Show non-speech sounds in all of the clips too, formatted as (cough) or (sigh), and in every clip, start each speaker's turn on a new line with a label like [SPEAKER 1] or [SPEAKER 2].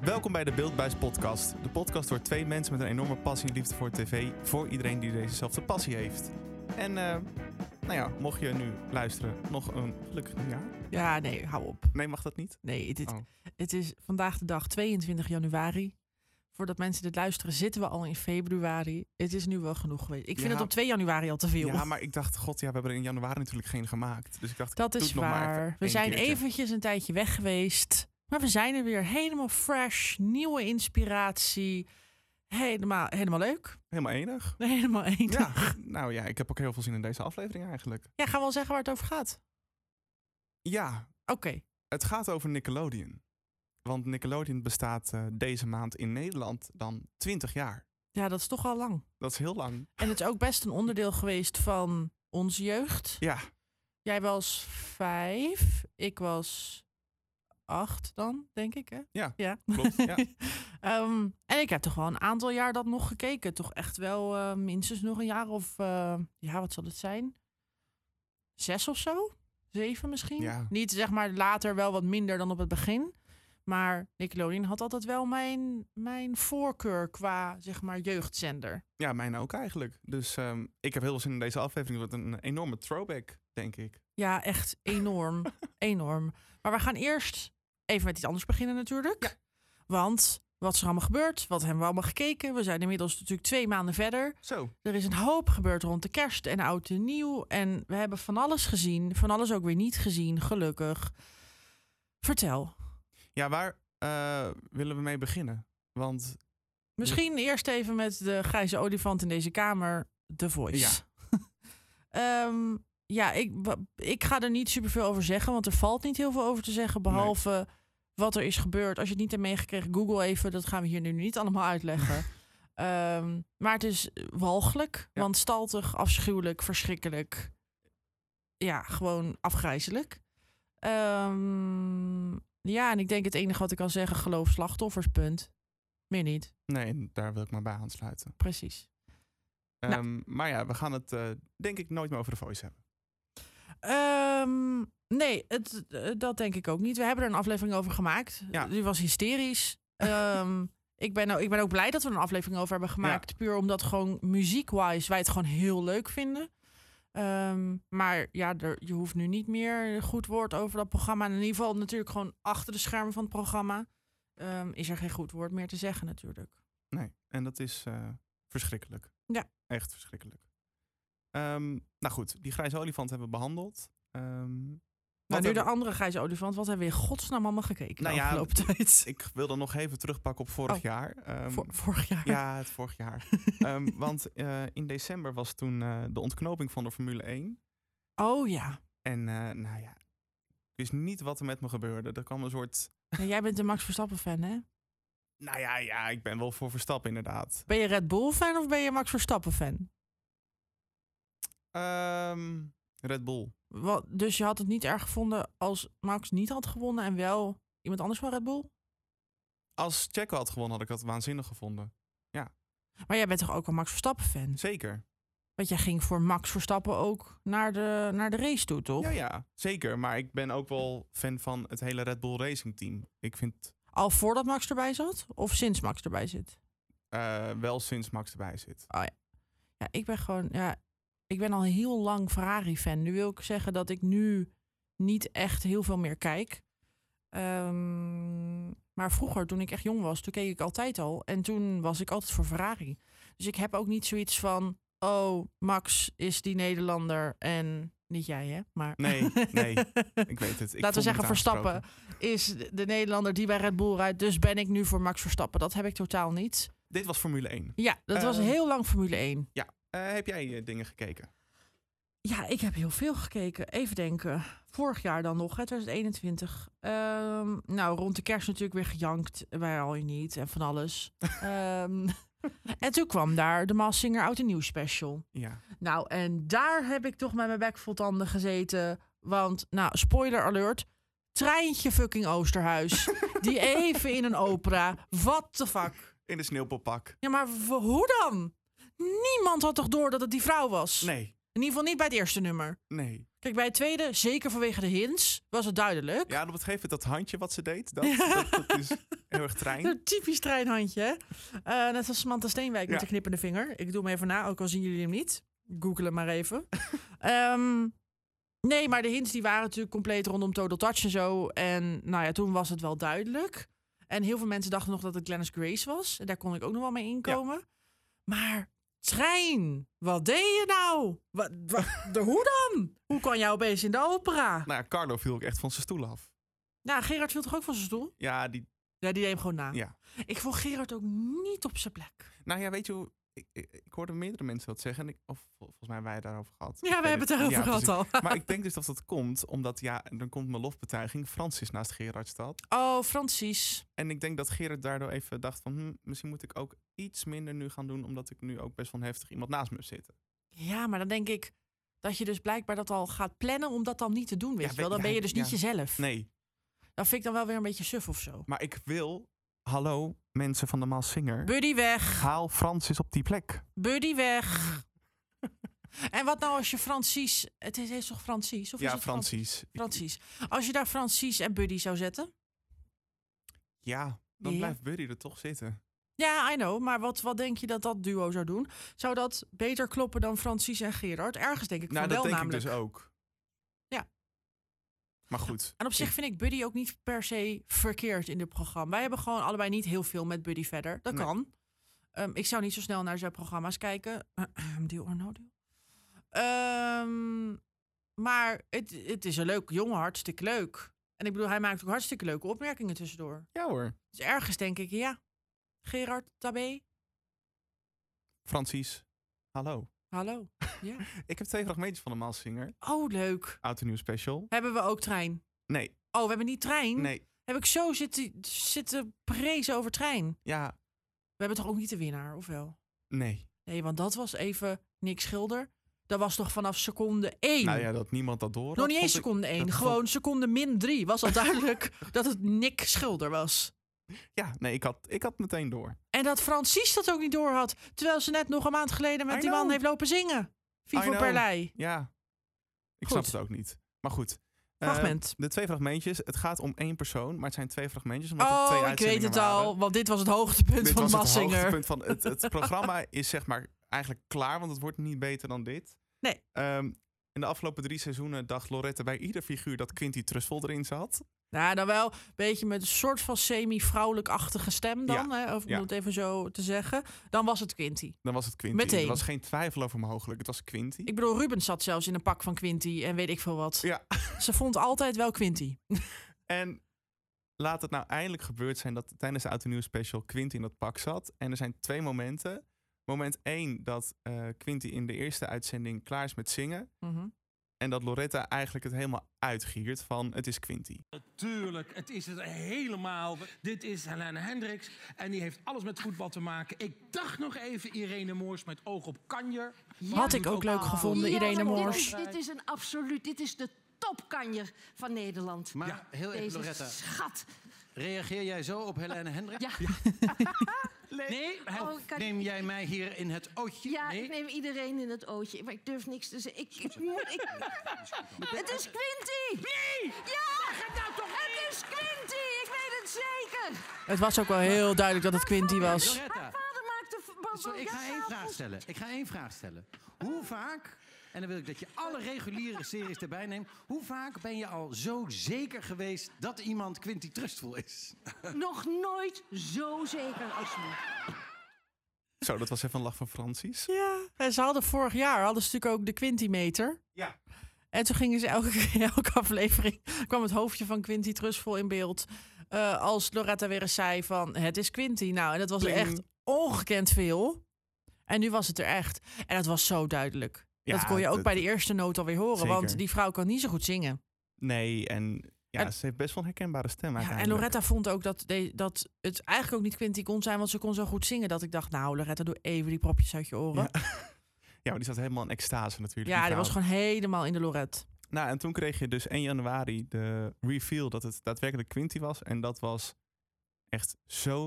[SPEAKER 1] Welkom bij de Beeldbuis Podcast. De podcast door twee mensen met een enorme passie en liefde voor tv. Voor iedereen die dezezelfde passie heeft. En eh, nou ja, mocht je nu luisteren, nog een gelukkig nieuwjaar.
[SPEAKER 2] Ja, nee, hou op.
[SPEAKER 1] Nee, mag dat niet?
[SPEAKER 2] Nee, dit,
[SPEAKER 1] Oh.
[SPEAKER 2] het is vandaag de dag 22 januari. Voordat mensen dit luisteren, zitten we al in februari. Het is nu wel genoeg geweest. Ik vind
[SPEAKER 1] Ja.
[SPEAKER 2] het op 2 januari al te veel.
[SPEAKER 1] Ja, maar ik dacht, god ja, we hebben er in januari natuurlijk geen gemaakt. Dus ik dacht,
[SPEAKER 2] Dat
[SPEAKER 1] doe
[SPEAKER 2] is
[SPEAKER 1] het nog maar even
[SPEAKER 2] waar. We
[SPEAKER 1] één
[SPEAKER 2] zijn
[SPEAKER 1] keertje.
[SPEAKER 2] eventjes een tijdje weg geweest. Maar we zijn er weer helemaal fresh. Nieuwe inspiratie. Helemaal, helemaal leuk. (laughs)
[SPEAKER 1] Helemaal enig.
[SPEAKER 2] Helemaal enig. Ja.
[SPEAKER 1] Ja, nou ja, ik heb ook heel veel zin in deze aflevering eigenlijk.
[SPEAKER 2] gaan we al zeggen waar het over gaat?
[SPEAKER 1] Ja,
[SPEAKER 2] Oké.
[SPEAKER 1] Het gaat over Nickelodeon. Want Nickelodeon bestaat eh, deze maand in Nederland dan 20 jaar.
[SPEAKER 2] Ja, dat is toch al lang.
[SPEAKER 1] Dat is heel lang.
[SPEAKER 2] En het is ook best een onderdeel geweest van onze jeugd.
[SPEAKER 1] Ja,
[SPEAKER 2] Jij was vijf, ik was acht dan, denk ik, hè?
[SPEAKER 1] Ja,
[SPEAKER 2] ja. (laughs)
[SPEAKER 1] klopt. Ja.
[SPEAKER 2] Ehm, en ik heb toch wel een aantal jaar dat nog gekeken. Toch echt wel eh, minstens nog een jaar of... eh, ja, wat zal het zijn? Zes of zo? Zeven misschien?
[SPEAKER 1] Ja.
[SPEAKER 2] Niet zeg maar later wel wat minder dan op het begin. Maar Nickelodeon had altijd wel mijn, mijn voorkeur qua zeg maar jeugdzender.
[SPEAKER 1] ja, mijn ook eigenlijk. Dus ehm, ik heb heel veel zin in deze aflevering. Het wordt een enorme throwback, denk ik.
[SPEAKER 2] Ja, echt enorm. enorm. Maar we gaan eerst even met iets anders beginnen natuurlijk. Want wat is er allemaal gebeurd? Wat hebben we allemaal gekeken? We zijn inmiddels natuurlijk twee maanden verder.
[SPEAKER 1] Zo,
[SPEAKER 2] Er is een hoop gebeurd rond de kerst en oud en nieuw. En we hebben van alles gezien. Van alles ook weer niet gezien, gelukkig. Vertel.
[SPEAKER 1] ja, waar eh, willen we mee beginnen? Want
[SPEAKER 2] Misschien eerst even met de grijze olifant in deze kamer, The (laughs) Voice. Ja, ja ik, wa- ik ga er niet superveel over zeggen, want er valt niet heel veel over te zeggen. Behalve wat er is gebeurd. Als je het niet hebt meegekregen, Google even. Dat gaan we hier nu niet allemaal uitleggen. Ehm, maar het is walgelijk,
[SPEAKER 1] Ja.
[SPEAKER 2] wanstaltig, afschuwelijk, verschrikkelijk. Ja, gewoon afgrijzelijk. Ehm, ja, en ik denk het enige wat ik kan zeggen, geloof slachtoffers, punt. Meer niet.
[SPEAKER 1] nee, daar wil ik maar bij aansluiten.
[SPEAKER 2] Precies. Nou.
[SPEAKER 1] Ehm, Maar ja, we gaan het eh, denk ik nooit meer over de voice hebben.
[SPEAKER 2] Ehm, nee, het, eh, dat denk ik ook niet. We hebben er een aflevering over gemaakt.
[SPEAKER 1] Ja.
[SPEAKER 2] Die was
[SPEAKER 1] (laughs)
[SPEAKER 2] hysterisch. Ehm, ik, ben, ook- ik ben ook blij dat we er een aflevering over hebben gemaakt. Puur omdat gewoon muziekwise wij het gewoon heel leuk vinden. Ehm, maar ja, er, je hoeft nu niet meer een goed woord over dat programma. En in ieder geval natuurlijk gewoon achter de schermen van het programma. ehm, is er geen goed woord meer te zeggen natuurlijk.
[SPEAKER 1] Nee, en dat is eh, verschrikkelijk.
[SPEAKER 2] Ja.
[SPEAKER 1] Echt verschrikkelijk. Ehm, nou goed, die grijze olifant hebben we behandeld. Ehm, wat
[SPEAKER 2] Maar Nou, nu de
[SPEAKER 1] hebben-
[SPEAKER 2] andere grijze olifant. Wat hebben we in godsnaam allemaal gekeken
[SPEAKER 1] Nou
[SPEAKER 2] de
[SPEAKER 1] ja,
[SPEAKER 2] afgelopen tijd? (laughs)
[SPEAKER 1] Ik wil dan nog even terugpakken op vorig
[SPEAKER 2] Oh.
[SPEAKER 1] jaar. Ehm,
[SPEAKER 2] Vor- vorig jaar. (laughs)
[SPEAKER 1] Ja, het vorig jaar. Ehm, want eh, in december was toen eh, de ontknoping van de Formule 1.
[SPEAKER 2] Oh ja.
[SPEAKER 1] En eh, nou ja, ik wist niet wat er met me gebeurde. Er kwam een soort...
[SPEAKER 2] Ja, jij bent een Max Verstappen fan, hè?
[SPEAKER 1] Nou ja, ja, ik ben wel voor Verstappen inderdaad.
[SPEAKER 2] Ben je Red Bull fan of ben je Max Verstappen fan?
[SPEAKER 1] Ehm, Red Bull.
[SPEAKER 2] Wat, dus je had het niet erg gevonden als Max niet had gewonnen en wel iemand anders van Red Bull?
[SPEAKER 1] Als Checo had gewonnen, had ik dat waanzinnig gevonden.
[SPEAKER 2] Maar jij bent toch ook een Max Verstappen fan?
[SPEAKER 1] Zeker.
[SPEAKER 2] Want jij ging voor Max Verstappen ook naar de, naar de race toe, toch?
[SPEAKER 1] Ja, ja, zeker. Maar ik ben ook wel fan van het hele Red Bull Racing Team. Ik vind
[SPEAKER 2] Al voordat Max erbij zat of sinds Max erbij zit?
[SPEAKER 1] eh, wel sinds Max erbij zit.
[SPEAKER 2] Ja, ik ben gewoon, ja, ik ben al heel lang Ferrari fan. Nu wil ik zeggen dat ik nu niet echt heel veel meer kijk. Ehm, maar vroeger, toen ik echt jong was, toen keek ik altijd al. En toen was ik altijd voor Ferrari. Dus ik heb ook niet zoiets van, oh, Max is die Nederlander en niet jij, hè? Maar
[SPEAKER 1] Nee,
[SPEAKER 2] (laughs)
[SPEAKER 1] nee. Ik weet het. Ik
[SPEAKER 2] Laten we
[SPEAKER 1] voel me
[SPEAKER 2] zeggen,
[SPEAKER 1] niet
[SPEAKER 2] Verstappen
[SPEAKER 1] aangesproken.
[SPEAKER 2] is de Nederlander die bij Red Bull rijdt. Dus ben ik nu voor Max Verstappen. Dat heb ik totaal niet.
[SPEAKER 1] Dit was Formule 1.
[SPEAKER 2] Ja, dat was
[SPEAKER 1] Ehm.
[SPEAKER 2] heel lang Formule 1.
[SPEAKER 1] Eh, heb jij eh, dingen gekeken?
[SPEAKER 2] Ja, ik heb heel veel gekeken. Even denken. Vorig jaar dan nog, hè, 2021. Ehm, nou, rond de kerst natuurlijk weer gejankt. Wij al je niet en van alles. Ehm, en toen kwam daar de Maas Singer Oud en Nieuw Special.
[SPEAKER 1] Ja.
[SPEAKER 2] Nou, en daar heb ik toch met mijn bek vol tanden gezeten. Want, nou, spoiler alert. Treintje fucking Oosterhuis. Die even in een opera. What the fuck?
[SPEAKER 1] In de sneeuwpoppak.
[SPEAKER 2] Ja, maar w- hoe dan? Niemand had toch door dat het die vrouw was?
[SPEAKER 1] Nee.
[SPEAKER 2] In ieder geval niet bij het eerste nummer.
[SPEAKER 1] Nee.
[SPEAKER 2] Kijk, bij het tweede, zeker vanwege de hints, was het duidelijk.
[SPEAKER 1] Ja, en op het gegeven moment dat handje wat ze deed,
[SPEAKER 2] (laughs)
[SPEAKER 1] dat,
[SPEAKER 2] Ja.
[SPEAKER 1] dat, dat is heel erg trein.
[SPEAKER 2] Een typisch treinhandje. hè? Eh, net als Samantha Steenwijk
[SPEAKER 1] Ja.
[SPEAKER 2] met de knippende vinger. Ik doe hem even na, ook al zien jullie hem niet. Google hem maar even. Ehm, nee, maar de hints die waren natuurlijk compleet rondom Total Touch en zo. En nou ja, toen was het wel duidelijk. En heel veel mensen dachten nog dat het Glennis Grace was. En daar kon ik ook nog wel mee inkomen. Maar trein, wat deed je nou? Wat, wat, de, hoe dan? Hoe kan jou opeens in de opera?
[SPEAKER 1] Nou ja, Carlo viel ook echt van zijn stoel af.
[SPEAKER 2] Nou, Gerard viel toch ook van zijn stoel?
[SPEAKER 1] Ja, die,
[SPEAKER 2] Ja, die deed hem gewoon na.
[SPEAKER 1] Ja.
[SPEAKER 2] Ik vond Gerard ook niet op zijn plek.
[SPEAKER 1] nou ja, weet je hoe... Ik, ik, ik hoorde meerdere mensen dat zeggen. En ik, of vol- volgens mij hebben wij het daarover gehad. Ik
[SPEAKER 2] Ja, we
[SPEAKER 1] weet
[SPEAKER 2] hebben het daarover
[SPEAKER 1] Ja,
[SPEAKER 2] gehad
[SPEAKER 1] precies.
[SPEAKER 2] al.
[SPEAKER 1] Maar
[SPEAKER 2] (laughs)
[SPEAKER 1] ik denk dus dat dat komt, omdat ja, dan komt mijn lofbetuiging. Frans is naast Gerard staat.
[SPEAKER 2] (laughs) Oh, Francis.
[SPEAKER 1] En ik denk dat Gerard daardoor even dacht van... Hm, misschien moet ik ook iets minder nu gaan doen, omdat ik nu ook best wel een heftig iemand naast me heb zitten.
[SPEAKER 2] Ja, maar dan denk ik dat je dus blijkbaar dat al gaat plannen om dat dan niet te doen, weet
[SPEAKER 1] Ja,
[SPEAKER 2] je wel.
[SPEAKER 1] weet-
[SPEAKER 2] Dan ben
[SPEAKER 1] ja,
[SPEAKER 2] je dus niet
[SPEAKER 1] ja.
[SPEAKER 2] jezelf.
[SPEAKER 1] Nee,
[SPEAKER 2] Dat vind ik dan wel weer een beetje suf of zo.
[SPEAKER 1] Maar ik wil. Hallo, mensen van de Maas Singer.
[SPEAKER 2] Buddy weg,
[SPEAKER 1] Haal Francis op die plek.
[SPEAKER 2] Buddy
[SPEAKER 1] (laughs)
[SPEAKER 2] weg. en wat nou als je Francis... Het is, is toch Francis? Of is
[SPEAKER 1] ja,
[SPEAKER 2] het Fran-
[SPEAKER 1] Francis. Ik-
[SPEAKER 2] Francis. Als je daar Francis en Buddy zou zetten?
[SPEAKER 1] Ja, dan
[SPEAKER 2] Ja.
[SPEAKER 1] blijft Buddy er toch zitten.
[SPEAKER 2] Ja, I know. Maar wat, wat denk je dat dat duo zou doen? Zou dat beter kloppen dan Francis en Gerard? Ergens denk ik
[SPEAKER 1] nou,
[SPEAKER 2] van
[SPEAKER 1] dat
[SPEAKER 2] wel
[SPEAKER 1] denk
[SPEAKER 2] namelijk.
[SPEAKER 1] ik dus ook.
[SPEAKER 2] Ja.
[SPEAKER 1] Maar goed.
[SPEAKER 2] En op zich vind ik Buddy ook niet per se verkeerd in dit programma. Wij hebben gewoon allebei niet heel veel met Buddy verder. Dat
[SPEAKER 1] Nee.
[SPEAKER 2] kan. Ehm, ik zou niet zo snel naar zijn programma's kijken. (clears throat) deal or no deal. Ehm, maar het, het is een leuk jongen, hartstikke leuk. En ik bedoel, hij maakt ook hartstikke leuke opmerkingen tussendoor.
[SPEAKER 1] Ja hoor.
[SPEAKER 2] Dus ergens denk ik, ja, Gerard, Tabé,
[SPEAKER 1] Francis, hallo.
[SPEAKER 2] hallo. Ja.
[SPEAKER 1] Ik heb twee fragmentjes van de Maas Singer.
[SPEAKER 2] Oh, leuk.
[SPEAKER 1] Oud en nieuw special.
[SPEAKER 2] Hebben we ook trein?
[SPEAKER 1] Nee,
[SPEAKER 2] Oh, we hebben niet trein?
[SPEAKER 1] nee.
[SPEAKER 2] Heb ik zo zitten, zitten prezen over trein?
[SPEAKER 1] Ja,
[SPEAKER 2] We hebben toch ook niet de winnaar, of wel?
[SPEAKER 1] nee.
[SPEAKER 2] Nee, want dat was even Nick Schilder. Dat was toch vanaf seconde 1.
[SPEAKER 1] Nou ja, dat niemand dat door had,
[SPEAKER 2] Nog niet eens
[SPEAKER 1] vond ik-
[SPEAKER 2] seconde 1.
[SPEAKER 1] dat
[SPEAKER 2] Gewoon seconde min 3 was al duidelijk (laughs) dat het Nick Schilder was.
[SPEAKER 1] Ja, nee, ik had, ik had meteen door.
[SPEAKER 2] En dat Francis dat ook niet door had. Terwijl ze net nog een maand geleden
[SPEAKER 1] I
[SPEAKER 2] met die
[SPEAKER 1] know.
[SPEAKER 2] man heeft lopen zingen.
[SPEAKER 1] I
[SPEAKER 2] Vivo
[SPEAKER 1] know.
[SPEAKER 2] Perlei.
[SPEAKER 1] Ja. Ik
[SPEAKER 2] Goed.
[SPEAKER 1] snap het ook niet. Maar goed. Eh,
[SPEAKER 2] Fragment.
[SPEAKER 1] de twee fragmentjes. Het gaat om één persoon, maar het zijn twee fragmentjes. Omdat het twee
[SPEAKER 2] oh, ik weet
[SPEAKER 1] uitzendingen
[SPEAKER 2] het
[SPEAKER 1] waren.
[SPEAKER 2] al. Want dit was het hoogtepunt
[SPEAKER 1] Dit
[SPEAKER 2] van
[SPEAKER 1] was het
[SPEAKER 2] Massinger.
[SPEAKER 1] hoogtepunt van het, het programma is zeg maar eigenlijk klaar, want het wordt niet beter dan dit.
[SPEAKER 2] Nee.
[SPEAKER 1] Ehm, in de afgelopen drie seizoenen dacht Lorette bij ieder figuur dat Quinty Trussel erin zat.
[SPEAKER 2] Nou, dan wel een beetje met een soort van semi-vrouwelijk-achtige stem dan. Hè, of om
[SPEAKER 1] ja.
[SPEAKER 2] het even zo te zeggen. Dan was het Quinty.
[SPEAKER 1] Dan was het Quinty.
[SPEAKER 2] Meteen.
[SPEAKER 1] Er was geen twijfel over mogelijk. Het was Quinty.
[SPEAKER 2] Ik bedoel, Ruben zat zelfs in een pak van Quinty en weet ik veel wat.
[SPEAKER 1] Ja.
[SPEAKER 2] Ze vond altijd wel Quinty.
[SPEAKER 1] En laat het nou eindelijk gebeurd zijn dat tijdens de Oud en Nieuw special Quinty in dat pak zat. En er zijn twee momenten. Moment één dat eh Quinty in de eerste uitzending klaar is met zingen. En dat Loretta eigenlijk het helemaal uitgiert van het is Quinty.
[SPEAKER 3] Natuurlijk, het is het helemaal. Dit is Helene Hendricks en die heeft alles met voetbal te maken. Ik dacht nog even Irene Moors met oog op kanjer.
[SPEAKER 2] Had ik ook leuk gevonden,
[SPEAKER 4] Ja,
[SPEAKER 2] Irene
[SPEAKER 4] maar dit
[SPEAKER 2] Moors.
[SPEAKER 4] is- Dit, is een absoluut, dit is de topkanjer van Nederland.
[SPEAKER 5] Maar
[SPEAKER 3] Ja,
[SPEAKER 5] heel even,
[SPEAKER 4] Deze
[SPEAKER 5] Loretta.
[SPEAKER 4] schat.
[SPEAKER 5] Reageer jij zo op Helene Hendrik?
[SPEAKER 4] Ja, (laughs)
[SPEAKER 5] Nee? Help.
[SPEAKER 4] Oh, kan-
[SPEAKER 5] Neem jij mij hier in het ootje?
[SPEAKER 4] ja
[SPEAKER 5] nee?
[SPEAKER 4] ik neem iedereen in het ootje. Maar ik durf niks te zeggen. Ik, ik moet... Ik, het is Quinty! Nee! Ja! Het is Quinty! Ik weet het zeker!
[SPEAKER 2] Het was ook wel heel duidelijk dat het Quinty was.
[SPEAKER 5] Loretta.
[SPEAKER 4] Haar vader maakte... v- bo-
[SPEAKER 5] Sorry, ik ga één vraag
[SPEAKER 4] boterhammen.
[SPEAKER 5] stellen. Ik ga één vraag stellen. Hoe vaak, en dan wil ik dat je alle reguliere series erbij neemt... hoe vaak ben je al zo zeker geweest dat iemand Quinty Trustful is?
[SPEAKER 4] Nog nooit zo zeker als nu.
[SPEAKER 1] Zo, dat was even een lach van Francis.
[SPEAKER 2] Ja. En ze hadden vorig jaar hadden ze natuurlijk ook de Quinty-meter.
[SPEAKER 1] Ja.
[SPEAKER 2] En toen gingen ze elke, (laughs) elke aflevering. kwam het hoofdje van Quinty Trustful in beeld. eh, als Loretta weer eens zei: van het is Quinty. Nou, en dat was
[SPEAKER 1] Pling.
[SPEAKER 2] echt ongekend veel. En nu was het er echt. En dat was zo duidelijk. dat kon je ook bij de eerste noot alweer horen.
[SPEAKER 1] Zeker.
[SPEAKER 2] Want die vrouw kan niet zo goed zingen.
[SPEAKER 1] Nee, en ja,
[SPEAKER 2] En-
[SPEAKER 1] ze heeft best wel een herkenbare stem
[SPEAKER 2] Ja, en
[SPEAKER 1] uiteindelijk.
[SPEAKER 2] Loretta vond ook dat, de- dat het eigenlijk ook niet Quinty kon zijn, want ze kon zo goed zingen. Dat ik dacht, nou Loretta, doe even die propjes uit je oren. Ja,
[SPEAKER 1] Ja, maar die zat helemaal in extase natuurlijk.
[SPEAKER 2] (laughs) die
[SPEAKER 1] vrouw.
[SPEAKER 2] was gewoon helemaal in de Lorette.
[SPEAKER 1] Nou, en toen kreeg je dus 1 januari de reveal dat het daadwerkelijk Quinty was. En dat was echt zo...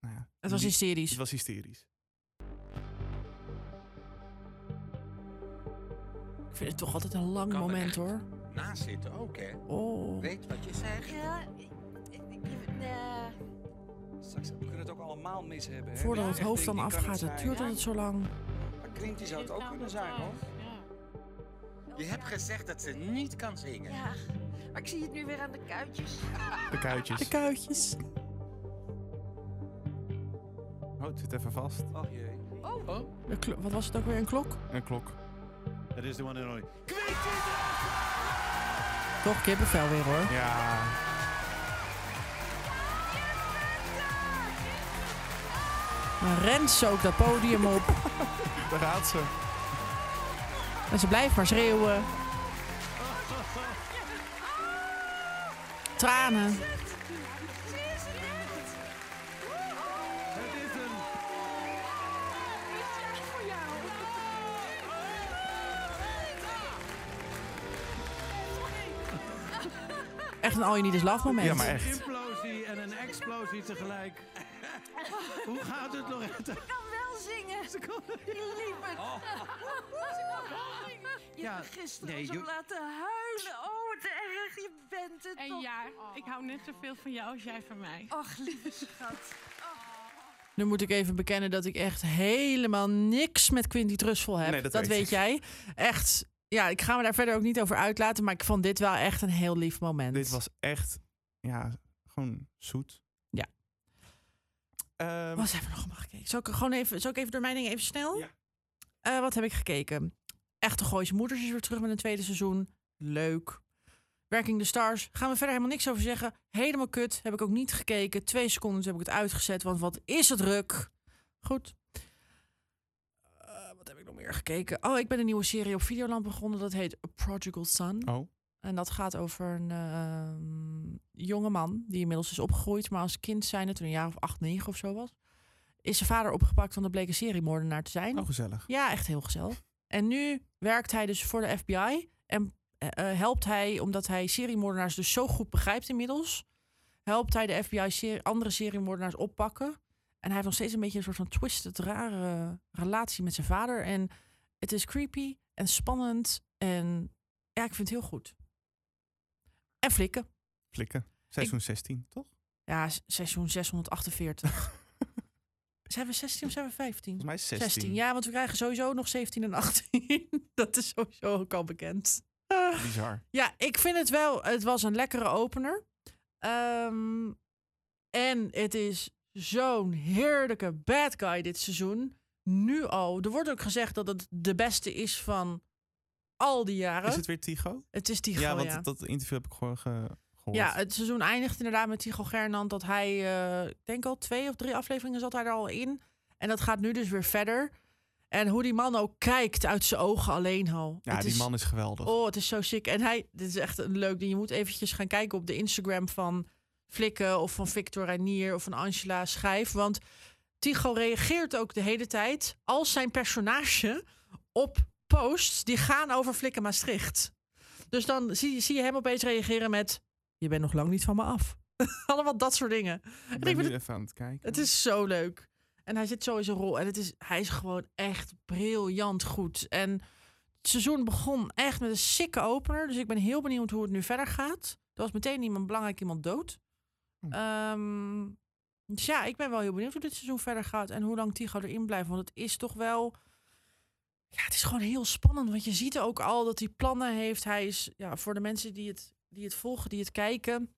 [SPEAKER 1] Nou ja,
[SPEAKER 2] Het was
[SPEAKER 1] li-
[SPEAKER 2] hysterisch.
[SPEAKER 1] Het was hysterisch.
[SPEAKER 2] Ik vind het toch altijd een lang
[SPEAKER 3] Kan er
[SPEAKER 2] moment
[SPEAKER 3] echt.
[SPEAKER 2] hoor.
[SPEAKER 3] Naast zitten ook, hè?
[SPEAKER 2] Oh.
[SPEAKER 3] Weet wat je zegt.
[SPEAKER 4] Ja, eh, ik- ik- ik- nee.
[SPEAKER 6] Straks, we kunnen het ook allemaal mis hebben. hè?
[SPEAKER 2] Voordat
[SPEAKER 6] Dat
[SPEAKER 2] het
[SPEAKER 6] je echt
[SPEAKER 2] hoofd dan
[SPEAKER 6] denkt, dit kan
[SPEAKER 2] afgaat,
[SPEAKER 6] het
[SPEAKER 2] het
[SPEAKER 6] zijn.
[SPEAKER 2] duurt altijd zo lang.
[SPEAKER 6] Maar Quinty zou het ook kunnen zijn, hoor.
[SPEAKER 3] Je hebt gezegd dat ze niet kan zingen.
[SPEAKER 4] oh Ja, maar ik zie het nu weer aan de kuitjes.
[SPEAKER 1] De kuitjes.
[SPEAKER 2] De kuitjes.
[SPEAKER 1] Oh, het zit even vast.
[SPEAKER 2] Oh,
[SPEAKER 6] Ach jee.
[SPEAKER 2] De klo- Wat was het ook weer, een klok?
[SPEAKER 1] Een klok.
[SPEAKER 5] Dat is de one and only.
[SPEAKER 2] Toch kippenvel weer hoor.
[SPEAKER 1] Ja.
[SPEAKER 2] Dan rent ze ook dat podium op.
[SPEAKER 1] Daar gaat ze.
[SPEAKER 2] En ze blijft maar schreeuwen. Tranen.
[SPEAKER 5] Het is een...
[SPEAKER 2] Echt een all you need is love moment.
[SPEAKER 1] Ja, maar echt.
[SPEAKER 5] Een implosie en een explosie tegelijk. Hoe gaat het, Loretta?
[SPEAKER 4] Ik kan wel zingen. Lieverd.
[SPEAKER 7] Oh.
[SPEAKER 4] Je
[SPEAKER 5] Ja,
[SPEAKER 4] hebt me gisteren
[SPEAKER 5] nee,
[SPEAKER 4] zo
[SPEAKER 5] je-
[SPEAKER 4] laten huilen. Oh, wat erg. Je bent het
[SPEAKER 7] En
[SPEAKER 4] toch.
[SPEAKER 7] ja, ik hou net zoveel van jou als jij van mij.
[SPEAKER 4] Ach, lieve schat.
[SPEAKER 7] Oh.
[SPEAKER 2] Nu moet ik even bekennen dat ik echt helemaal niks met Quinty Trussel heb.
[SPEAKER 1] Nee, dat weet
[SPEAKER 2] weet
[SPEAKER 1] ik.
[SPEAKER 2] jij. Echt. Ja, ik ga me daar verder ook niet over uitlaten. Maar ik vond dit wel echt een heel lief moment.
[SPEAKER 1] Dit was echt, ja, gewoon zoet.
[SPEAKER 2] Ja.
[SPEAKER 1] Ehm,
[SPEAKER 2] Wat hebben we nog allemaal gekeken? Zal ik, er gewoon even, zal ik even door mijn dingen even snel?
[SPEAKER 1] Ja.
[SPEAKER 2] Eh, wat heb ik gekeken? Echte Gooise Moeders is weer terug met een tweede seizoen. Leuk. Werking the Stars. Gaan we verder helemaal niks over zeggen. Helemaal kut. Heb ik ook niet gekeken. Twee seconden toen heb ik het uitgezet. Want wat is het druk? Goed. Eh, wat heb ik nog meer gekeken? Oh, ik ben een nieuwe serie op Videoland begonnen. Dat heet A Prodigal Son.
[SPEAKER 1] Oh,
[SPEAKER 2] En dat gaat over een jongeman jonge man die inmiddels is opgegroeid, maar als kind zijnde, toen hij een jaar of acht, negen of zo was, is zijn vader opgepakt, want dat bleek een seriemoordenaar te zijn.
[SPEAKER 1] oh, gezellig.
[SPEAKER 2] Ja, echt heel gezellig. En nu werkt hij dus voor de FBI en eh, eh, helpt hij, omdat hij seriemoordenaars dus zo goed begrijpt inmiddels, helpt hij de FBI serie- andere seriemoordenaars oppakken. En hij heeft nog steeds een beetje een soort van twisted, rare relatie met zijn vader. En het is creepy en spannend en ja, ik vind het heel goed. En flikken.
[SPEAKER 1] Flikken. Seizoen 16, toch?
[SPEAKER 2] Ja, s- seizoen 648. zijn we 16 of zijn we 15?
[SPEAKER 1] Volgens mij 16.
[SPEAKER 2] 16. ja, want we krijgen sowieso nog 17 en 18. (laughs) dat is sowieso ook al bekend. Eh,
[SPEAKER 1] Bizar.
[SPEAKER 2] ja, ik vind het wel. Het was een lekkere opener. Ehm, en het is zo'n heerlijke bad guy dit seizoen. Nu al. Er wordt ook gezegd dat het de beste is van al die jaren.
[SPEAKER 1] Is
[SPEAKER 2] het...
[SPEAKER 1] het weer Tigo?
[SPEAKER 2] is die
[SPEAKER 1] ja,
[SPEAKER 2] gewoon,
[SPEAKER 1] want dat interview heb ik gewoon ge- gehoord.
[SPEAKER 2] ja, het seizoen eindigt inderdaad met Tigo Gernand. Dat hij, eh, ik denk al twee of drie afleveringen zat hij er al in. En dat gaat nu dus weer verder. En hoe die man ook kijkt uit zijn ogen alleen al.
[SPEAKER 1] ja
[SPEAKER 2] Het
[SPEAKER 1] die
[SPEAKER 2] is-
[SPEAKER 1] man is geweldig.
[SPEAKER 2] Oh, het is zo sick. En hij, dit is echt een leuk ding. Je moet eventjes gaan kijken op de Instagram van Flikken of van Victor Reinier of van Angela Schijf. Want Tigo reageert ook de hele tijd als zijn personage op posts die gaan over Flikken Maastricht. Dus dan zie, zie je hem opeens reageren met: Je bent nog lang niet van me af. (laughs) Allemaal dat soort dingen.
[SPEAKER 1] ik
[SPEAKER 2] ik
[SPEAKER 1] ben
[SPEAKER 2] vind
[SPEAKER 1] nu even aan het kijken.
[SPEAKER 2] Het is zo leuk. En hij zit zo in zijn rol. En het is, hij is gewoon echt briljant goed. En het seizoen begon echt met een sikke opener. Dus ik ben heel benieuwd hoe het nu verder gaat. Er was meteen iemand belangrijk iemand dood.
[SPEAKER 1] Hm.
[SPEAKER 2] Ehm, dus ja, ik ben wel heel benieuwd hoe dit seizoen verder gaat. En hoe lang Tigo erin blijft. Want het is toch wel... Ja, het is gewoon heel spannend. Want je ziet ook al dat hij plannen heeft. Hij is, ja, voor de mensen die het, die het volgen, die het kijken...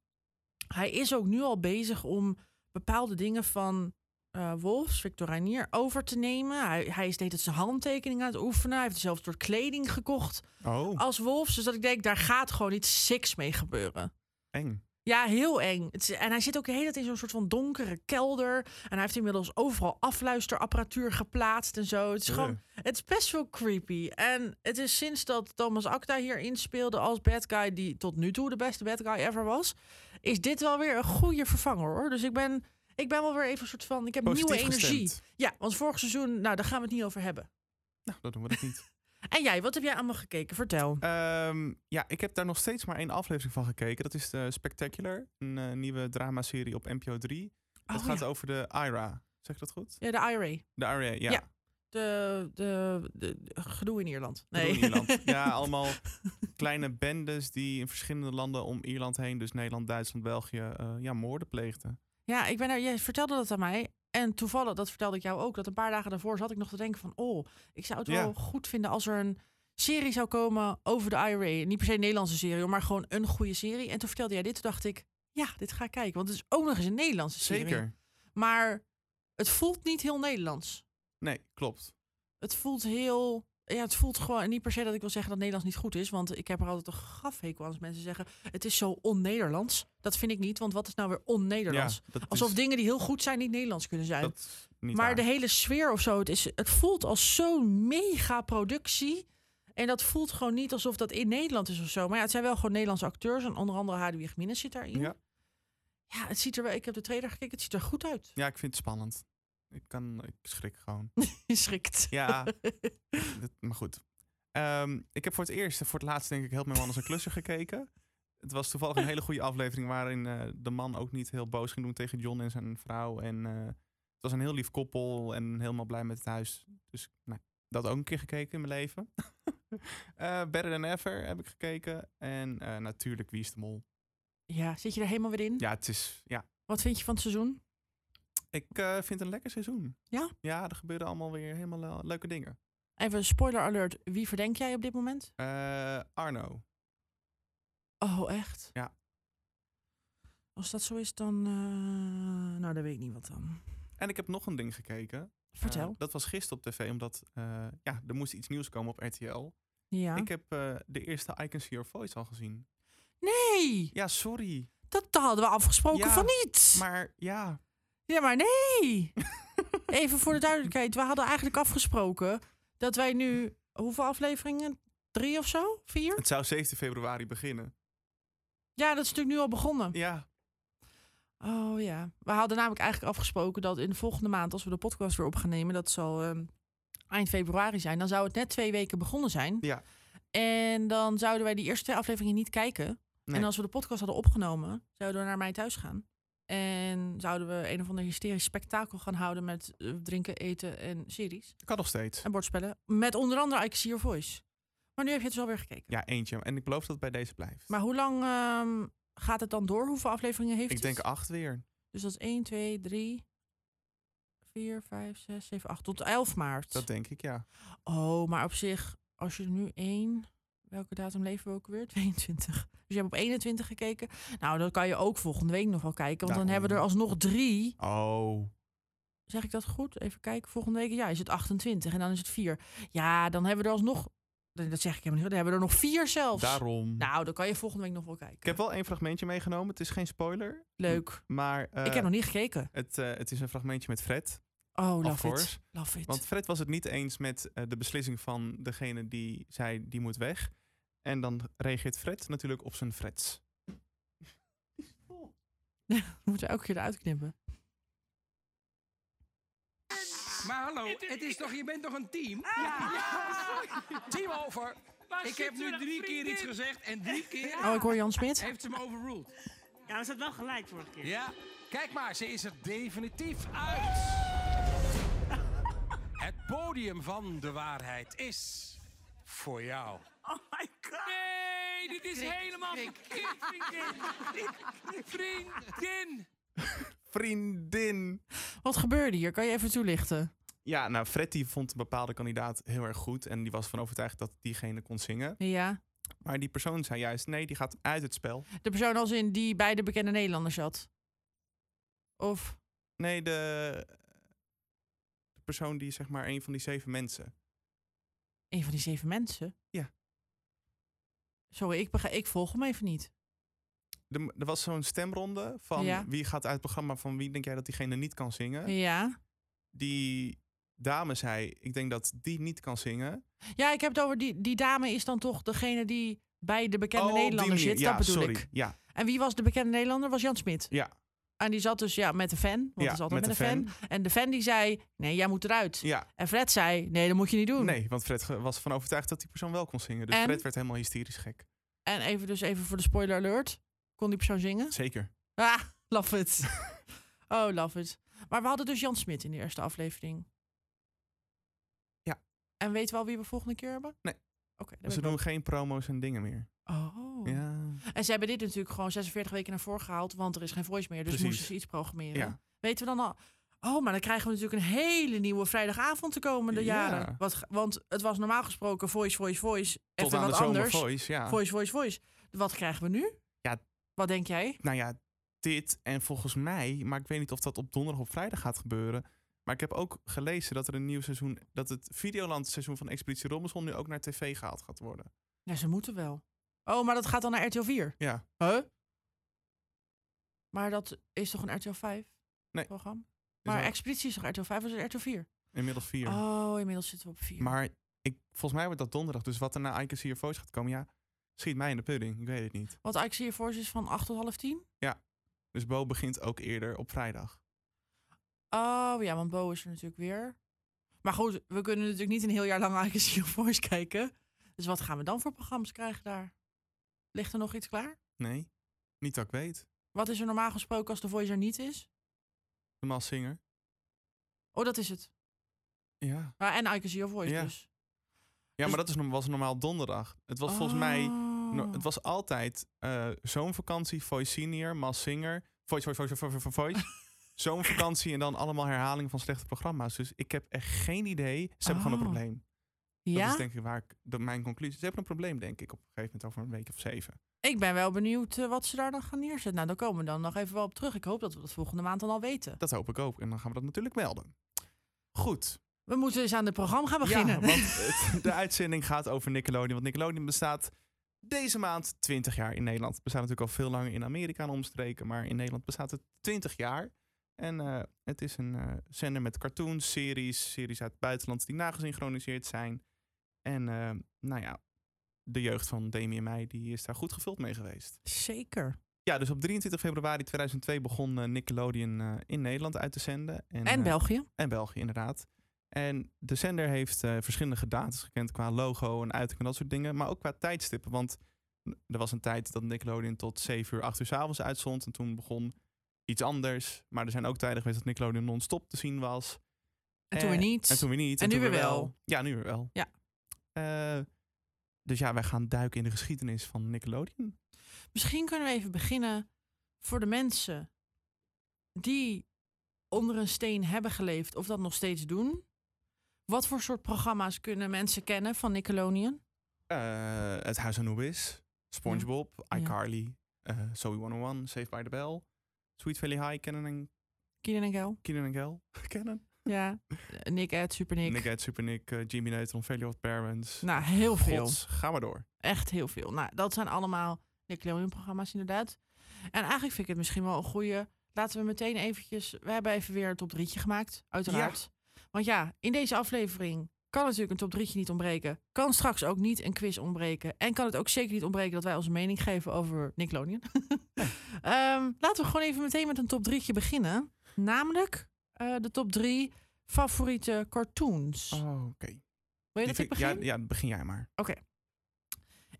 [SPEAKER 2] Hij is ook nu al bezig om bepaalde dingen van eh Wolfs, Victor Reinier, over te nemen. Hij, hij is deed het zijn handtekening aan het oefenen. Hij heeft dezelfde soort kleding gekocht
[SPEAKER 1] Oh,
[SPEAKER 2] als Wolfs. Dus dat ik denk, daar gaat gewoon iets siks mee gebeuren.
[SPEAKER 1] eng.
[SPEAKER 2] Ja, heel eng. Het is- en hij zit ook de hele tijd in zo'n soort van donkere kelder. En hij heeft inmiddels overal afluisterapparatuur geplaatst en zo.
[SPEAKER 1] Oh
[SPEAKER 2] Het is gewoon het is best wel creepy. En het is sinds dat Thomas Acta hier inspeelde als bad guy... die tot nu toe de beste bad guy ever was... is dit wel weer een goede vervanger, hoor. Dus ik ben, ik ben wel weer even een soort van... Ik heb
[SPEAKER 1] Positief
[SPEAKER 2] nieuwe energie.
[SPEAKER 1] gestemd.
[SPEAKER 2] Ja, want vorig seizoen... Nou, daar gaan we het niet over hebben.
[SPEAKER 1] Nou, dat doen we dat niet.
[SPEAKER 2] (laughs) En jij, wat heb jij allemaal gekeken? Vertel.
[SPEAKER 1] Ehm, ja, ik heb daar nog steeds maar één aflevering van gekeken. Dat is de Spectacular, een eh, nieuwe dramaserie op NPO 3. Dat
[SPEAKER 2] Oh,
[SPEAKER 1] gaat
[SPEAKER 2] ja.
[SPEAKER 1] over de IRA. Zeg ik dat goed?
[SPEAKER 2] ja, de IRA.
[SPEAKER 1] De IRA, ja.
[SPEAKER 2] Ja. de, de, de, de- gedoe in Ierland. Nee.
[SPEAKER 1] Gedoe in
[SPEAKER 2] (laughs)
[SPEAKER 1] Ierland. Ja, allemaal kleine bendes die in verschillende landen om Ierland heen, dus Nederland, Duitsland, België, eh, ja, moorden pleegden.
[SPEAKER 2] Ja, ik ben er, jij vertelde dat aan mij. En toevallig, dat vertelde ik jou ook, dat een paar dagen daarvoor zat ik nog te denken van... oh, ik zou het
[SPEAKER 1] Ja.
[SPEAKER 2] wel goed vinden als er een serie zou komen over de IRA. Niet per se een Nederlandse serie, hoor, maar gewoon een goede serie. En toen vertelde jij dit, toen dacht ik... ja, dit ga ik kijken, want het is ook nog eens een Nederlandse serie.
[SPEAKER 1] Zeker.
[SPEAKER 2] Maar het voelt niet heel Nederlands.
[SPEAKER 1] Nee, klopt.
[SPEAKER 2] Het voelt heel... Ja, het voelt gewoon niet per se dat ik wil zeggen dat Nederlands niet goed is. Want ik heb er altijd een grafhekel aan als mensen zeggen... het is zo on-Nederlands. Dat vind ik niet, want wat is nou weer on-Nederlands?
[SPEAKER 1] Ja, dat
[SPEAKER 2] Alsof
[SPEAKER 1] is-
[SPEAKER 2] dingen die heel goed zijn niet Nederlands kunnen zijn.
[SPEAKER 1] Dus- dat is niet
[SPEAKER 2] maar
[SPEAKER 1] waar.
[SPEAKER 2] de hele sfeer of zo, het, is, het voelt als zo'n mega productie. En dat voelt gewoon niet alsof dat in Nederland is of zo. Maar ja, het zijn wel gewoon Nederlandse acteurs. En onder andere Hadewig Minnes zit daarin.
[SPEAKER 1] Ja.
[SPEAKER 2] Ja, het ziet er wel. Ik heb de trailer gekeken, het ziet er goed
[SPEAKER 1] (laughs)
[SPEAKER 2] uit.
[SPEAKER 1] ja, ik vind het spannend. Ik, kan, ik schrik
[SPEAKER 2] (laughs)
[SPEAKER 1] gewoon.
[SPEAKER 2] Je schrikt.
[SPEAKER 1] Ja, dat- maar goed. Ehm, ik heb voor het eerst, en voor het laatst denk ik, heel mijn man als een klusser gekeken. Het was toevallig
[SPEAKER 2] (laughs)
[SPEAKER 1] een hele goede aflevering waarin eh, de man ook niet heel boos ging doen tegen John en zijn vrouw. En eh, het was een heel lief koppel en helemaal blij met het huis. Dus nou, dat ook een keer gekeken in mijn leven. (laughs) Eh, Better Than Ever heb ik gekeken. En eh, natuurlijk Wie is de Mol.
[SPEAKER 2] Ja, zit je er helemaal weer in?
[SPEAKER 1] Ja, het is, ja,
[SPEAKER 2] Wat vind je van het seizoen?
[SPEAKER 1] ik eh, vind het een lekker seizoen.
[SPEAKER 2] Ja?
[SPEAKER 1] Ja, er gebeuren allemaal weer helemaal eh, leuke dingen.
[SPEAKER 2] Even spoiler alert. Wie verdenk jij op dit moment?
[SPEAKER 1] Eh, Arno.
[SPEAKER 2] Oh, echt?
[SPEAKER 1] Ja.
[SPEAKER 2] Als dat zo is, dan... eh, Nou, dan weet ik niet wat dan.
[SPEAKER 1] En ik heb nog een ding gekeken.
[SPEAKER 2] Vertel.
[SPEAKER 1] Eh, dat was gisteren op tv, omdat eh, ja, er moest iets nieuws komen op RTL.
[SPEAKER 2] ja.
[SPEAKER 1] Ik heb eh, de eerste I Can See Your Voice al gezien.
[SPEAKER 2] Nee!
[SPEAKER 1] Ja, sorry.
[SPEAKER 2] Dat hadden we afgesproken
[SPEAKER 1] Ja,
[SPEAKER 2] van niet.
[SPEAKER 1] Maar ja,
[SPEAKER 2] Ja, maar nee. (laughs) Even voor de duidelijkheid. We hadden eigenlijk afgesproken dat wij nu... Hoeveel afleveringen? Drie of zo? Vier?
[SPEAKER 1] het zou 17 februari beginnen.
[SPEAKER 2] Ja, dat is natuurlijk nu al begonnen.
[SPEAKER 1] Ja,
[SPEAKER 2] Oh ja. We hadden namelijk eigenlijk afgesproken dat in de volgende maand... als we de podcast weer op gaan nemen... dat zal ehm, eind februari zijn. Dan zou het net twee weken begonnen zijn.
[SPEAKER 1] Ja.
[SPEAKER 2] En dan zouden wij die eerste twee afleveringen niet kijken.
[SPEAKER 1] Nee.
[SPEAKER 2] En als we de podcast hadden opgenomen... zouden we naar mij thuis gaan. En zouden we een of ander hysterisch spektakel gaan houden... met eh, drinken, eten en series.
[SPEAKER 1] kan nog steeds.
[SPEAKER 2] En bordspellen. Met onder andere I Can See Your Voice. Maar nu heb je het dus alweer gekeken.
[SPEAKER 1] Ja, eentje. En ik beloof dat het bij deze blijft.
[SPEAKER 2] Maar hoe lang ehm, gaat het dan door? Hoeveel afleveringen heeft
[SPEAKER 1] ik
[SPEAKER 2] het?
[SPEAKER 1] denk acht weer.
[SPEAKER 2] Dus dat is 1, 2, 3, 4, 5, 6, 7, 8. Tot 11 maart.
[SPEAKER 1] Dat denk ik, ja.
[SPEAKER 2] Oh, maar op zich, als je nu 1. Welke datum leven we ook weer? (laughs) 22. Dus je hebt op 21 gekeken. Nou, dan kan je ook volgende week nog wel kijken. Want dan
[SPEAKER 1] Daarom.
[SPEAKER 2] hebben we er alsnog drie.
[SPEAKER 1] Oh,
[SPEAKER 2] Zeg ik dat goed? Even kijken. Volgende week, ja, is het 28. En dan is het 4. Ja, dan hebben we er alsnog. nee, Dat zeg ik helemaal niet. Dan hebben we er nog vier zelfs.
[SPEAKER 1] daarom.
[SPEAKER 2] Nou, dan kan je volgende week nog wel kijken.
[SPEAKER 1] Ik heb wel één fragmentje meegenomen. Het is geen spoiler,
[SPEAKER 2] Leuk.
[SPEAKER 1] maar eh,
[SPEAKER 2] ik heb nog niet gekeken.
[SPEAKER 1] het, eh, het is een fragmentje met Fred.
[SPEAKER 2] Oh, love
[SPEAKER 1] course.
[SPEAKER 2] it. Love it.
[SPEAKER 1] Want Fred was het niet eens met eh, de beslissing van degene die zei die moet weg. En dan reageert Fred natuurlijk op zijn frets.
[SPEAKER 2] (laughs) We moeten elke keer eruit knippen.
[SPEAKER 6] Maar hallo, het is toch, je bent toch een team? Team over. ik heb nu drie keer iets gezegd en drie keer
[SPEAKER 2] Oh, ik hoor Jan Smit.
[SPEAKER 6] heeft ze me overruled.
[SPEAKER 8] Ja, we zaten wel gelijk vorige keer.
[SPEAKER 6] Ja, kijk maar, ze is er definitief uit. Het podium van de waarheid is voor jou.
[SPEAKER 8] Oh my god.
[SPEAKER 3] Nee, dit is helemaal verkeerd,
[SPEAKER 8] (laughs)
[SPEAKER 3] vriendin. Vriendin.
[SPEAKER 1] Vriendin!
[SPEAKER 2] Wat gebeurde hier? Kan je even toelichten?
[SPEAKER 1] Ja, nou, Fred die vond een bepaalde kandidaat heel erg goed. En die was van overtuigd dat diegene kon zingen.
[SPEAKER 2] Ja.
[SPEAKER 1] Maar die persoon zei juist, nee, die gaat uit het spel.
[SPEAKER 2] De persoon als in die bij de bekende Nederlanders zat. Of...
[SPEAKER 1] Nee, de, de persoon die zeg maar een van die zeven mensen.
[SPEAKER 2] Een van die zeven mensen?
[SPEAKER 1] Ja.
[SPEAKER 2] Sorry, ik, bega- ik volg hem even niet.
[SPEAKER 1] Er, er was zo'n stemronde van
[SPEAKER 2] Ja.
[SPEAKER 1] wie gaat uit het programma, van wie denk jij dat diegene niet kan zingen.
[SPEAKER 2] Ja.
[SPEAKER 1] Die dame zei, ik denk dat die niet kan zingen.
[SPEAKER 2] Ja, ik heb het over die, die dame is dan toch degene die bij de bekende
[SPEAKER 1] Oh, op die
[SPEAKER 2] Nederlander
[SPEAKER 1] manier.
[SPEAKER 2] zit.
[SPEAKER 1] Ja,
[SPEAKER 2] dat bedoel
[SPEAKER 1] sorry.
[SPEAKER 2] ik.
[SPEAKER 1] Ja,
[SPEAKER 2] En wie was de bekende Nederlander? Was Jan Smit.
[SPEAKER 1] ja,
[SPEAKER 2] En die zat dus ja, met de fan. Want
[SPEAKER 1] Ja,
[SPEAKER 2] het is altijd met,
[SPEAKER 1] met
[SPEAKER 2] de
[SPEAKER 1] de
[SPEAKER 2] fan. En de fan die zei, nee, jij moet eruit.
[SPEAKER 1] ja.
[SPEAKER 2] En Fred zei, nee, dat moet je niet doen.
[SPEAKER 1] Nee, want Fred ge- was van overtuigd dat die persoon wel kon zingen. Dus
[SPEAKER 2] En?
[SPEAKER 1] Fred werd helemaal hysterisch gek.
[SPEAKER 2] En even dus even voor de spoiler alert. Kon die persoon zingen?
[SPEAKER 1] Zeker. Dus
[SPEAKER 2] Ah, love it.
[SPEAKER 1] (laughs)
[SPEAKER 2] oh, love it. Maar we hadden dus Jan Smit in de eerste aflevering. En weten we al wie we volgende keer hebben?
[SPEAKER 1] Nee.
[SPEAKER 2] Oké. daar ben
[SPEAKER 1] Ze
[SPEAKER 2] ik
[SPEAKER 1] doen geen promo's en dingen meer.
[SPEAKER 2] wel- Oh.
[SPEAKER 1] Ja.
[SPEAKER 2] En ze hebben dit natuurlijk gewoon 46 weken naar voren gehaald, want er is geen voice meer. Dus
[SPEAKER 1] Precies.
[SPEAKER 2] moesten ze iets programmeren.
[SPEAKER 1] Ja.
[SPEAKER 2] Weten we dan al? Oh, maar dan krijgen we natuurlijk een hele nieuwe vrijdagavond de komende
[SPEAKER 1] Ja.
[SPEAKER 2] jaren. Wat, ge- want het was normaal gesproken voice, voice, voice.
[SPEAKER 1] Tot
[SPEAKER 2] even
[SPEAKER 1] aan de
[SPEAKER 2] wat
[SPEAKER 1] zomer
[SPEAKER 2] anders.
[SPEAKER 1] voice. Ja.
[SPEAKER 2] Voice, voice, voice. Wat krijgen we nu?
[SPEAKER 1] Ah. Ja.
[SPEAKER 2] Wat denk jij?
[SPEAKER 1] Nou ja, dit en volgens mij, maar ik weet niet of dat op donderdag of vrijdag gaat gebeuren. Maar ik heb ook gelezen dat er een nieuw seizoen, dat het Videoland seizoen van Expeditie Robinson nu ook naar tv gehaald gaat worden.
[SPEAKER 2] Ja, ze moeten wel. Oh, maar dat gaat dan naar RTL 4.
[SPEAKER 1] Ja.
[SPEAKER 2] Huh? Maar dat is toch een RTL 5
[SPEAKER 1] Nee.
[SPEAKER 2] programma? Maar
[SPEAKER 1] al-
[SPEAKER 2] Expeditie is toch RTL 5 of is het RTL 4?
[SPEAKER 1] Inmiddels vier.
[SPEAKER 2] Oh, inmiddels zitten we op 4.
[SPEAKER 1] Maar ik, volgens mij wordt dat donderdag. Dus wat er na I Can See Your Voice gaat komen, ja, schiet mij in de pudding. Ik weet het niet.
[SPEAKER 2] Want ik zie je voor is van 8 tot half 10.
[SPEAKER 1] Dus Bo begint ook eerder op vrijdag.
[SPEAKER 2] Oh ja, want Bo is er natuurlijk weer. Maar goed, we kunnen natuurlijk niet een heel jaar lang (laughs) Ike Seal Voice kijken. Dus wat gaan we dan voor programma's krijgen daar? Ligt er nog iets klaar?
[SPEAKER 1] Nee, niet dat ik weet.
[SPEAKER 2] Wat is er normaal gesproken als de Voice er niet is?
[SPEAKER 1] De Massinger.
[SPEAKER 2] Oh, dat is het.
[SPEAKER 1] Ja.
[SPEAKER 2] Ah, en Ike Seal Voice
[SPEAKER 1] Ja.
[SPEAKER 2] dus.
[SPEAKER 1] Ja, maar dat is, norm- was normaal donderdag. Het was volgens mij No- het
[SPEAKER 2] Oh.
[SPEAKER 1] was altijd eh zomervakantie, Voice Senior, Mas Singer, Voice, Voice, Voice, Voice, Voice, Voice.
[SPEAKER 2] (laughs)
[SPEAKER 1] zomervakantie en dan allemaal herhalingen van slechte programma's. Dus ik heb echt geen idee. Ze hebben gewoon een
[SPEAKER 2] Oh.
[SPEAKER 1] probleem. Dat
[SPEAKER 2] Ja?
[SPEAKER 1] is denk ik waar ik, dat mijn conclusie. Ze hebben een probleem, denk ik, op een gegeven moment over een week of zeven.
[SPEAKER 2] Ik ben wel benieuwd eh, wat ze daar dan gaan neerzetten. Nou, daar komen we dan nog even wel op terug. Ik hoop dat we dat volgende maand dan al weten.
[SPEAKER 1] Dat hoop ik ook. En dan gaan we dat natuurlijk melden. Goed.
[SPEAKER 2] We moeten eens aan het programma gaan beginnen.
[SPEAKER 1] Ja, want het- (laughs) de uitzending gaat over Nickelodeon. Want Nickelodeon bestaat deze maand 20 jaar in Nederland. Het bestaat natuurlijk al veel langer in Amerika en omstreken. Maar in Nederland bestaat het 20 jaar. En eh, het is een eh, zender met cartoons, series, series uit het buitenland die nagesynchroniseerd zijn. En eh, nou ja, de jeugd van Demi en mij die is daar goed gevuld mee geweest.
[SPEAKER 2] (laughs) Zeker.
[SPEAKER 1] Ja, dus op 23 februari 2002 begon eh, Nickelodeon eh, in Nederland uit te zenden.
[SPEAKER 2] En
[SPEAKER 1] eh,
[SPEAKER 2] België.
[SPEAKER 1] en België, inderdaad. En de zender heeft eh, verschillende gedaantes gekend qua logo en uiting en dat soort dingen. Maar ook qua tijdstippen. Want er was een tijd dat Nickelodeon tot 7 uur, 8 uur 's avonds uitzond. En toen begon iets anders. Maar er zijn ook tijden geweest dat Nickelodeon non-stop te zien was.
[SPEAKER 2] En toen weer
[SPEAKER 1] Eh,
[SPEAKER 2] niet.
[SPEAKER 1] En toen weer niet.
[SPEAKER 2] En nu
[SPEAKER 1] toen
[SPEAKER 2] weer wel.
[SPEAKER 1] Ja, nu weer wel.
[SPEAKER 2] Ja.
[SPEAKER 1] Eh, dus ja, wij gaan duiken in de geschiedenis van Nickelodeon.
[SPEAKER 2] Misschien kunnen we even beginnen voor de mensen die onder een steen hebben geleefd of dat nog steeds doen. Wat voor soort programma's kunnen mensen kennen van Nickelodeon?
[SPEAKER 1] Eh, het Huis Anubis, SpongeBob,
[SPEAKER 2] Ja.
[SPEAKER 1] iCarly, eh Zoe 101, Saved by the Bell, Sweet Valley High, Kennen en
[SPEAKER 2] Kieran en Kel?
[SPEAKER 1] (laughs) Keenan en Kel kennen. (laughs)
[SPEAKER 2] Ja. Eh, Nick Ed, Super Nick.
[SPEAKER 1] Nick Ed, Super Nick, eh, Jimmy Neutron, Failure of Parents.
[SPEAKER 2] Nou, heel veel.
[SPEAKER 1] Gods, ga maar door.
[SPEAKER 2] Echt heel veel. Nou, dat zijn allemaal Nickelodeon-programma's inderdaad. En eigenlijk vind ik het misschien wel een goede. Laten we meteen eventjes... We hebben even weer een top drietje gemaakt, uiteraard. Want ja, in deze aflevering kan natuurlijk een top drietje niet ontbreken. Kan straks ook niet een quiz ontbreken. En kan het ook zeker niet ontbreken dat wij onze mening geven over
[SPEAKER 1] (laughs)
[SPEAKER 2] Nickelodeon. Ehm, laten we gewoon even meteen met een top drietje beginnen. Namelijk eh, de top drie favoriete cartoons.
[SPEAKER 1] Oh, oké.
[SPEAKER 2] Wil je
[SPEAKER 1] Die
[SPEAKER 2] dat ik
[SPEAKER 1] vind-
[SPEAKER 2] begin?
[SPEAKER 1] Ja, ja, begin jij maar.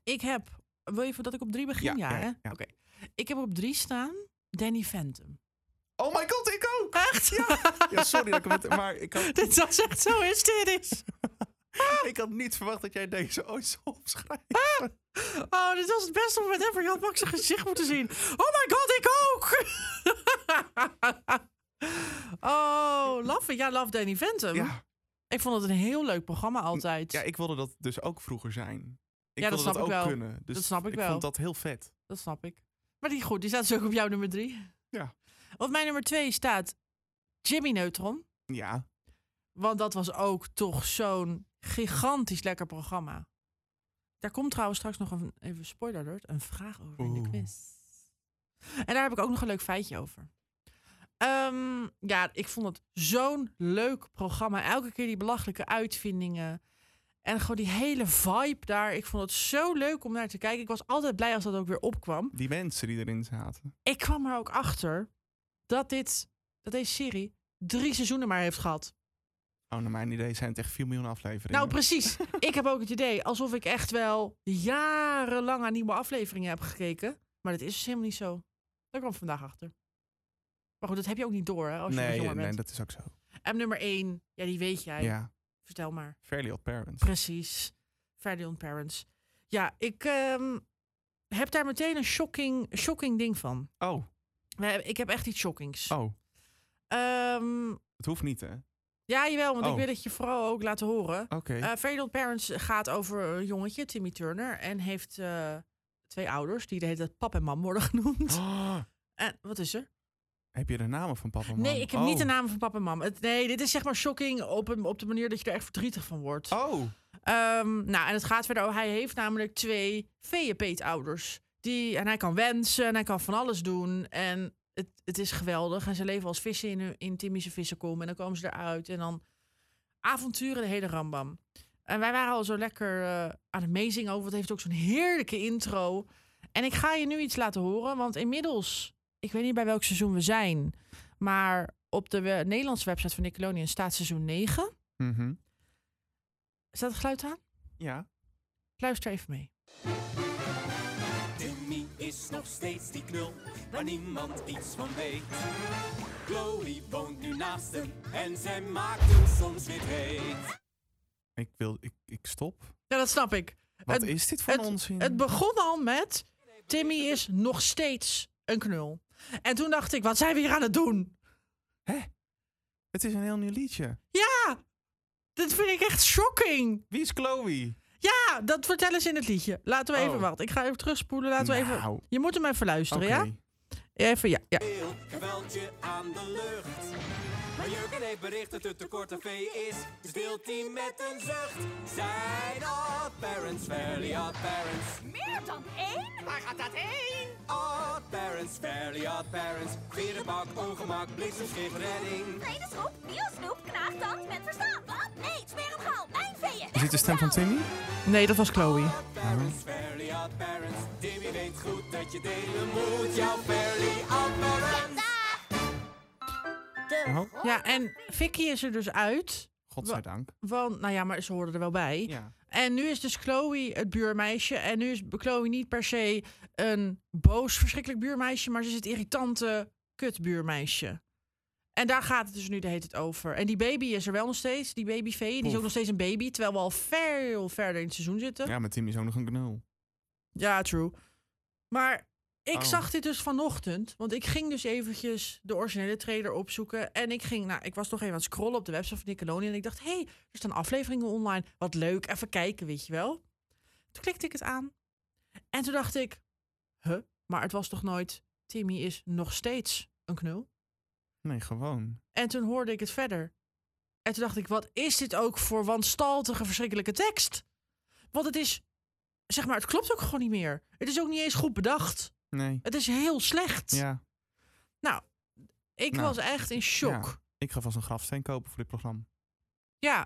[SPEAKER 2] Ik heb. Wil je dat ik op drie begin?
[SPEAKER 1] Ja, ja,
[SPEAKER 2] Ja, hè?
[SPEAKER 1] ja.
[SPEAKER 2] Oké. Ik heb op drie staan Danny Phantom.
[SPEAKER 1] Oh my god, ik ook!
[SPEAKER 2] Echt?
[SPEAKER 1] (laughs) Ja, sorry dat ik hem... met- Maar ik had,
[SPEAKER 2] (laughs) Dit was echt zo hysterisch. Ah!
[SPEAKER 1] ik had niet verwacht dat jij deze ooit zou opschrijven.
[SPEAKER 2] Oh, dit was het beste moment ever. Je had Max zijn gezicht moeten zien. Oh my god, ik ook! (laughs) oh, love it. Ja, love Danny Phantom.
[SPEAKER 1] Ja,
[SPEAKER 2] Ik vond het een heel leuk programma altijd.
[SPEAKER 1] ja, ik wilde dat dus ook vroeger zijn. Ik
[SPEAKER 2] Ja,
[SPEAKER 1] wilde
[SPEAKER 2] dat snap ik
[SPEAKER 1] ook
[SPEAKER 2] wel.
[SPEAKER 1] kunnen. Dus
[SPEAKER 2] Dat snap ik
[SPEAKER 1] ik
[SPEAKER 2] wel.
[SPEAKER 1] vond dat heel vet.
[SPEAKER 2] Dat snap ik. Maar die goed, die staat dus ook op jouw nummer drie.
[SPEAKER 1] Ja.
[SPEAKER 2] Op mijn nummer twee staat Jimmy Neutron.
[SPEAKER 1] Ja,
[SPEAKER 2] Want dat was ook toch zo'n gigantisch lekker programma. Daar komt trouwens straks nog een even spoiler alert, een vraag over in de
[SPEAKER 1] Oeh.
[SPEAKER 2] quiz. En daar heb ik ook nog een leuk feitje over. Ehm, ja, ik vond het zo'n leuk programma. Elke keer die belachelijke uitvindingen. En gewoon die hele vibe daar. Ik vond het zo leuk om naar te kijken. Ik was altijd blij als dat ook weer opkwam
[SPEAKER 1] die mensen die erin zaten.
[SPEAKER 2] ik kwam er ook achter dat, dit, dat deze serie drie seizoenen maar heeft gehad.
[SPEAKER 1] Oh, naar mijn idee zijn het echt 4 miljoen afleveringen.
[SPEAKER 2] Nou, precies. ik heb ook het idee alsof ik echt wel jarenlang aan nieuwe afleveringen heb gekeken. Maar dat is dus helemaal niet zo. Daar kwam ik vandaag achter. Maar goed, dat heb je ook niet door hè, als je wat
[SPEAKER 1] Nee,
[SPEAKER 2] jonger
[SPEAKER 1] nee,
[SPEAKER 2] bent.
[SPEAKER 1] dat is ook zo.
[SPEAKER 2] En nummer één, ja, die weet jij.
[SPEAKER 1] Ja.
[SPEAKER 2] Vertel maar.
[SPEAKER 1] Fairly Odd Parents.
[SPEAKER 2] Precies. Fairly Odd Parents. Ja, ik ehm, heb daar meteen een shocking, shocking ding van.
[SPEAKER 1] Oh,
[SPEAKER 2] We hebben- Ik heb echt iets shockings.
[SPEAKER 1] oh.
[SPEAKER 2] Ehm,
[SPEAKER 1] Het hoeft niet, hè? Oké.
[SPEAKER 2] ja, jawel, want
[SPEAKER 1] Oh.
[SPEAKER 2] ik wil dat je vooral ook laat horen.
[SPEAKER 1] (gasps)
[SPEAKER 2] Eh Fairly Odd Parents gaat over een jongetje, Timmy Turner. En heeft eh, twee ouders, die de hele tijd pap en mam worden (laughs) genoemd.
[SPEAKER 1] Oh,
[SPEAKER 2] En wat is er?
[SPEAKER 1] heb je de namen van papa en mam?
[SPEAKER 2] Nee, ik heb
[SPEAKER 1] Oh.
[SPEAKER 2] niet de namen van papa en mam. Het, nee, dit is zeg maar shocking op, een, op de manier dat je er echt verdrietig van wordt.
[SPEAKER 1] Oh,
[SPEAKER 2] Ehm, nou, en het gaat verder. over- Hij heeft namelijk twee feeënpeetouders. Die, en hij kan wensen en hij kan van alles doen. En het, het is geweldig. En ze leven als vissen in, hun- in Timmy's vissenkom. En dan komen ze eruit. En dan avonturen, de hele rambam. En wij waren al zo lekker eh, aan het meezingen over. Het heeft ook zo'n heerlijke intro. En ik ga je nu iets laten horen. Want inmiddels, ik weet niet bij welk seizoen we zijn. Maar op de we- Nederlandse website van Nickelodeon staat seizoen 9.
[SPEAKER 1] mhm.
[SPEAKER 2] Staat het geluid aan?
[SPEAKER 1] ja.
[SPEAKER 2] Luister even mee.
[SPEAKER 9] Timmy is nog steeds die knul, waar niemand iets van weet. Chloe woont nu naast hem en zij maakt hem soms weer heet.
[SPEAKER 1] Ik wil, ik, ik stop.
[SPEAKER 2] Ja, dat snap ik.
[SPEAKER 1] Wat
[SPEAKER 2] Het-
[SPEAKER 1] is dit voor
[SPEAKER 2] Het,
[SPEAKER 1] onzin?
[SPEAKER 2] het begon al met... Timmy is nog steeds een knul. En toen dacht ik, wat zijn we hier aan het doen?
[SPEAKER 1] het is een heel nieuw liedje.
[SPEAKER 2] Ja, dit vind ik echt shocking.
[SPEAKER 1] Wie is Chloe?
[SPEAKER 2] Ja, dat vertellen ze in het liedje. Laten we even
[SPEAKER 1] Oh.
[SPEAKER 2] wachten. Ik ga even terugspoelen. Laten we even...
[SPEAKER 1] Nou.
[SPEAKER 2] Je moet hem even luisteren,
[SPEAKER 1] Oké.
[SPEAKER 2] ja? Even, ja, ja.
[SPEAKER 9] Veel geweldje aan de lucht. Maar Jurgen heeft bericht dat het tekort aan vee is, dus deelt hij met een zucht. Zijn odd parents, fairly odd parents.
[SPEAKER 10] Meer dan één? Waar gaat dat heen?
[SPEAKER 9] Odd parents, fairly odd parents. Vierenbak, ongemak, bliksemschip, redding.
[SPEAKER 10] Vredesroep, biosnoep, knaagtand met verstaan. Wat? Nee, smerig gaal, mijnveeën.
[SPEAKER 1] Is dit de stem van Timmy?
[SPEAKER 2] Nee, dat was Chloe.
[SPEAKER 9] Odd parents, fairly odd parents. Timmy weet goed dat je delen moet, jouw fairly odd parents.
[SPEAKER 1] Oh,
[SPEAKER 2] Ja, en Vicky is er dus uit.
[SPEAKER 1] godzijdank.
[SPEAKER 2] Want, nou ja, maar ze hoorden er wel bij.
[SPEAKER 1] Ja.
[SPEAKER 2] En nu is dus Chloe het buurmeisje. En nu is Chloe niet per se een boos, verschrikkelijk buurmeisje. Maar ze is het irritante kutbuurmeisje. En daar gaat het dus nu de heet het over. En die baby is er wel nog steeds. Die babyvee. Die is ook nog steeds een baby. Terwijl we al veel verder in het seizoen zitten. Ja,
[SPEAKER 1] Ja, maar Timmy is ook nog een knul.
[SPEAKER 2] true. Maar ik
[SPEAKER 1] Oh.
[SPEAKER 2] zag dit dus vanochtend. Want ik ging dus eventjes de originele trailer opzoeken. En ik ging, nou, ik was nog even aan het scrollen op de website van Nickelodeon. En ik dacht, hé, hey, er staan afleveringen online. Wat leuk, even kijken, weet je wel. Toen klikte ik het aan. En toen dacht ik, huh, maar het was toch nooit... Timmy is nog steeds een knul?
[SPEAKER 1] Nee, gewoon.
[SPEAKER 2] En toen hoorde ik het verder. En toen dacht ik, wat is dit ook voor wanstaltige, verschrikkelijke tekst? Want het is, zeg maar, het klopt ook gewoon niet meer. Het is ook niet eens goed bedacht.
[SPEAKER 1] Nee.
[SPEAKER 2] Het is heel slecht.
[SPEAKER 1] Ja.
[SPEAKER 2] Nou, ik
[SPEAKER 1] Nou,
[SPEAKER 2] was echt in shock. Ja.
[SPEAKER 1] Ik ga vast een grafsteen kopen voor dit programma.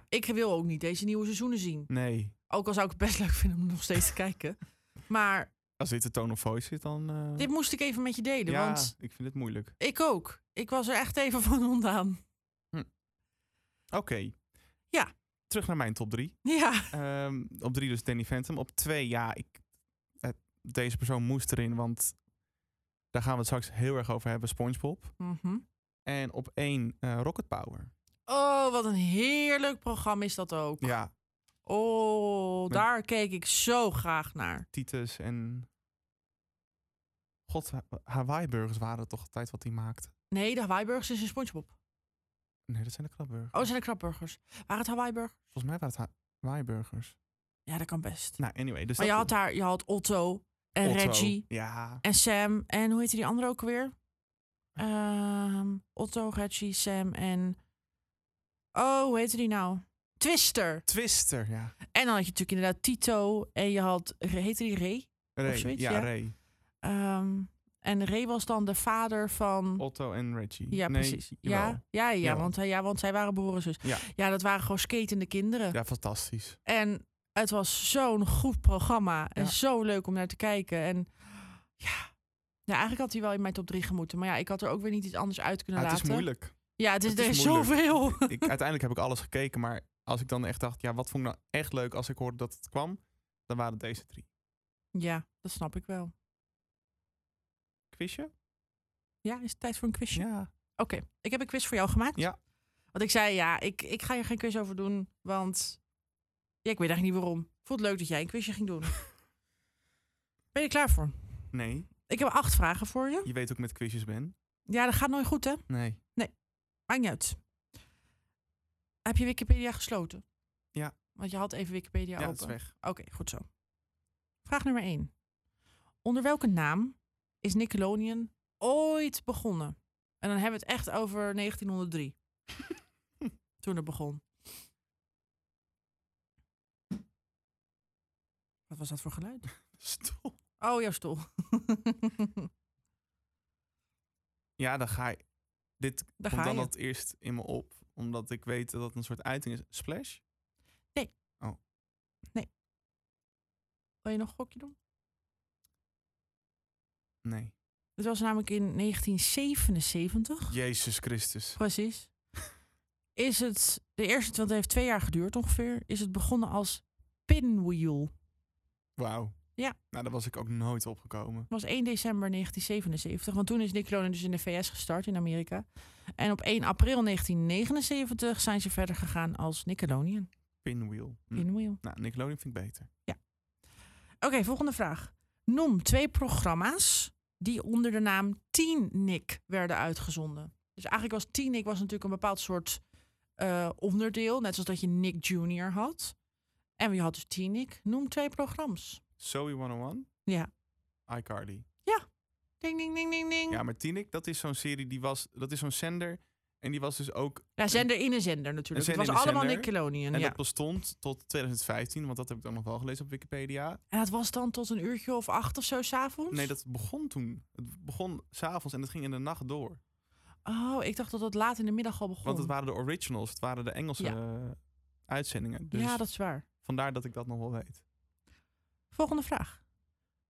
[SPEAKER 2] ik wil ook niet deze nieuwe seizoenen zien.
[SPEAKER 1] Nee.
[SPEAKER 2] Ook al zou ik het best leuk vinden om nog steeds te kijken. Maar
[SPEAKER 1] Als dit de tone of voice zit, dan... eh,
[SPEAKER 2] dit moest ik even met je delen,
[SPEAKER 1] ja,
[SPEAKER 2] want
[SPEAKER 1] ik vind het moeilijk.
[SPEAKER 2] ik ook. Ik was er echt even van (laughs) ondaan.
[SPEAKER 1] Oké.
[SPEAKER 2] Ja.
[SPEAKER 1] Terug naar mijn top 3.
[SPEAKER 2] Ja,
[SPEAKER 1] op 3 dus Danny Phantom. Op 2, ja, ik, het- deze persoon moest erin, want daar gaan we het straks heel erg over hebben, Spongebob.
[SPEAKER 2] Mhm.
[SPEAKER 1] En op 1, eh, Rocket Power.
[SPEAKER 2] Oh, wat een heerlijk programma is dat ook.
[SPEAKER 1] Ja,
[SPEAKER 2] Oh,
[SPEAKER 1] Ja.
[SPEAKER 2] daar keek ik zo graag naar.
[SPEAKER 1] Titus en... God, Ha- Hawaii-burgers waren het toch altijd wat die maakte?
[SPEAKER 2] Nee, de Hawaii-burgers is in Spongebob.
[SPEAKER 1] Nee, dat zijn de
[SPEAKER 2] Oh, dat
[SPEAKER 1] krabburgers.
[SPEAKER 2] zijn de krapburgers. Waren het Hawaii-burgers?
[SPEAKER 1] Volgens mij waren het Ha- Hawaii-burgers.
[SPEAKER 2] Ja, dat kan best.
[SPEAKER 1] Nou, anyway. Dus
[SPEAKER 2] maar Oh, je
[SPEAKER 1] dat-
[SPEAKER 2] had daar, je had Otto en
[SPEAKER 1] Otto.
[SPEAKER 2] Reggie
[SPEAKER 1] Ja,
[SPEAKER 2] en Sam en hoe heette die andere ook weer? Ehm, Otto, Reggie, Sam en... Oh, hoe heette die nou? Twister.
[SPEAKER 1] Twister, ja.
[SPEAKER 2] En dan had je natuurlijk inderdaad Tito en je had, heette die Ray?
[SPEAKER 1] Ray.
[SPEAKER 2] zoiets,
[SPEAKER 1] ja,
[SPEAKER 2] ja.
[SPEAKER 1] Ray.
[SPEAKER 2] Ehm, en Ray was dan de vader van...
[SPEAKER 1] Otto en Reggie.
[SPEAKER 2] Ja,
[SPEAKER 1] Nee,
[SPEAKER 2] precies.
[SPEAKER 1] jawel.
[SPEAKER 2] Ja, ja, ja,
[SPEAKER 1] Jawel.
[SPEAKER 2] want, hij- ja, want zij waren broer en zus.
[SPEAKER 1] Ja.
[SPEAKER 2] dat waren gewoon skatende kinderen.
[SPEAKER 1] Ja, fantastisch.
[SPEAKER 2] En het was zo'n goed programma. En
[SPEAKER 1] Ja.
[SPEAKER 2] zo leuk om naar te kijken. En ja, ja, eigenlijk had hij wel in mijn top 3 gemoeten. Maar ja, ik had er ook weer niet iets anders uit kunnen
[SPEAKER 1] Ah, het
[SPEAKER 2] laten.
[SPEAKER 1] is moeilijk.
[SPEAKER 2] Ja, het is,
[SPEAKER 1] Het
[SPEAKER 2] er
[SPEAKER 1] is
[SPEAKER 2] is
[SPEAKER 1] moeilijk.
[SPEAKER 2] zoveel.
[SPEAKER 1] (laughs) Ik, uiteindelijk heb ik alles gekeken, maar als ik dan echt dacht, ja, wat vond ik nou echt leuk als ik hoorde dat het kwam, dan waren het deze drie.
[SPEAKER 2] Ja, dat snap ik wel.
[SPEAKER 1] Quizje?
[SPEAKER 2] Ja, is het tijd voor een quizje?
[SPEAKER 1] Ja.
[SPEAKER 2] Oké, ik heb een quiz voor jou gemaakt.
[SPEAKER 1] Ja.
[SPEAKER 2] Want ik zei, ja, ik, ik ga hier geen quiz over doen, want ja, ik weet eigenlijk niet waarom. Ik vond het leuk dat jij een quizje
[SPEAKER 1] (laughs)
[SPEAKER 2] ging doen. ben je er klaar voor?
[SPEAKER 1] Nee,
[SPEAKER 2] Ik heb acht vragen voor je.
[SPEAKER 1] je weet hoe ik met quizjes ben.
[SPEAKER 2] Ja, dat gaat nooit goed, hè?
[SPEAKER 1] Nee.
[SPEAKER 2] Maakt niet uit. Heb je Wikipedia gesloten?
[SPEAKER 1] Ja.
[SPEAKER 2] Want je had even Wikipedia
[SPEAKER 1] Ja,
[SPEAKER 2] open.
[SPEAKER 1] dat is weg. (laughs)
[SPEAKER 2] Oké, goed zo. Vraag nummer 1. Onder welke naam is Nickelodeon ooit begonnen? En dan hebben we het echt
[SPEAKER 1] (laughs)
[SPEAKER 2] over 1903. Toen het begon. Wat was dat voor geluid?
[SPEAKER 1] Stop.
[SPEAKER 2] Oh, jouw stoel.
[SPEAKER 1] Ja, dan ga ik. Dit
[SPEAKER 2] Daar
[SPEAKER 1] komt
[SPEAKER 2] ga
[SPEAKER 1] dan
[SPEAKER 2] je.
[SPEAKER 1] het eerst in me op, omdat ik weet dat het een soort uiting is. Splash?
[SPEAKER 2] Wil je nog een gokje doen?
[SPEAKER 1] Nee.
[SPEAKER 2] Het was namelijk in 1977.
[SPEAKER 1] Jezus Christus.
[SPEAKER 2] Precies. Is het, de eerste, want het heeft twee jaar geduurd ongeveer, is het begonnen als Pinwheel.
[SPEAKER 1] Wauw.
[SPEAKER 2] Ja.
[SPEAKER 1] Nou, daar was ik ook nooit opgekomen.
[SPEAKER 2] Het was 1 december 1977, want toen is Nickelodeon dus in de VS gestart, in Amerika. En op 1 april 1979 zijn ze verder gegaan als Nickelodeon.
[SPEAKER 1] Pinwheel. Hm.
[SPEAKER 2] Pinwheel.
[SPEAKER 1] Nou, Nickelodeon vind ik beter.
[SPEAKER 2] Oké, volgende vraag. Noem twee programma's die onder de naam Teen Nick werden uitgezonden. Dus eigenlijk was Teen Nick was natuurlijk een bepaald soort eh, onderdeel. Net zoals dat je Nick Jr. had. En je had dus Teen Nick. Noem twee programma's.
[SPEAKER 1] Zoe 101,
[SPEAKER 2] Ja.
[SPEAKER 1] iCarly.
[SPEAKER 2] Ding, ding, ding, ding, ding.
[SPEAKER 1] Ja,
[SPEAKER 2] Ja,
[SPEAKER 1] maar Tinik, dat is zo'n serie, die was, dat is zo'n zender. En die was dus ook...
[SPEAKER 2] zender in een zender natuurlijk.
[SPEAKER 1] Een zender
[SPEAKER 2] het was
[SPEAKER 1] in een
[SPEAKER 2] allemaal
[SPEAKER 1] zender.
[SPEAKER 2] Nickelodeon.
[SPEAKER 1] En
[SPEAKER 2] ja.
[SPEAKER 1] dat bestond tot 2015, want dat heb ik dan nog wel gelezen op Wikipedia.
[SPEAKER 2] En dat was dan tot een uurtje of acht of zo s'avonds?
[SPEAKER 1] Nee, dat begon toen. Het begon s'avonds en het ging in de nacht door.
[SPEAKER 2] Oh, ik dacht dat dat laat in de middag al begon.
[SPEAKER 1] Want het waren de originals, het waren de Engelse eh, uitzendingen. Dus
[SPEAKER 2] Ja, dat is waar.
[SPEAKER 1] vandaar dat ik dat nog wel weet.
[SPEAKER 2] Volgende vraag.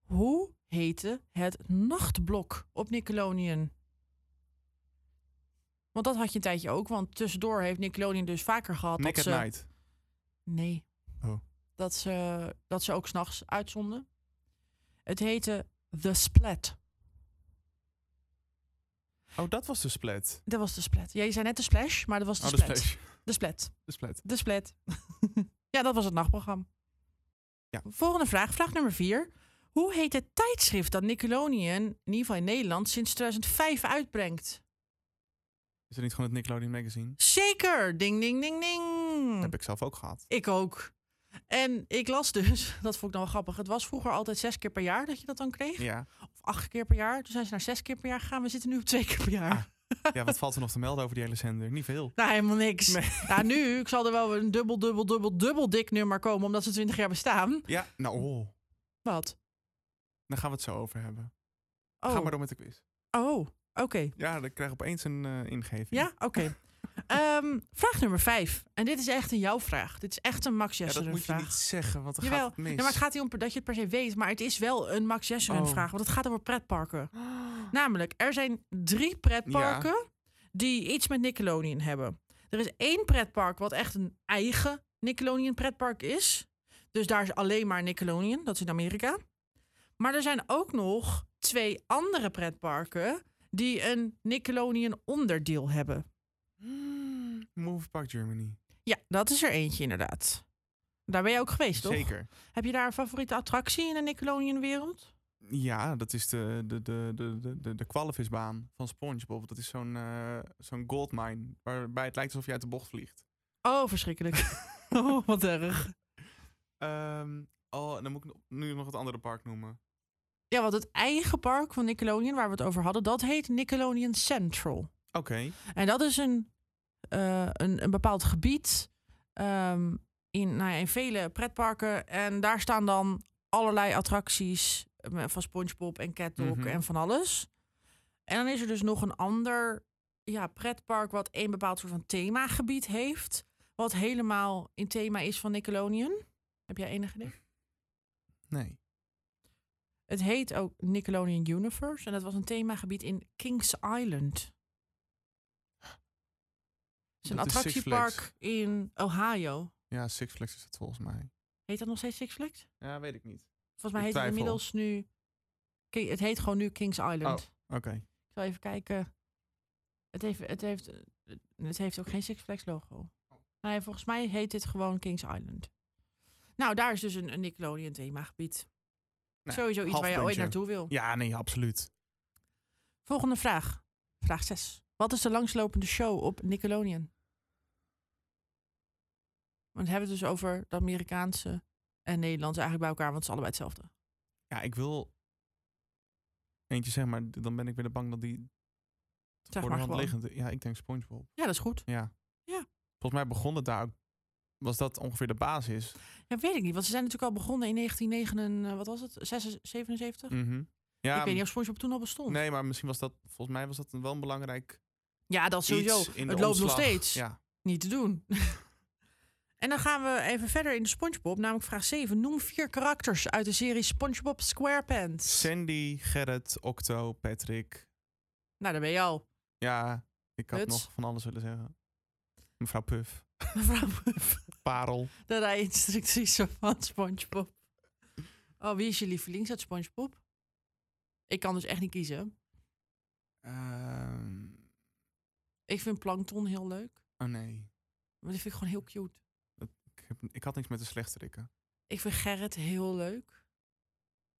[SPEAKER 2] Hoe heette het nachtblok op Nickelodeon? Want dat had je een tijdje ook, want tussendoor heeft Nickelodeon dus vaker gehad
[SPEAKER 1] Nick
[SPEAKER 2] dat
[SPEAKER 1] at
[SPEAKER 2] ze...
[SPEAKER 1] Night.
[SPEAKER 2] Nee.
[SPEAKER 1] Oh.
[SPEAKER 2] Dat ze, dat ze ook s'nachts uitzonden. Het heette The Splat.
[SPEAKER 1] Oh, dat was de split.
[SPEAKER 2] Dat was de Splat. Ja, je zei net de Splash, maar dat was de
[SPEAKER 1] Oh, de
[SPEAKER 2] Splat.
[SPEAKER 1] splash.
[SPEAKER 2] De Splat.
[SPEAKER 1] De split.
[SPEAKER 2] De Splat. (laughs) ja, dat was het nachtprogramma.
[SPEAKER 1] Ja.
[SPEAKER 2] Volgende vraag, vraag nummer 4. Hoe heet het tijdschrift dat Nickelodeon, in ieder geval in Nederland, sinds 2005 uitbrengt?
[SPEAKER 1] Is er niet gewoon het Nickelodeon magazine?
[SPEAKER 2] Zeker! Ding, ding, ding,
[SPEAKER 1] Dat
[SPEAKER 2] ding.
[SPEAKER 1] heb ik zelf ook gehad.
[SPEAKER 2] Ik ook. En ik las dus, (laughs) dat vond ik dan wel grappig. Het was vroeger altijd zes keer per jaar dat je dat dan kreeg.
[SPEAKER 1] Ja.
[SPEAKER 2] Of acht keer per jaar. Toen zijn ze naar zes keer per jaar gegaan. We zitten nu op twee keer per jaar.
[SPEAKER 1] Ah. ja, wat valt er nog te melden over die hele zender? Niet veel.
[SPEAKER 2] Nou, helemaal niks.
[SPEAKER 1] Nee.
[SPEAKER 2] (laughs) Nou, nu ik zal er wel een dubbel, dubbel, dubbel, dubbel dik nummer komen. Omdat ze 20 jaar bestaan.
[SPEAKER 1] Ja, nou, oh,
[SPEAKER 2] Wat?
[SPEAKER 1] daar gaan we het zo over hebben.
[SPEAKER 2] Oh,
[SPEAKER 1] Ga maar door met de quiz.
[SPEAKER 2] oh oké.
[SPEAKER 1] Ja, ik krijg opeens een eh, ingeving.
[SPEAKER 2] Ja,
[SPEAKER 1] (laughs)
[SPEAKER 2] oké. Ehm, vraag nummer vijf. En dit is echt een jouw vraag. Dit is echt een Max
[SPEAKER 1] Ja, dat
[SPEAKER 2] Jesseren
[SPEAKER 1] moet je
[SPEAKER 2] vraag.
[SPEAKER 1] niet zeggen, want dan
[SPEAKER 2] Jawel.
[SPEAKER 1] gaat het mis.
[SPEAKER 2] Nee, maar het gaat hier om per- dat je het per se weet. Maar het is wel een Max Jesseren
[SPEAKER 1] Oh.
[SPEAKER 2] vraag. Want het gaat over (gasps) pretparken. Namelijk, er zijn drie pretparken die iets met Nickelodeon hebben. Er is één pretpark wat echt een eigen Nickelodeon pretpark is. Dus daar is alleen maar Nickelodeon. Dat is in Amerika. Maar er zijn ook nog twee andere pretparken die een Nickelodeon onderdeel hebben.
[SPEAKER 1] Move Park Germany.
[SPEAKER 2] Ja, dat is er eentje inderdaad. Daar ben je ook geweest, toch?
[SPEAKER 1] Zeker.
[SPEAKER 2] Heb je daar een favoriete attractie in de Nickelodeon-wereld?
[SPEAKER 1] Ja, dat is de, de, de, de, de, de, de kwalvisbaan van Spongebob. Dat is zo'n eh, zo'n goldmine, waarbij het lijkt alsof je uit de bocht vliegt.
[SPEAKER 2] Oh, verschrikkelijk. (laughs) oh, wat erg.
[SPEAKER 1] Ehm, oh, en dan moet ik nog- nu nog het andere park noemen.
[SPEAKER 2] Ja, want het eigen park van Nickelodeon, waar we het over hadden, dat heet Nickelodeon Central.
[SPEAKER 1] Oké,
[SPEAKER 2] En dat is een, eh, een, een bepaald gebied ehm, in, nou ja, in vele pretparken. En daar staan dan allerlei attracties eh, van SpongeBob en CatDog
[SPEAKER 1] Mhm.
[SPEAKER 2] en van alles. En dan is er dus nog een ander ja, pretpark wat een bepaald soort van themagebied heeft. Wat helemaal in thema is van Nickelodeon. Heb jij enig idee?
[SPEAKER 1] nee.
[SPEAKER 2] Het heet ook Nickelodeon Universe. En dat was een themagebied in Kings Island. Het is een
[SPEAKER 1] Dat is Six
[SPEAKER 2] attractiepark
[SPEAKER 1] Flags.
[SPEAKER 2] in Ohio.
[SPEAKER 1] Ja, Six Flags is het volgens mij.
[SPEAKER 2] Heet dat nog steeds Six Flags?
[SPEAKER 1] Ja, weet ik niet.
[SPEAKER 2] Volgens mij
[SPEAKER 1] Ik
[SPEAKER 2] heet het
[SPEAKER 1] twijfel.
[SPEAKER 2] inmiddels nu... Ki-
[SPEAKER 1] Oh.
[SPEAKER 2] Het heet gewoon nu Kings Island.
[SPEAKER 1] Oké.
[SPEAKER 2] Ik zal even kijken. Het heeft, het heeft eh, het heeft ook geen Six Flags logo.
[SPEAKER 1] Oh.
[SPEAKER 2] Nee, volgens mij heet dit gewoon Kings Island. Nou, daar is dus een, een Nickelodeon themagebied.
[SPEAKER 1] Nou,
[SPEAKER 2] Sowieso iets waar je ooit
[SPEAKER 1] halfpuntje.
[SPEAKER 2] naartoe wil.
[SPEAKER 1] Ja, nee, absoluut.
[SPEAKER 2] Volgende vraag. Vraag 6. Wat is de langslopende show op Nickelodeon? Want we hebben het dus over de Amerikaanse en Nederlandse eigenlijk bij elkaar, want het is allebei hetzelfde.
[SPEAKER 1] Ja, ik wil eentje zeg maar, d- dan ben ik weer bang dat die voor
[SPEAKER 2] Zeg
[SPEAKER 1] de
[SPEAKER 2] maar
[SPEAKER 1] hand
[SPEAKER 2] gewoon.
[SPEAKER 1] liggende. Ja, ik denk SpongeBob.
[SPEAKER 2] Ja, dat is goed.
[SPEAKER 1] Ja.
[SPEAKER 2] Ja.
[SPEAKER 1] Volgens mij begon het daar ook. Was dat ongeveer de basis?
[SPEAKER 2] Ja, weet ik niet, want ze zijn natuurlijk al begonnen in 1999, en, eh, wat was het? 76, 77?
[SPEAKER 1] Mhm. Ja,
[SPEAKER 2] ik weet niet of SpongeBob toen al bestond.
[SPEAKER 1] Nee, maar misschien was dat. Volgens mij was dat wel een belangrijk.
[SPEAKER 2] Ja, dat sowieso.
[SPEAKER 1] iets in de
[SPEAKER 2] Het loopt nog
[SPEAKER 1] omslag.
[SPEAKER 2] steeds.
[SPEAKER 1] Ja.
[SPEAKER 2] Niet te doen. (laughs) en dan gaan we even verder in de SpongeBob, namelijk vraag 7. Noem vier karakters uit de serie SpongeBob SquarePants.
[SPEAKER 1] Sandy, Gerrit, Octo, Patrick.
[SPEAKER 2] Nou, daar ben je al. (laughs)
[SPEAKER 1] Ja, ik had
[SPEAKER 2] Muts.
[SPEAKER 1] nog van alles willen zeggen. Mevrouw Puff.
[SPEAKER 2] Mevrouw
[SPEAKER 1] Parel.
[SPEAKER 2] De rijinstructies van (laughs) SpongeBob. Oh, wie is je lievelings uit SpongeBob? Ik kan dus echt niet kiezen.
[SPEAKER 1] Ehm,
[SPEAKER 2] Ik vind Plankton heel leuk.
[SPEAKER 1] oh nee.
[SPEAKER 2] Maar die vind ik gewoon heel cute.
[SPEAKER 1] Ik, heb, ik had niks met de slechterikken.
[SPEAKER 2] Ik vind Gerrit heel leuk.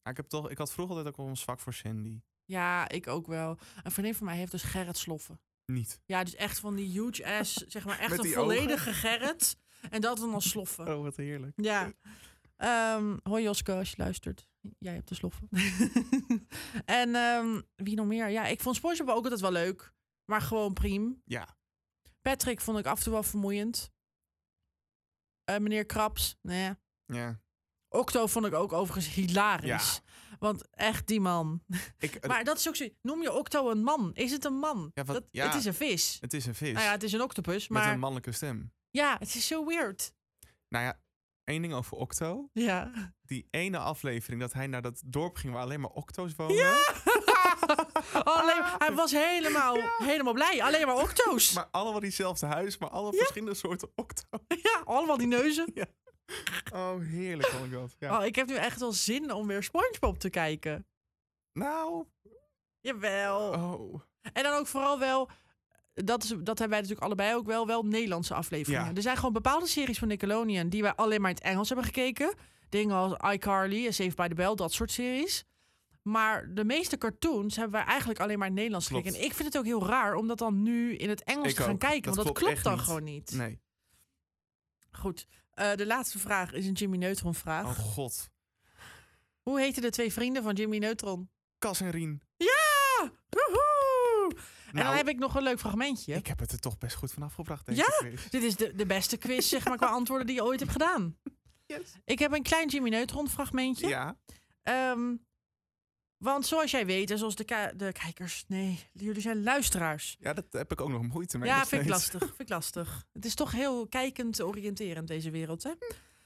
[SPEAKER 1] Maar ik, heb toch, ik had vroeger altijd ook wel een zwak voor Sandy.
[SPEAKER 2] Ja, ik ook wel. Een vriendin van mij heeft dus Gerrit sloffen.
[SPEAKER 1] Niet.
[SPEAKER 2] Ja, dus echt van die huge ass, zeg maar echt
[SPEAKER 1] Met
[SPEAKER 2] een
[SPEAKER 1] die
[SPEAKER 2] volledige Gerrit. En dat dan als sloffen.
[SPEAKER 1] Oh, wat heerlijk.
[SPEAKER 2] Ja. Ehm, hoi Joske, als je luistert. Jij hebt de sloffen. (laughs) en ehm, wie nog meer? Ja, ik vond SpongeBob ook altijd wel leuk. Maar gewoon priem.
[SPEAKER 1] Ja.
[SPEAKER 2] Patrick vond ik af en toe wel vermoeiend. Eh, meneer Krabs, nee.
[SPEAKER 1] Ja.
[SPEAKER 2] Octo vond ik ook overigens hilarisch. Want echt die man.
[SPEAKER 1] Ik, eh,
[SPEAKER 2] Maar dat is ook zo. Noem je Octo een man? Is het een man?
[SPEAKER 1] Ja, wat-
[SPEAKER 2] dat,
[SPEAKER 1] ja.
[SPEAKER 2] Het is een vis.
[SPEAKER 1] het is een vis.
[SPEAKER 2] Nou ja, het is een octopus.
[SPEAKER 1] Met
[SPEAKER 2] Maar
[SPEAKER 1] een mannelijke stem.
[SPEAKER 2] ja, het is zo weird.
[SPEAKER 1] Nou ja, één ding over Octo.
[SPEAKER 2] Ja.
[SPEAKER 1] Die ene aflevering dat hij naar dat dorp ging waar alleen maar Octo's wonen.
[SPEAKER 2] (laughs) Alleen, hij was (laughs) helemaal, helemaal blij. Alleen Ah. maar octo's.
[SPEAKER 1] Maar allemaal diezelfde huis, maar alle verschillende soorten Octo.
[SPEAKER 2] (laughs) Ja, allemaal die neuzen.
[SPEAKER 1] Oh, heerlijk vond ik dat. Ja.
[SPEAKER 2] Oh, ik heb nu echt wel zin om weer Spongebob te kijken.
[SPEAKER 1] Nou.
[SPEAKER 2] Jawel.
[SPEAKER 1] Oh.
[SPEAKER 2] En dan ook vooral wel... Dat, is, dat hebben wij natuurlijk allebei ook wel, wel Nederlandse afleveringen.
[SPEAKER 1] Ja.
[SPEAKER 2] Er zijn gewoon bepaalde series van Nickelodeon... die wij alleen maar in het Engels hebben gekeken. Dingen als iCarly en Saved by the Bell, dat soort series. Maar de meeste cartoons hebben wij eigenlijk alleen maar in het Nederlands
[SPEAKER 1] Klopt.
[SPEAKER 2] gekeken. En ik vind het ook heel raar om dat dan nu in het Engels
[SPEAKER 1] Ik
[SPEAKER 2] te gaan
[SPEAKER 1] ook.
[SPEAKER 2] kijken.
[SPEAKER 1] Dat
[SPEAKER 2] want dat
[SPEAKER 1] klopt
[SPEAKER 2] klopt
[SPEAKER 1] echt
[SPEAKER 2] dan
[SPEAKER 1] niet.
[SPEAKER 2] gewoon niet.
[SPEAKER 1] Nee.
[SPEAKER 2] Goed. Eh, de laatste vraag is een Jimmy Neutron vraag.
[SPEAKER 1] Oh, god.
[SPEAKER 2] Hoe heten de twee vrienden van Jimmy Neutron?
[SPEAKER 1] Kas en Rien.
[SPEAKER 2] Ja! Woehoe! en dan
[SPEAKER 1] Nou.
[SPEAKER 2] heb ik nog een leuk fragmentje.
[SPEAKER 1] Ik heb het er toch best goed van afgebracht, denk
[SPEAKER 2] Ja?
[SPEAKER 1] ik. Chris.
[SPEAKER 2] Dit is de, de beste quiz, zeg maar, qua antwoorden die je ooit hebt gedaan. Ik heb een klein Jimmy Neutron fragmentje.
[SPEAKER 1] Ja.
[SPEAKER 2] Ehm, want zoals jij weet, en zoals de, ki- de kijkers... Nee, jullie zijn luisteraars.
[SPEAKER 1] ja, dat heb ik ook nog moeite mee.
[SPEAKER 2] ja,
[SPEAKER 1] nog
[SPEAKER 2] vind ik
[SPEAKER 1] steeds.
[SPEAKER 2] lastig. Vind ik lastig. Het is toch heel kijkend oriënterend, deze wereld, hè?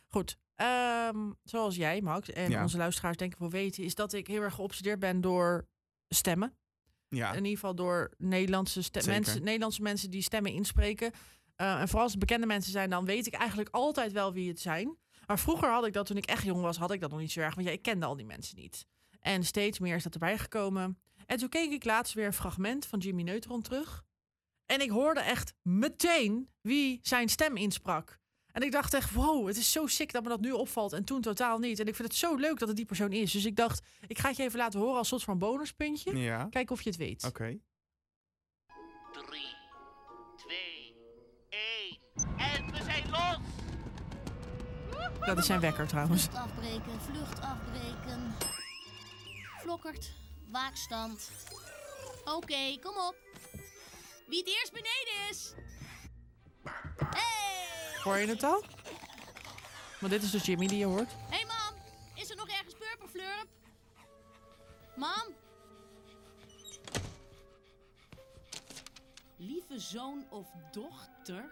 [SPEAKER 2] Goed. Ehm, zoals jij, Max, en
[SPEAKER 1] Ja.
[SPEAKER 2] onze luisteraars denk ik wel weten... is dat ik heel erg geobsedeerd ben door stemmen.
[SPEAKER 1] Ja.
[SPEAKER 2] In ieder geval door Nederlandse, ste-
[SPEAKER 1] Zeker.
[SPEAKER 2] mensen, Nederlandse mensen die stemmen inspreken. Eh, en vooral als het bekende mensen zijn, dan weet ik eigenlijk altijd wel wie het zijn. Maar vroeger had ik dat, toen ik echt jong was, had ik dat nog niet zo erg. Want ja, ik kende al die mensen niet. En steeds meer is dat erbij gekomen. En toen keek ik laatst weer een fragment van Jimmy Neutron terug. En ik hoorde echt meteen wie zijn stem insprak. En ik dacht echt, wow, het is zo sick dat me dat nu opvalt. En toen totaal niet. En ik vind het zo leuk dat het die persoon is. Dus ik dacht, ik ga het je even laten horen als soort van bonuspuntje.
[SPEAKER 1] Ja. Oké.
[SPEAKER 2] Kijk of je het weet.
[SPEAKER 11] Drie, twee, één. En we zijn los!
[SPEAKER 2] Dat is zijn wekker trouwens.
[SPEAKER 12] Vlucht afbreken, vlucht afbreken. Flokkert, waakstand. Oké, kom op. Wie het eerst beneden is.
[SPEAKER 2] (laughs) Hoor je het al? Maar dit is dus Jimmy die je hoort.
[SPEAKER 12] Hé hey, mam, is er nog ergens purperflurp? Mam? Lieve zoon of dochter,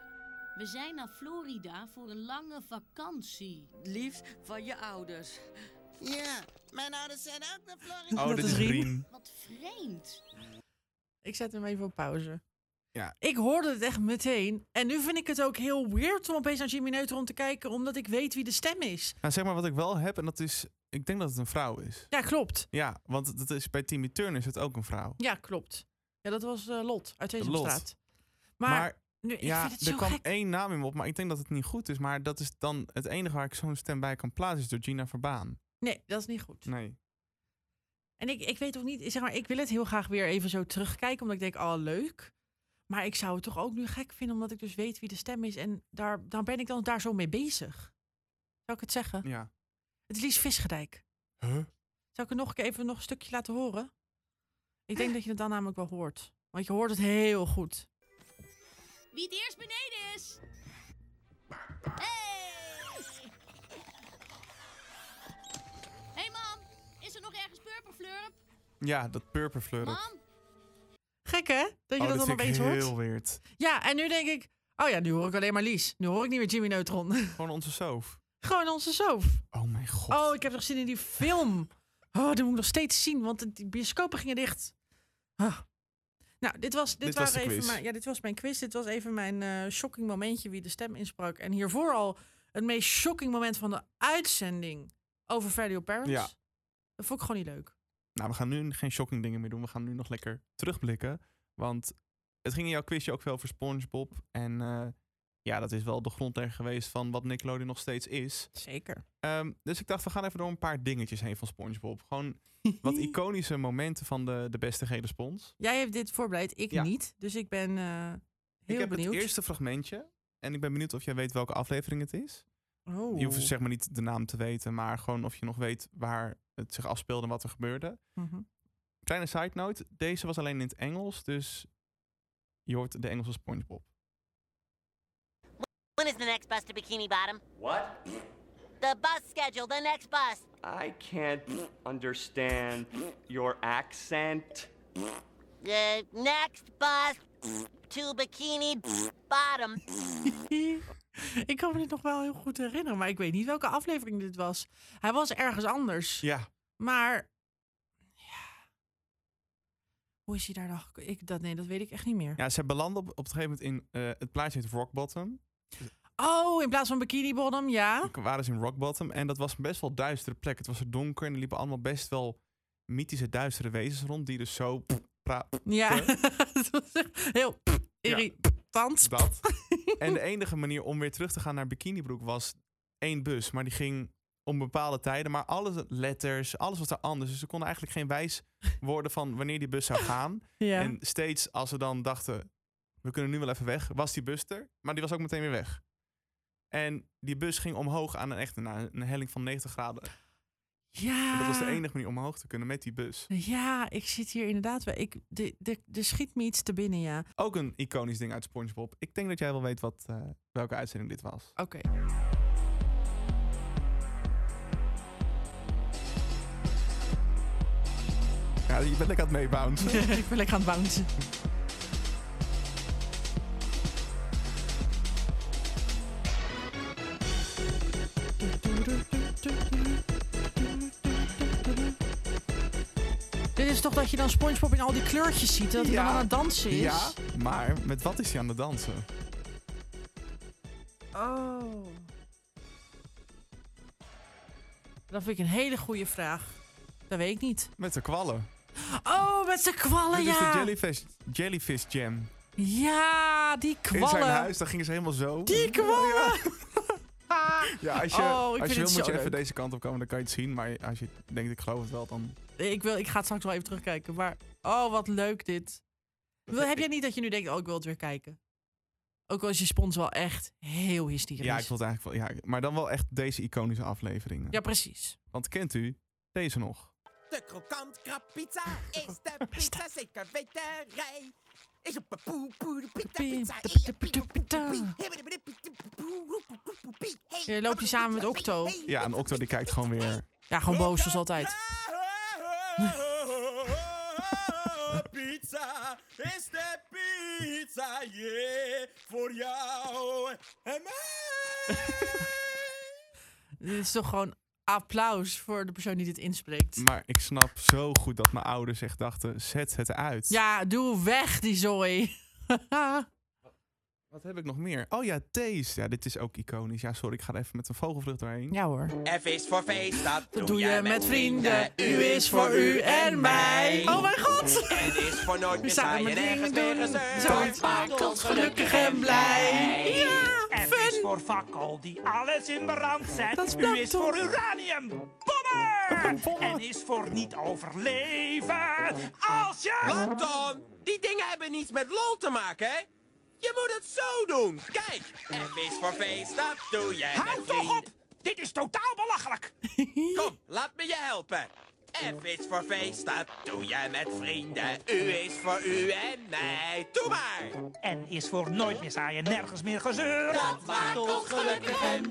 [SPEAKER 12] we zijn naar Florida voor een lange vakantie. Lief van je ouders. Ja, mijn ouders zijn ook naar Florida.
[SPEAKER 1] Oh, dit is Rien.
[SPEAKER 12] Wat vreemd.
[SPEAKER 2] Ik zet hem even op pauze.
[SPEAKER 1] Ja.
[SPEAKER 2] Ik hoorde het echt meteen. En nu vind ik het ook heel weird om opeens naar Jimmy Neutron te kijken, omdat ik weet wie de stem is.
[SPEAKER 1] Nou, zeg maar wat ik wel heb, en dat is... Ik denk dat het een vrouw is.
[SPEAKER 2] Ja, klopt.
[SPEAKER 1] Ja, want dat is, bij Timmy Turner is het ook een vrouw.
[SPEAKER 2] Ja, klopt. Ja, dat was eh, Lot uit
[SPEAKER 1] Lot.
[SPEAKER 2] Sesamstraat. Maar,
[SPEAKER 1] Maar,
[SPEAKER 2] maar Nu, ik
[SPEAKER 1] ja,
[SPEAKER 2] vind het
[SPEAKER 1] er
[SPEAKER 2] zo
[SPEAKER 1] kwam
[SPEAKER 2] gek.
[SPEAKER 1] één naam in me op, maar ik denk dat het niet goed is. Maar dat is dan het enige waar ik zo'n stem bij kan plaatsen, is Georgina Verbaan.
[SPEAKER 2] Nee, dat is niet goed.
[SPEAKER 1] Nee.
[SPEAKER 2] En ik, ik weet ook niet, zeg maar, ik wil het heel graag weer even zo terugkijken, omdat ik denk, oh leuk. Maar ik zou het toch ook nu gek vinden, omdat ik dus weet wie de stem is. En daar, dan ben ik dan daar zo mee bezig. Zou ik het zeggen?
[SPEAKER 1] Ja.
[SPEAKER 2] Het is Lies Visgedijk.
[SPEAKER 1] Huh?
[SPEAKER 2] Zou ik het nog een keer even nog een stukje laten horen? Ik
[SPEAKER 1] Eh.
[SPEAKER 2] denk dat je het dan namelijk wel hoort. Want je hoort het heel goed.
[SPEAKER 10] Wie het eerst beneden is. Hey!
[SPEAKER 12] hey, mam, is er nog ergens purperflurp?
[SPEAKER 1] Ja, dat purperfleur. Dat,
[SPEAKER 12] Mam,
[SPEAKER 2] Gek hè? Dat je
[SPEAKER 1] oh,
[SPEAKER 2] dat
[SPEAKER 1] dat
[SPEAKER 2] dan
[SPEAKER 1] vind ik
[SPEAKER 2] opeens
[SPEAKER 1] heel
[SPEAKER 2] hoort.
[SPEAKER 1] weird.
[SPEAKER 2] Ja, en nu denk ik, oh ja, nu hoor ik alleen maar Lies. Nu hoor ik niet meer Jimmy Neutron. (laughs)
[SPEAKER 1] Gewoon onze soof.
[SPEAKER 2] Gewoon onze soof.
[SPEAKER 1] Oh mijn god.
[SPEAKER 2] Oh, ik heb nog zin in die film. Oh, die moet ik nog steeds zien, want de bioscopen gingen dicht. Ah. Nou, dit was, dit
[SPEAKER 1] Dit was
[SPEAKER 2] waren
[SPEAKER 1] de
[SPEAKER 2] even
[SPEAKER 1] quiz.
[SPEAKER 2] mijn, ja, dit was mijn quiz. Dit was even mijn eh, shocking momentje wie de stem insprak. En hiervoor al het meest shocking moment van de uitzending over Value Parents.
[SPEAKER 1] Ja.
[SPEAKER 2] Dat vond ik gewoon niet leuk.
[SPEAKER 1] Nou, we gaan nu geen shocking dingen meer doen. We gaan nu nog lekker terugblikken. Want het ging in jouw quizje ook wel voor SpongeBob. En eh, ja, dat is wel de grondlegger geweest van wat Nickelodeon nog steeds is. (laughs)
[SPEAKER 2] Zeker.
[SPEAKER 1] Ehm, dus ik dacht, we gaan even door een paar dingetjes heen van SpongeBob. Gewoon wat iconische momenten van de, de beste gele spons.
[SPEAKER 2] (laughs) Jij hebt dit voorbereid, ik
[SPEAKER 1] Ja.
[SPEAKER 2] niet. Dus ik ben eh, heel
[SPEAKER 1] ik heb
[SPEAKER 2] benieuwd.
[SPEAKER 1] het eerste fragmentje. En ik ben benieuwd of jij weet welke aflevering het is.
[SPEAKER 2] Oh.
[SPEAKER 1] Je hoeft zeg maar niet de naam te weten, maar gewoon of je nog weet waar het zich afspeelde en wat er gebeurde.
[SPEAKER 2] Mhm.
[SPEAKER 1] Kleine side note, deze was alleen in het Engels, dus je hoort de Engelse SpongeBob.
[SPEAKER 13] When is the next bus to Bikini Bottom?
[SPEAKER 14] What?
[SPEAKER 13] The bus schedule, the next bus.
[SPEAKER 14] I can't understand your accent.
[SPEAKER 13] The next bus to Bikini Bottom.
[SPEAKER 2] (laughs) ik kan me dit nog wel heel goed herinneren, maar ik weet niet welke aflevering dit was. Hij was ergens anders.
[SPEAKER 1] Ja.
[SPEAKER 2] Maar ja. hoe is hij daar dan geko- ik dat Nee, dat weet ik echt niet meer.
[SPEAKER 1] Ja, ze belanden op, op een gegeven moment in eh, het plaatje heet Rock Bottom.
[SPEAKER 2] Oh, in plaats van Bikini Bottom, ja.
[SPEAKER 1] We waren ze in Rock Bottom en dat was een best wel duistere plek. Het was er donker en er liepen allemaal best wel mythische duistere wezens rond die dus zo praten.
[SPEAKER 2] Ja, (laughs) dat was echt heel irritant.
[SPEAKER 1] Dat. En de enige manier om weer terug te gaan naar Bikinibroek was één bus. Maar die ging om bepaalde tijden. Maar alle letters, alles was er anders. Dus ze konden eigenlijk geen wijs worden van wanneer die bus zou gaan.
[SPEAKER 2] Ja.
[SPEAKER 1] En steeds als ze dan dachten, we kunnen nu wel even weg, was die bus er. Maar die was ook meteen weer weg. En die bus ging omhoog aan een, echte, nou, een helling van 90 graden.
[SPEAKER 2] Ja.
[SPEAKER 1] En dat was de enige manier om omhoog te kunnen met die bus.
[SPEAKER 2] Ja, ik zit hier inderdaad wel. Ik, de, de, de schiet me iets te binnen, ja.
[SPEAKER 1] Ook een iconisch ding uit SpongeBob. Ik denk dat jij wel weet wat, eh, welke uitzending dit was.
[SPEAKER 2] Oké.
[SPEAKER 1] Ja, je bent lekker aan het meebouncen.
[SPEAKER 2] ik ben lekker aan het bouncen. Dit is toch dat je dan SpongeBob in al die kleurtjes ziet, dat hij dan aan het dansen is?
[SPEAKER 1] Ja, maar met wat is hij aan het dansen?
[SPEAKER 2] Oh. Dat vind ik een hele goede vraag. Dat weet ik niet.
[SPEAKER 1] Met de kwallen.
[SPEAKER 2] Oh, met zijn kwallen,
[SPEAKER 1] Dit is
[SPEAKER 2] ja.
[SPEAKER 1] de jellyfish, jellyfish jam.
[SPEAKER 2] Ja, die kwallen.
[SPEAKER 1] In zijn huis, daar gingen ze helemaal zo.
[SPEAKER 2] Die kwallen.
[SPEAKER 1] (laughs) Ja, als je,
[SPEAKER 2] Oh, ik
[SPEAKER 1] als je
[SPEAKER 2] vind
[SPEAKER 1] wil
[SPEAKER 2] het
[SPEAKER 1] moet
[SPEAKER 2] zo
[SPEAKER 1] je even
[SPEAKER 2] leuk.
[SPEAKER 1] deze kant op komen, dan kan je het zien. Maar als je denkt, ik geloof het wel, dan...
[SPEAKER 2] Ik, wil, ik ga het straks wel even terugkijken. Maar oh, wat leuk dit. Wil, heb jij niet dat je nu denkt, oh, ik wil het weer kijken? Ook al is je spons wel echt heel hysterisch.
[SPEAKER 1] Ja, ik wil het eigenlijk wel... Ja, maar dan wel echt deze iconische afleveringen.
[SPEAKER 2] Ja, precies.
[SPEAKER 1] Want kent u deze nog?
[SPEAKER 15] De krokant krappizza is de pizza zeker weterij. Is op een poe poe de pita pizza.
[SPEAKER 2] Je loopt hier samen met Octo.
[SPEAKER 1] Oh, Ja, en Octo die kijkt gewoon weer...
[SPEAKER 2] Ja, gewoon boos zoals altijd.
[SPEAKER 15] (laughs) Pizza is de pizza, yeah, voor jou en mij.
[SPEAKER 2] Dit is toch gewoon applaus voor de persoon die dit inspreekt.
[SPEAKER 1] Maar ik snap zo goed dat mijn ouders echt dachten, zet het uit.
[SPEAKER 2] Ja, doe weg die zooi.
[SPEAKER 1] Wat heb ik nog meer? Oh ja, Thees. Ja, dit is ook iconisch. Ja, sorry, ik ga er even met een vogelvlucht doorheen.
[SPEAKER 2] Ja hoor.
[SPEAKER 9] F is voor feest, dat doe,
[SPEAKER 2] doe je
[SPEAKER 9] je
[SPEAKER 2] met
[SPEAKER 9] met
[SPEAKER 2] vrienden.
[SPEAKER 9] vrienden.
[SPEAKER 2] U is voor u en mij. Oh mijn god!
[SPEAKER 9] Het is voor nooit
[SPEAKER 2] We
[SPEAKER 9] meer
[SPEAKER 2] samen
[SPEAKER 9] saai en
[SPEAKER 2] dingen
[SPEAKER 9] ergens meer
[SPEAKER 2] doen.
[SPEAKER 9] gezeur.
[SPEAKER 2] Zoiets maakt ons gelukkig en blij. Ja,
[SPEAKER 8] F is voor fakkel die alles in brand zet.
[SPEAKER 2] Dat is
[SPEAKER 8] U is
[SPEAKER 2] plankton.
[SPEAKER 8] voor uranium. Bommen! En is voor niet overleven. Als je...
[SPEAKER 9] Plankton, die dingen hebben niets met lol te maken, hè? Je moet het zo doen. Kijk, F is voor feest, dat doe je
[SPEAKER 8] Hou
[SPEAKER 9] met
[SPEAKER 8] toch op!
[SPEAKER 9] vrienden.
[SPEAKER 8] Dit is totaal belachelijk.
[SPEAKER 9] (laughs) Kom, laat me je helpen. F is voor feest, dat doe je met vrienden. U is voor u en mij. Doe maar.
[SPEAKER 8] En is voor nooit meer saaien, nergens meer gezeur.
[SPEAKER 9] Dat maakt ons gelukkig en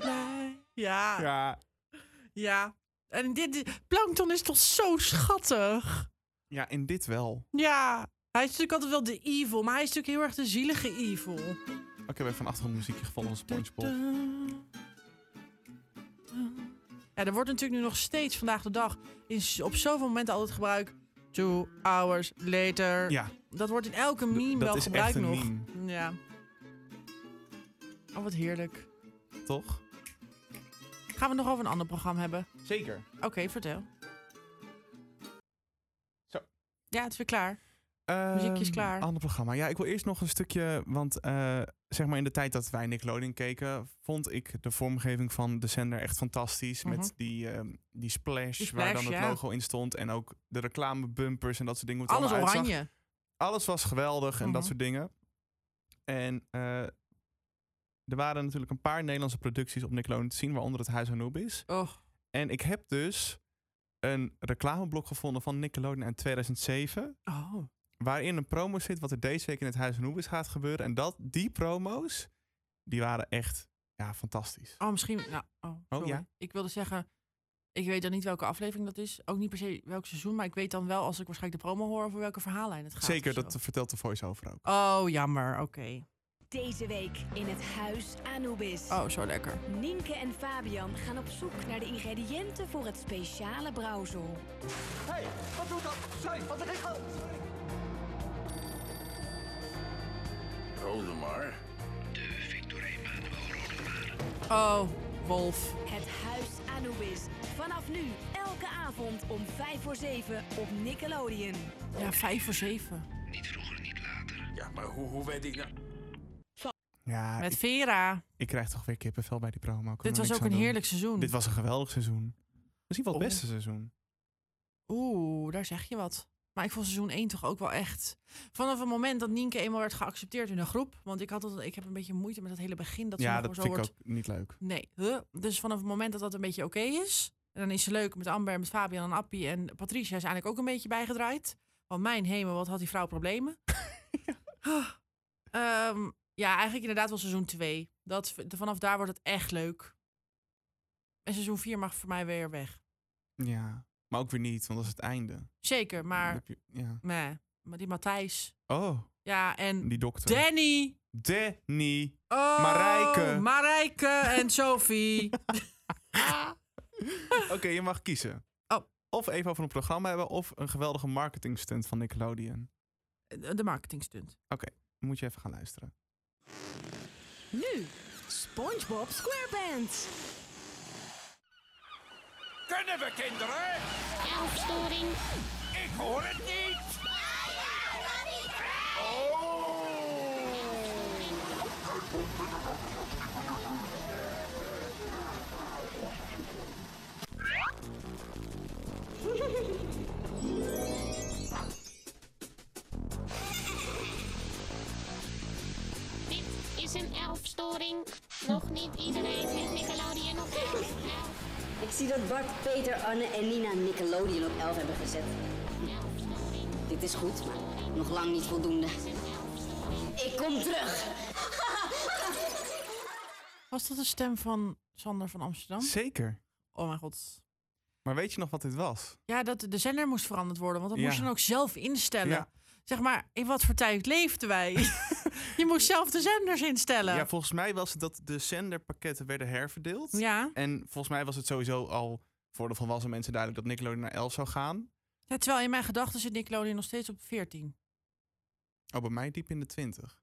[SPEAKER 2] Ja, ja.
[SPEAKER 1] Ja,
[SPEAKER 2] En dit, dit- Plankton is toch zo schattig?
[SPEAKER 1] ja in dit wel.
[SPEAKER 2] Ja. Hij is natuurlijk altijd wel de evil, maar hij is natuurlijk heel erg de zielige evil.
[SPEAKER 1] Oké, we hebben van achtergrondmuziekje gevonden van Spongebob.
[SPEAKER 2] Ja, er wordt natuurlijk nu nog steeds vandaag de dag in, s- op zoveel momenten altijd gebruikt. Two hours later.
[SPEAKER 1] Ja.
[SPEAKER 2] Dat wordt in elke meme
[SPEAKER 1] dat
[SPEAKER 2] wel
[SPEAKER 1] is
[SPEAKER 2] gebruikt
[SPEAKER 1] echt een
[SPEAKER 2] nog. Ja. Oh, wat heerlijk.
[SPEAKER 1] Toch?
[SPEAKER 2] Gaan we het nog over een ander programma hebben?
[SPEAKER 1] Zeker.
[SPEAKER 2] Oké, vertel.
[SPEAKER 1] Zo.
[SPEAKER 2] Ja, het is weer klaar. Muziekje is
[SPEAKER 1] Ehm,
[SPEAKER 2] klaar.
[SPEAKER 1] Ander programma. Ja, ik wil eerst nog een stukje. Want eh, zeg maar in de tijd dat wij Nickelodeon keken, vond ik de vormgeving van de zender echt fantastisch.
[SPEAKER 2] Mhm.
[SPEAKER 1] Met die, ehm, die, splash,
[SPEAKER 2] Die
[SPEAKER 1] waar
[SPEAKER 2] splash,
[SPEAKER 1] dan het
[SPEAKER 2] ja.
[SPEAKER 1] logo in stond. En ook de reclamebumpers en dat soort dingen. hoe het
[SPEAKER 2] Alles
[SPEAKER 1] allemaal uitzag.
[SPEAKER 2] oranje.
[SPEAKER 1] Alles was geweldig en dat
[SPEAKER 2] Mhm.
[SPEAKER 1] soort dingen. En eh, er waren natuurlijk een paar Nederlandse producties op Nickelodeon te zien, waaronder het Huis Anubis.
[SPEAKER 2] Och.
[SPEAKER 1] En ik heb dus een reclameblok gevonden van Nickelodeon uit 2007
[SPEAKER 2] Oh.
[SPEAKER 1] waarin een promo zit wat er deze week in het Huis van Hoebes gaat gebeuren. En dat, die promo's, die waren echt ja, fantastisch.
[SPEAKER 2] Oh, misschien. Nou, oh, sorry.
[SPEAKER 1] ja?
[SPEAKER 2] Ik wilde zeggen. Ik weet dan niet welke aflevering dat is. Ook niet per se welk seizoen. Maar ik weet dan wel als ik waarschijnlijk de promo hoor over welke verhaallijn het gaat.
[SPEAKER 1] Zeker,
[SPEAKER 2] of zo.
[SPEAKER 1] dat vertelt de voice-over ook.
[SPEAKER 2] Oh, jammer. Oké.
[SPEAKER 16] Deze week in het huis Anubis.
[SPEAKER 2] Oh, zo lekker.
[SPEAKER 16] Nienke en Fabian gaan op zoek naar de ingrediënten voor het speciale brouwsel.
[SPEAKER 17] hey, wat doet dat? Sorry, wat er is al.
[SPEAKER 18] Rodemar.
[SPEAKER 2] Oh, Wolf.
[SPEAKER 16] Het huis Anubis. Vanaf nu, elke avond om 5 voor 7 op Nickelodeon.
[SPEAKER 2] Ja, vijf voor zeven.
[SPEAKER 18] Ja, maar hoe, hoe weet ik nou...
[SPEAKER 17] Ah,
[SPEAKER 1] Ja,
[SPEAKER 2] Met
[SPEAKER 1] ik,
[SPEAKER 2] Vera.
[SPEAKER 1] ik krijg toch weer kippenvel bij die promo. Kunnen we
[SPEAKER 2] Dit was
[SPEAKER 1] niks
[SPEAKER 2] ook
[SPEAKER 1] aan
[SPEAKER 2] een
[SPEAKER 1] doen.
[SPEAKER 2] heerlijk seizoen.
[SPEAKER 1] Dit was een geweldig seizoen. Misschien wel het
[SPEAKER 2] Oh.
[SPEAKER 1] beste seizoen.
[SPEAKER 2] Oeh, daar zeg je wat. Maar ik vond seizoen 1 toch ook wel echt. Vanaf het moment dat Nienke eenmaal werd geaccepteerd in een groep. Want ik, had altijd, ik heb een beetje moeite met dat hele begin. Dat ze
[SPEAKER 1] ja,
[SPEAKER 2] nog
[SPEAKER 1] dat
[SPEAKER 2] zo
[SPEAKER 1] vind ik
[SPEAKER 2] wordt
[SPEAKER 1] ook niet leuk.
[SPEAKER 2] Nee. Huh? Dus vanaf het moment dat dat een beetje oké is. En dan is ze leuk met Amber, met Fabian en Appie. En Patricia is eigenlijk ook een beetje bijgedraaid. Want mijn hemel, wat had die vrouw
[SPEAKER 1] (laughs)
[SPEAKER 2] problemen? ja. ja, eigenlijk inderdaad wel seizoen 2. Dat, v- vanaf daar wordt het echt leuk. En seizoen 4 mag voor mij weer weg.
[SPEAKER 1] Ja, maar ook weer niet, want dat is het einde. Dan
[SPEAKER 2] Zeker, maar...
[SPEAKER 1] heb je- ja.
[SPEAKER 2] Meh. Maar die Matthijs.
[SPEAKER 1] Oh,
[SPEAKER 2] Ja, en
[SPEAKER 1] die dokter.
[SPEAKER 2] Danny.
[SPEAKER 1] Danny.
[SPEAKER 2] Oh,
[SPEAKER 1] Marijke.
[SPEAKER 2] Marijke
[SPEAKER 1] (laughs)
[SPEAKER 2] en Sophie.
[SPEAKER 1] Oké, je mag kiezen.
[SPEAKER 2] Oh,
[SPEAKER 1] Of even over een programma hebben, of een geweldige marketingstunt van Nickelodeon.
[SPEAKER 2] De marketingstunt.
[SPEAKER 1] Oké, dan moet je even gaan luisteren.
[SPEAKER 16] Nu, SpongeBob SquarePants.
[SPEAKER 8] Kunnen we, kinderen?
[SPEAKER 10] Storing.
[SPEAKER 8] Ik hoor het niet.
[SPEAKER 10] Dit is een elfstoring. Nog niet iedereen heeft Nickelodeon op elf.
[SPEAKER 19] Ik zie dat Bart, Peter, Anne en Nina Nickelodeon op 11 hebben gezet. Dit is goed, maar nog lang niet voldoende. Ik kom terug.
[SPEAKER 2] Was dat de stem van Sander van Amsterdam?
[SPEAKER 1] Zeker.
[SPEAKER 2] Oh mijn god.
[SPEAKER 1] Maar weet je nog wat dit was?
[SPEAKER 2] Ja, dat de zender moest veranderd worden, want dat moest
[SPEAKER 1] Ja.
[SPEAKER 2] je dan ook zelf instellen.
[SPEAKER 1] Ja.
[SPEAKER 2] Zeg maar, in wat voor tijd leefden
[SPEAKER 1] (laughs)
[SPEAKER 2] wij? je moest zelf de zenders instellen.
[SPEAKER 1] Ja, volgens mij was het dat de zenderpakketten werden herverdeeld.
[SPEAKER 2] Ja.
[SPEAKER 1] En volgens mij was het sowieso al voor de volwassen mensen duidelijk dat Nickelodeon naar 11 zou gaan.
[SPEAKER 2] Ja, terwijl in mijn gedachten zit Nickelodeon nog steeds op 14.
[SPEAKER 1] Oh, bij mij diep in de 20.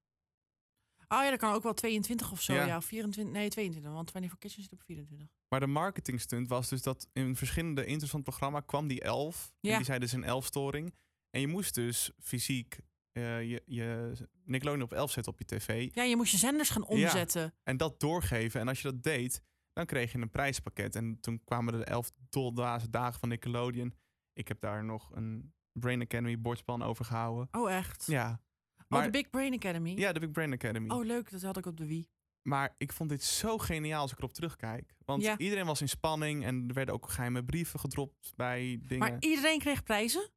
[SPEAKER 2] Oh ja, dat kan ook wel 22 of zo.
[SPEAKER 1] Ja.
[SPEAKER 2] Ja, 24. Nee, 22. Want 24 Kitchen zit op 24.
[SPEAKER 1] Maar de marketingstunt was dus dat in verschillende interessant programma kwam die elf.
[SPEAKER 2] Ja.
[SPEAKER 1] En die zei dus een elfstoring. En je moest dus fysiek eh je, je Nickelodeon op elf zetten op je tv.
[SPEAKER 2] Ja, je moest je zenders gaan omzetten.
[SPEAKER 1] Ja, en dat doorgeven. En als je dat deed, dan kreeg je een prijspakket. En toen kwamen de elf doldazen dagen van Nickelodeon. Ik heb daar nog een Brain Academy bordplan over gehouden.
[SPEAKER 2] Oh, echt?
[SPEAKER 1] Ja.
[SPEAKER 2] oh, de Big Brain Academy.
[SPEAKER 1] Ja, de Big Brain Academy.
[SPEAKER 2] Oh, leuk. Dat had ik op de Wii.
[SPEAKER 1] Maar ik vond dit zo geniaal als ik erop terugkijk. Want
[SPEAKER 2] Ja.
[SPEAKER 1] iedereen was in spanning en er werden ook geheime brieven gedropt bij dingen.
[SPEAKER 2] Maar iedereen kreeg prijzen?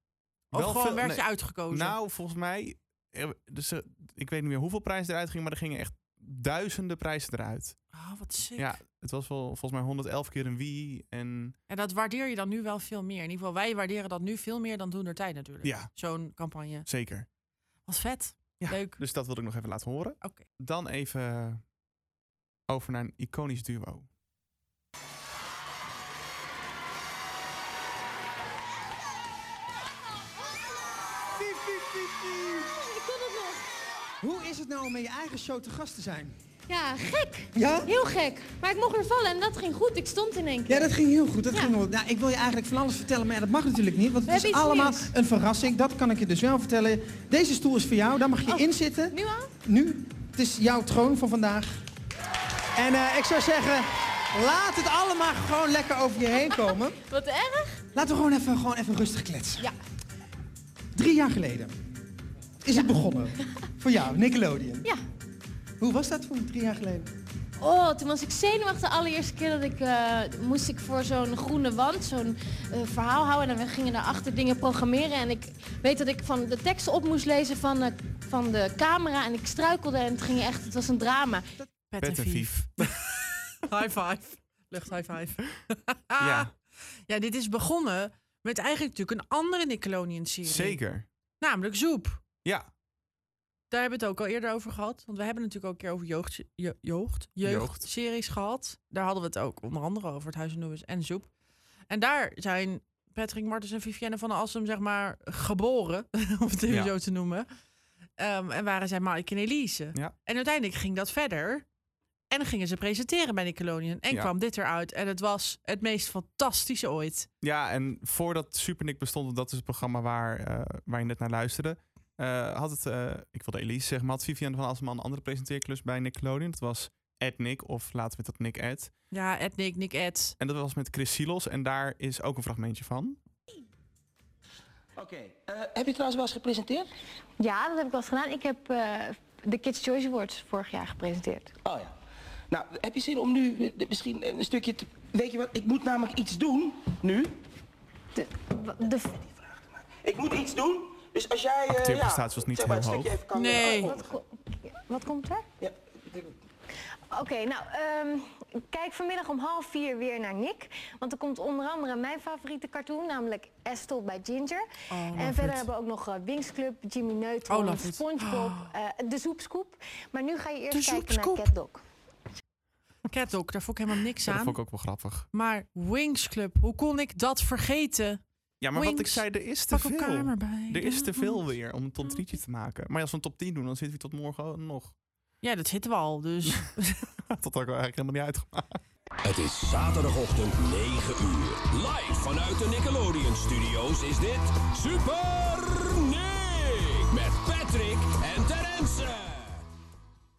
[SPEAKER 2] Of
[SPEAKER 1] Wel
[SPEAKER 2] gewoon
[SPEAKER 1] veel-
[SPEAKER 2] werd je
[SPEAKER 1] nee.
[SPEAKER 2] uitgekozen?
[SPEAKER 1] Nou, volgens mij, eh, dus, eh, ik weet niet meer hoeveel prijzen eruit gingen, maar er gingen echt duizenden prijzen eruit.
[SPEAKER 2] Oh, wat sick.
[SPEAKER 1] Ja, het was wel volgens mij 111 keer een wie en
[SPEAKER 2] En dat waardeer je dan nu wel veel meer. In ieder geval, wij waarderen dat nu veel meer dan toen er tijd natuurlijk.
[SPEAKER 1] Ja.
[SPEAKER 2] Zo'n campagne.
[SPEAKER 1] zeker.
[SPEAKER 2] Wat vet. Leuk.
[SPEAKER 1] Dus dat wilde ik nog even laten horen. Dan even over naar een iconisch duo.
[SPEAKER 4] Ik kon het nog.
[SPEAKER 9] Hoe is het nou om in je eigen show te gast te zijn?
[SPEAKER 4] Ja, gek.
[SPEAKER 9] Ja?
[SPEAKER 4] Heel gek. Maar ik mocht er vallen en dat ging goed. Ik stond in één keer.
[SPEAKER 9] Ja, dat ging heel goed. Dat ging wel. Nou, ik wil je eigenlijk van alles vertellen, maar ja, dat mag natuurlijk niet. Want
[SPEAKER 4] We
[SPEAKER 9] het is
[SPEAKER 4] hebben iets
[SPEAKER 9] allemaal
[SPEAKER 4] nieuws.
[SPEAKER 9] een verrassing. Dat kan ik je dus wel vertellen. Deze stoel is voor jou. Daar mag
[SPEAKER 4] Oh.
[SPEAKER 9] je in zitten.
[SPEAKER 4] Nu al?
[SPEAKER 9] Nu. Het is jouw troon van vandaag. En eh, ik zou zeggen, laat het allemaal gewoon lekker over je heen
[SPEAKER 4] (laughs)
[SPEAKER 9] komen.
[SPEAKER 4] Wat erg.
[SPEAKER 9] Laten we gewoon even, gewoon even rustig kletsen.
[SPEAKER 4] Ja.
[SPEAKER 9] Drie jaar geleden is het begonnen. Voor jou, Nickelodeon.
[SPEAKER 4] Ja.
[SPEAKER 9] Hoe was dat voor drie jaar geleden?
[SPEAKER 4] Oh, toen was ik zenuwachtig de allereerste keer dat ik eh, moest ik voor zo'n groene wand zo'n eh, verhaal houden. En we gingen daarachter dingen programmeren. En ik weet dat ik van de teksten op moest lezen van, eh, van de camera. En ik struikelde en het ging echt, het was een drama.
[SPEAKER 2] Pet,
[SPEAKER 1] Pet en Vief.
[SPEAKER 2] High five. Lucht high five.
[SPEAKER 1] (laughs)
[SPEAKER 2] Ah,
[SPEAKER 1] Ja.
[SPEAKER 2] ja, dit is begonnen met eigenlijk natuurlijk een andere Nickelodeon-serie.
[SPEAKER 1] Zeker.
[SPEAKER 2] Namelijk Zoep.
[SPEAKER 1] Ja,
[SPEAKER 2] Daar hebben we het ook al eerder over gehad. Want we hebben het natuurlijk ook een keer over jeugd, je, jeugd, jeugdseries gehad. Daar hadden we het ook onder andere over het Huis en Noemes en Zoep. En daar zijn Patrick Martens en Vivienne van Assem, zeg maar, geboren. (laughs) om het even
[SPEAKER 20] Ja.
[SPEAKER 2] zo te noemen. Ehm, en waren zij Mike en Elise.
[SPEAKER 20] Ja.
[SPEAKER 2] En uiteindelijk ging dat verder. En dan gingen ze presenteren bij Nickelodeon. En
[SPEAKER 1] Ja.
[SPEAKER 2] kwam dit eruit. En het was het meest fantastische ooit.
[SPEAKER 1] Ja, en voordat Supernik bestond, want dat is het programma waar, eh, waar je net naar luisterde, eh, had het, eh, ik wilde Elise zeggen, maar had Vivian van Asselman een andere presenteerklus bij Nickelodeon. Dat was Ed Nick, of laten we dat Nick Ed.
[SPEAKER 2] Ja, Ed Nick, Nick Ed.
[SPEAKER 1] En dat was met Chris Silos en daar is ook een fragmentje van.
[SPEAKER 3] Oké, eh, heb je trouwens wel eens gepresenteerd?
[SPEAKER 12] Ja, dat heb ik wel eens gedaan. Ik heb eh, de Kids' Choice Awards vorig jaar gepresenteerd.
[SPEAKER 3] Oh ja. Nou, heb je zin om nu eh, de- misschien een stukje te... Weet je wat, ik moet namelijk iets doen, nu. De... de... Ik moet iets doen, dus als jij... eh,
[SPEAKER 1] Acteerprestatie was niet
[SPEAKER 3] zeg maar,
[SPEAKER 1] heel
[SPEAKER 3] een stukje
[SPEAKER 1] hoog.
[SPEAKER 3] even kan, eh,
[SPEAKER 12] Wat,
[SPEAKER 4] Oh.
[SPEAKER 3] afkondigen.
[SPEAKER 12] ko- wat komt er?
[SPEAKER 3] Ja,
[SPEAKER 12] Oké, nou, ehm, kijk vanmiddag om half vier weer naar Nick. Want er komt onder andere mijn favoriete cartoon, namelijk Estel bij Ginger.
[SPEAKER 21] Oh, love
[SPEAKER 12] en verder
[SPEAKER 21] it.
[SPEAKER 12] hebben we ook nog eh, Wings Club, Jimmy Neutron,
[SPEAKER 21] Oh, love it.
[SPEAKER 12] Spongebob, eh, de Zoepscoop. Maar nu ga je eerst
[SPEAKER 2] De
[SPEAKER 12] kijken naar
[SPEAKER 2] Zoepscoop.
[SPEAKER 12] CatDog.
[SPEAKER 2] Catdog, daar vond ik helemaal niks
[SPEAKER 1] Ja, dat
[SPEAKER 2] aan.
[SPEAKER 1] vond ik ook wel grappig.
[SPEAKER 2] Maar Wings Club, hoe kon ik dat vergeten?
[SPEAKER 1] Ja, maar wat ik
[SPEAKER 2] Wings,
[SPEAKER 1] zei, er is te
[SPEAKER 2] pak
[SPEAKER 1] veel.
[SPEAKER 2] elkaar maar bij.
[SPEAKER 1] Er is
[SPEAKER 2] Ja,
[SPEAKER 1] te veel
[SPEAKER 2] want-
[SPEAKER 1] weer om een top 3'tje te maken. Maar als we een top 10 doen, dan zitten we tot morgen nog. (laughs)
[SPEAKER 2] Ja, dat zitten we al, dus... (laughs)
[SPEAKER 1] Dat had ik eigenlijk helemaal niet uitgemaakt.
[SPEAKER 22] Het is zaterdagochtend 9 uur. Live vanuit de Nickelodeon Studios is dit Super Nick met Patrick en Terence.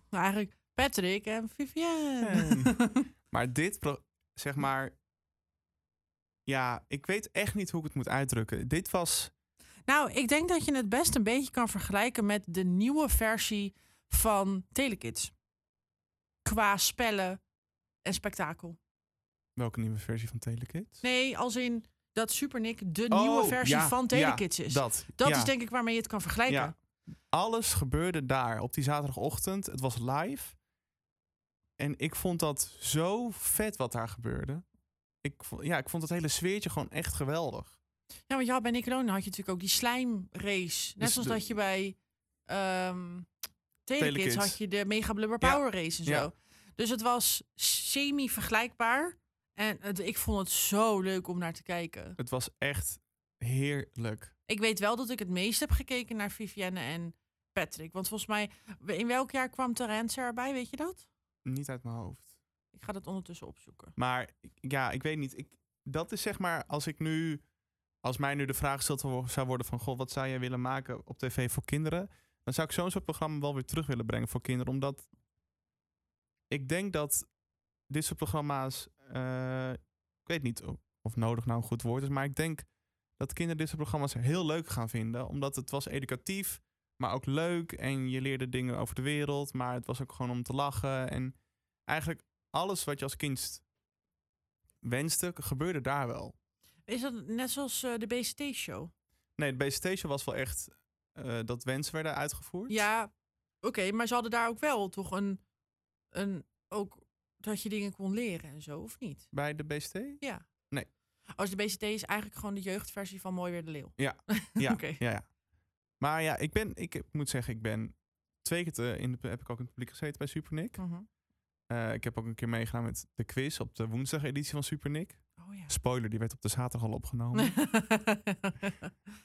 [SPEAKER 2] Nou, eigenlijk Patrick en Vivienne.
[SPEAKER 1] Maar dit, pro- zeg maar. Ja, ik weet echt niet hoe ik het moet uitdrukken. Dit was.
[SPEAKER 2] (laughs) Nou, ik denk dat je het best een beetje kan vergelijken met de nieuwe versie van Telekids. Qua spellen en spektakel.
[SPEAKER 1] Welke nieuwe versie van Telekid?
[SPEAKER 2] Nee, als in dat Super Nick de
[SPEAKER 1] Oh,
[SPEAKER 2] nieuwe versie
[SPEAKER 1] ja,
[SPEAKER 2] van Telekids
[SPEAKER 1] ja,
[SPEAKER 2] is.
[SPEAKER 1] dat, ja.
[SPEAKER 2] is denk ik waarmee je het kan vergelijken.
[SPEAKER 1] Ja. Alles gebeurde daar op die zaterdagochtend. Het was live. En ik vond dat zo vet wat daar gebeurde. Ik vond, ja, ik vond dat hele sfeertje gewoon echt geweldig.
[SPEAKER 2] Ja, want je had bij Nickelodeon had je natuurlijk ook die slijmrace. Net
[SPEAKER 1] Dus
[SPEAKER 2] zoals
[SPEAKER 1] de-
[SPEAKER 2] dat je bij ehm Telekids,
[SPEAKER 1] Telekids.
[SPEAKER 2] had je de Mega Blubber
[SPEAKER 1] Ja,
[SPEAKER 2] Power Race en zo.
[SPEAKER 1] ja.
[SPEAKER 2] Dus het was semi-vergelijkbaar. En het- ik vond het zo leuk om naar te kijken.
[SPEAKER 1] Het was echt heerlijk.
[SPEAKER 2] Ik weet wel dat ik het meest heb gekeken naar Vivienne en Patrick. Want volgens mij, in welk jaar kwam Terence erbij, weet je dat?
[SPEAKER 1] Niet uit mijn hoofd.
[SPEAKER 2] Ik ga dat ondertussen opzoeken.
[SPEAKER 1] Maar ik- ja, ik weet niet. Ik, dat is zeg maar, als ik nu, als mij nu de vraag gesteld wo- zou worden van, goh, wat zou jij willen maken op tv voor kinderen? Dan zou ik zo'n soort programma wel weer terug willen brengen voor kinderen. Omdat ik denk dat dit soort programma's, eh, ik weet niet o- of nodig nou een goed woord is, maar ik denk dat kinderen dit soort programma's heel leuk gaan vinden. Omdat het was educatief, maar ook leuk. En je leerde dingen over de wereld, maar het was ook gewoon om te lachen. En eigenlijk alles wat je als kind wenste, gebeurde daar wel.
[SPEAKER 2] Is dat net zoals eh, de BCT-show?
[SPEAKER 1] Nee, de Station was wel echt eh, dat wensen werden uitgevoerd.
[SPEAKER 2] Ja, oké, maar ze hadden daar ook wel toch een, een... Ook dat je dingen kon leren en zo, of niet?
[SPEAKER 1] Bij de BCT?
[SPEAKER 2] (laughs) Ja.
[SPEAKER 1] Nee.
[SPEAKER 2] Als de BCT is eigenlijk gewoon de jeugdversie van Mooi Weer de Leeuw.
[SPEAKER 1] Ja, ja,
[SPEAKER 2] Oké.
[SPEAKER 1] ja, ja. Maar ja, ik ben, ik moet zeggen, ik ben twee keer te- in de, heb ik ook in het publiek gezeten bij Supernik.
[SPEAKER 2] Mhm.
[SPEAKER 1] Eh, ik heb ook een keer meegedaan met de quiz op de woensdageditie van Supernik.
[SPEAKER 2] Oh, ja.
[SPEAKER 1] Spoiler, die werd op de zaterdag al opgenomen.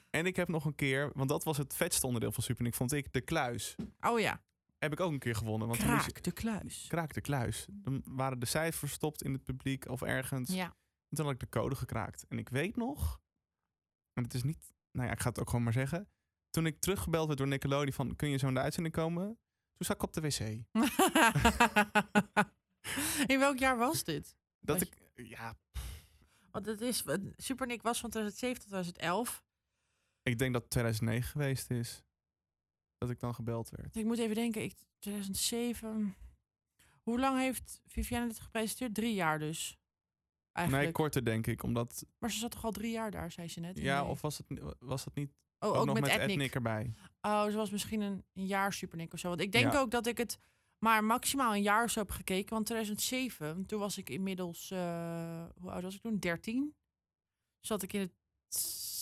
[SPEAKER 1] en ik heb nog een keer, want dat was het vetste onderdeel van Supernik, vond ik, de kluis.
[SPEAKER 2] (laughs) Oh ja.
[SPEAKER 1] Heb ik ook een keer gewonnen. Want
[SPEAKER 2] Kraak
[SPEAKER 1] de
[SPEAKER 2] kluis. (laughs)
[SPEAKER 1] Kraak de kluis. Dan waren de cijfers verstopt in het publiek of ergens.
[SPEAKER 2] Ja.
[SPEAKER 1] En toen had ik de code gekraakt. En ik weet nog, en het is niet, nou ja, ik ga het ook gewoon maar zeggen. Toen ik teruggebeld werd door Nickelodeon van, kun je zo in de uitzending komen? Toen zat ik op de wc.
[SPEAKER 2] In welk jaar was dit?
[SPEAKER 1] Dat ik, ja,
[SPEAKER 2] Want het is, Supernik was van 2007 tot 2011.
[SPEAKER 1] ik denk dat het 2009 geweest is. Dat ik dan gebeld werd.
[SPEAKER 2] Dus Ik moet even denken, ik, 2007. Hoe lang heeft Viviane dit gepresenteerd? Drie jaar dus. Eigenlijk.
[SPEAKER 1] Nee, korter denk ik, omdat,
[SPEAKER 2] Maar ze zat toch al drie jaar daar, zei ze net. in
[SPEAKER 1] ja,
[SPEAKER 2] de-
[SPEAKER 1] of was, het, was dat niet,
[SPEAKER 2] Oh,
[SPEAKER 1] nog
[SPEAKER 2] ook met
[SPEAKER 1] met,
[SPEAKER 2] Ethnic.
[SPEAKER 1] Ethnic erbij.
[SPEAKER 2] Oh, ze was misschien een, een jaar Supernik of zo. Want ik denk
[SPEAKER 1] Ja.
[SPEAKER 2] ook dat ik het maar maximaal een jaar of zo heb gekeken. Want 2007, toen was ik inmiddels, eh, hoe oud was ik toen? 13. Zat ik in het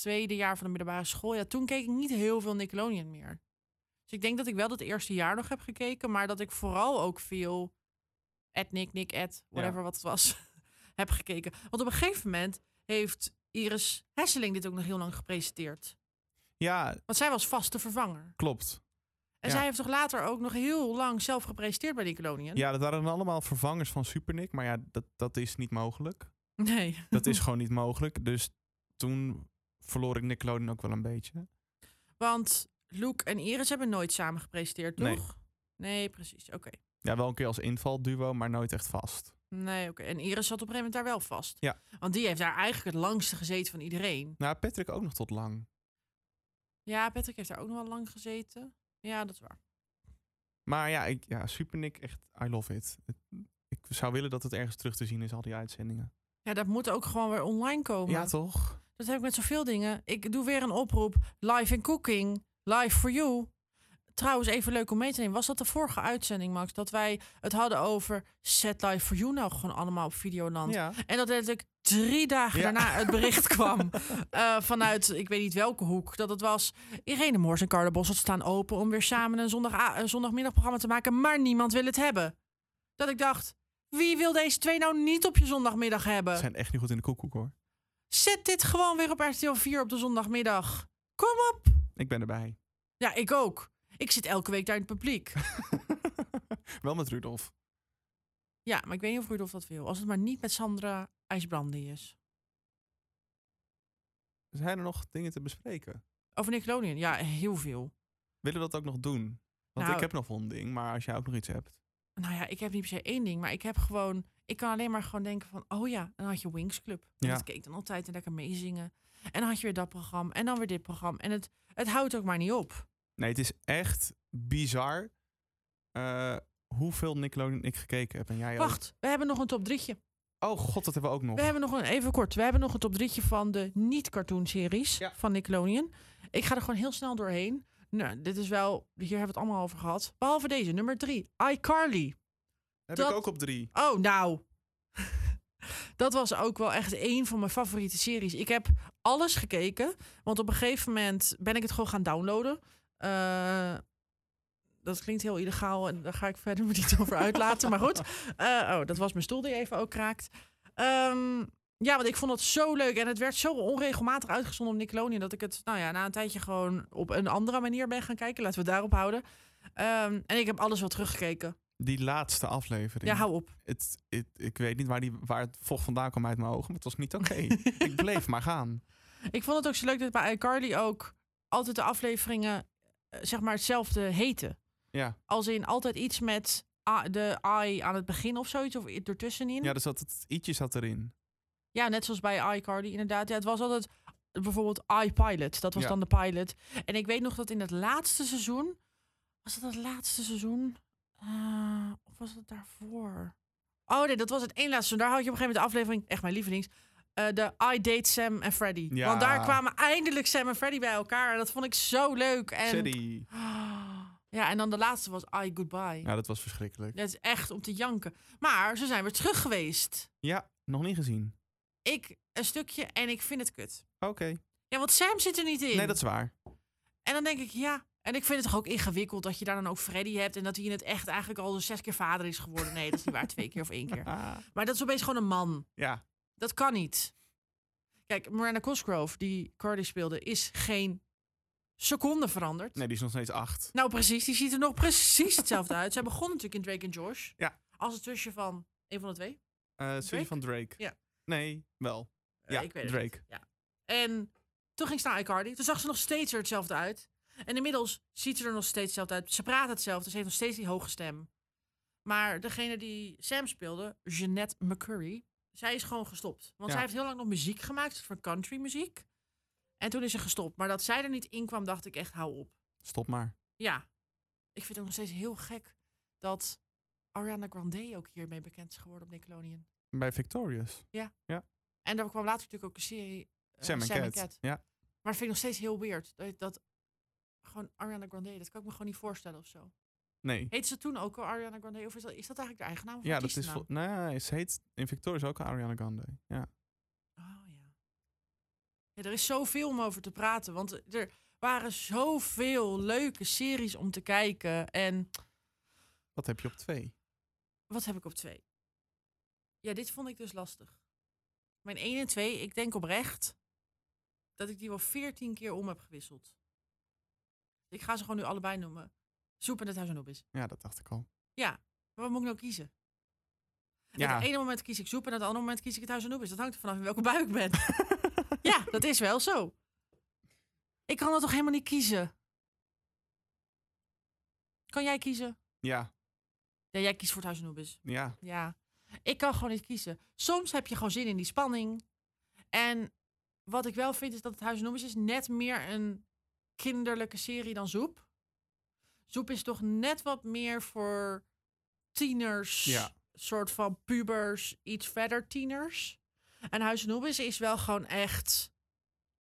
[SPEAKER 2] tweede jaar van de middelbare school. Ja, toen keek ik niet heel veel Nickelodeon meer. Dus ik denk dat ik wel dat eerste jaar nog heb gekeken. Maar dat ik vooral ook veel Ethnic, Nick, Ed, whatever
[SPEAKER 4] Ja.
[SPEAKER 2] wat het was, (laughs) heb gekeken. Want op een gegeven moment heeft Iris Hesseling dit ook nog heel lang gepresenteerd.
[SPEAKER 1] Ja,
[SPEAKER 2] Want zij was vaste vervanger.
[SPEAKER 1] klopt.
[SPEAKER 2] En
[SPEAKER 1] Ja.
[SPEAKER 2] zij heeft toch later ook nog heel lang zelf gepresenteerd bij Nickelodeon?
[SPEAKER 1] Ja, dat waren allemaal vervangers van Supernik, maar ja, dat, dat is niet mogelijk.
[SPEAKER 2] Nee.
[SPEAKER 1] Dat is gewoon niet mogelijk. Dus toen verloor ik Nickelodeon ook wel een beetje.
[SPEAKER 2] Want Luke en Iris hebben nooit samen gepresenteerd,
[SPEAKER 1] Nee.
[SPEAKER 2] toch? Nee, precies. Oké.
[SPEAKER 1] Ja, wel een keer als invalduo, maar nooit echt vast.
[SPEAKER 2] Nee, oké. En Iris zat op een gegeven moment daar wel vast.
[SPEAKER 1] Ja.
[SPEAKER 2] Want die heeft daar eigenlijk het langste gezeten van iedereen.
[SPEAKER 1] Nou, Patrick ook nog tot lang.
[SPEAKER 2] Ja, Patrick heeft daar ook nog wel lang gezeten. Ja, dat is waar.
[SPEAKER 1] Maar ja, ik, ja Supernik, echt, I love it. Het- Ik zou willen dat het ergens terug te zien is, al die uitzendingen.
[SPEAKER 2] Ja, dat moet ook gewoon weer online komen.
[SPEAKER 1] Ja, toch?
[SPEAKER 2] Dat heb ik met zoveel dingen. Ik doe weer een oproep. Live in cooking. Live for you. Trouwens, even leuk om mee te nemen. Was dat de vorige uitzending, Max? Dat wij het hadden over set live for you nou gewoon allemaal op Videoland.
[SPEAKER 4] Ja.
[SPEAKER 2] En dat letterlijk drie dagen
[SPEAKER 4] Ja.
[SPEAKER 2] daarna het
[SPEAKER 4] (laughs)
[SPEAKER 2] bericht kwam eh, vanuit, ik weet niet welke hoek, dat het was Irene Moors en Carla Bossert staan open om weer samen een, zondag een zondagmiddagprogramma te maken, maar niemand wil het hebben. Dat ik dacht, wie wil deze twee nou niet op je zondagmiddag hebben?
[SPEAKER 1] Ze zijn echt niet goed in de koekoek, hoor.
[SPEAKER 2] Zet dit gewoon weer op RTL 4 op de zondagmiddag. Kom op.
[SPEAKER 1] Ik ben erbij. (laughs)
[SPEAKER 2] Ja, ik ook. Ik zit elke week daar in het publiek.
[SPEAKER 1] Wel met Rudolf.
[SPEAKER 2] Ja, maar ik weet niet of Rudolf dat wil. Als het maar niet met Sandra IJsbrandi is.
[SPEAKER 1] Zijn er nog dingen te bespreken?
[SPEAKER 2] Over Nickelodeon? Ja, heel veel.
[SPEAKER 1] Willen we dat ook nog doen? Want
[SPEAKER 2] Nou-
[SPEAKER 1] ik heb nog wel een ding, maar als jij ook nog iets hebt.
[SPEAKER 2] Nou ja, ik heb niet per se één ding, maar ik heb gewoon... Ik kan alleen maar gewoon denken van, oh ja, en dan had je Wings Club. En
[SPEAKER 1] Ja.
[SPEAKER 2] Dat keek ik dan altijd en lekker meezingen. En dan had je weer dat programma en dan weer dit programma. En het, het houdt ook maar niet op.
[SPEAKER 1] Nee, het is echt bizar eh, hoeveel Nickelodeon ik gekeken heb. En jij ook.
[SPEAKER 2] Wacht, we hebben nog een top drietje.
[SPEAKER 1] Oh god, dat hebben we ook nog.
[SPEAKER 2] We hebben nog een, even kort, we hebben nog een top drietje van de niet-cartoonseries van Nickelodeon. Ik ga er gewoon heel snel doorheen. Nou, dit is wel, hier hebben we het allemaal over gehad. Behalve deze, nummer drie, iCarly.
[SPEAKER 1] Heb
[SPEAKER 2] Dat-
[SPEAKER 1] ik ook op drie.
[SPEAKER 2] Oh, nou. (laughs) Dat was ook wel echt een van mijn favoriete series. Ik heb alles gekeken, want op een gegeven moment ben ik het gewoon gaan downloaden. Eh, dat klinkt heel illegaal en daar ga ik verder (laughs) me niet over uitlaten. Maar goed, Eh, oh, dat was mijn stoel die even ook kraakt. Ehm, Ja, want ik vond dat zo leuk. En het werd zo onregelmatig uitgezonden op Nickelodeon... dat ik het nou ja, na een tijdje gewoon op een andere manier ben gaan kijken. Laten we het daarop houden. Ehm, en ik heb alles wel teruggekeken.
[SPEAKER 1] Die laatste aflevering.
[SPEAKER 2] Ja, hou op.
[SPEAKER 1] Het, het- ik weet niet waar, die, waar het vocht vandaan kwam uit mijn ogen, maar het was niet
[SPEAKER 2] (laughs)
[SPEAKER 1] oké. ik bleef maar gaan.
[SPEAKER 2] Ik vond het ook zo leuk dat bij iCarly ook altijd de afleveringen eh, zeg maar hetzelfde heten.
[SPEAKER 1] Ja.
[SPEAKER 2] Als in altijd iets met a- de I aan het begin of zoiets, of i- ertussenin.
[SPEAKER 1] ja, er zat het i'tje zat erin.
[SPEAKER 2] Ja, net zoals bij iCarly inderdaad. Ja, het was altijd bijvoorbeeld iPilot. Dat was
[SPEAKER 1] Ja.
[SPEAKER 2] dan de pilot. En ik weet nog dat in het laatste seizoen... Was dat het laatste seizoen? Eh, of was het daarvoor? Oh nee, dat was het één laatste seizoen. Daar had je op een gegeven moment de aflevering... Echt mijn lievelings. eh, de I Date Sam en Freddy.
[SPEAKER 1] Ja.
[SPEAKER 2] Want daar kwamen eindelijk Sam en Freddy bij elkaar. En dat vond ik zo leuk. En...
[SPEAKER 1] Sadie.
[SPEAKER 2] Ja, en dan de laatste was I Goodbye.
[SPEAKER 1] Ja, dat was verschrikkelijk.
[SPEAKER 2] Dat is echt om te janken. Maar ze zijn weer terug geweest.
[SPEAKER 1] Ja, nog niet gezien.
[SPEAKER 2] Ik een stukje en ik vind het kut.
[SPEAKER 1] Oké.
[SPEAKER 2] Ja, want Sam zit er niet in.
[SPEAKER 1] Nee, dat is waar.
[SPEAKER 2] En dan denk ik, ja. En ik vind het toch ook ingewikkeld dat je daar dan ook Freddy hebt... en dat hij in het echt eigenlijk al dus zes keer vader is geworden. Nee, dat is niet waar. Twee keer of
[SPEAKER 1] (laughs)
[SPEAKER 2] één keer. Maar dat is opeens gewoon een man.
[SPEAKER 1] Ah, Ja.
[SPEAKER 2] Dat kan niet. Kijk, Miranda Cosgrove, die Cardi speelde, is geen seconde veranderd.
[SPEAKER 1] Nee, die is nog steeds acht.
[SPEAKER 2] Nou, precies. Die ziet er nog precies hetzelfde uit. Zij begon natuurlijk in Drake en Josh.
[SPEAKER 1] Ja.
[SPEAKER 2] Als het zusje van een van de twee.
[SPEAKER 1] Eh Serie
[SPEAKER 2] Drake?
[SPEAKER 1] van Drake.
[SPEAKER 2] Ja.
[SPEAKER 1] Nee, wel. Ja,
[SPEAKER 2] Eh, ik weet het
[SPEAKER 1] Drake.
[SPEAKER 2] Ja. En toen ging ze naar iCarly. Toen zag ze nog steeds er hetzelfde uit. En inmiddels ziet ze er nog steeds hetzelfde uit. Ze praat hetzelfde. Ze heeft nog steeds die hoge stem. Maar degene die Sam speelde, Jeanette McCurry, zij is gewoon gestopt. Want
[SPEAKER 4] Ja.
[SPEAKER 2] zij heeft heel lang nog muziek gemaakt, soort van country muziek. En toen is ze gestopt. Maar dat zij er niet in kwam, dacht ik echt, hou op.
[SPEAKER 1] Stop maar.
[SPEAKER 2] Ja, ik vind het ook nog steeds heel gek dat Ariana Grande ook hiermee bekend is geworden op Nickelodeon.
[SPEAKER 1] Bij Victorious.
[SPEAKER 2] Ja.
[SPEAKER 1] Ja.
[SPEAKER 2] En daar kwam later natuurlijk ook een serie eh,
[SPEAKER 1] Sam en Cat. Ja.
[SPEAKER 2] Maar dat vind ik nog steeds heel weird. Dat, dat gewoon Ariana Grande, dat kan ik me gewoon niet voorstellen of zo.
[SPEAKER 1] Nee.
[SPEAKER 2] Heet ze toen ook al Ariana Grande? Of is dat, is dat eigenlijk de eigen naam? Of
[SPEAKER 1] Ja, dat is.
[SPEAKER 2] artiestennaam?
[SPEAKER 1] vol- Nee, ze heet in Victorious ook Ariana Grande. Ja.
[SPEAKER 2] Oh, Ja, er is zoveel om over te praten. Want er waren zoveel leuke series om te kijken. En
[SPEAKER 1] Wat heb je op twee?
[SPEAKER 2] wat heb ik op twee? Ja, dit vond ik dus lastig. Mijn 1 en 2, ik denk oprecht dat ik die wel 14 keer om heb gewisseld. Ik ga ze gewoon nu allebei noemen. Soep en het huis en op is.
[SPEAKER 1] Ja, dat dacht ik al.
[SPEAKER 2] Ja, maar wat moet ik nou kiezen? Ja. e-
[SPEAKER 1] Ja.
[SPEAKER 2] het ene moment kies ik soep en het andere moment kies ik het huis en is. Dat hangt er vanaf in welke bui ik ben. ja, dat is wel zo. Ik kan dat toch helemaal niet kiezen? Kan jij kiezen?
[SPEAKER 1] Ja.
[SPEAKER 2] Ja, jij kiest voor het huis en is.
[SPEAKER 1] Ja.
[SPEAKER 2] Ja, ik kan gewoon niet kiezen. Soms heb je gewoon zin in die spanning. En wat ik wel vind is dat het Huis Noemers is net meer een kinderlijke serie dan Zoep. Zoep is toch net wat meer voor tieners,
[SPEAKER 1] Ja.
[SPEAKER 2] soort van pubers, iets verder tieners. En Huis Noemers is wel gewoon echt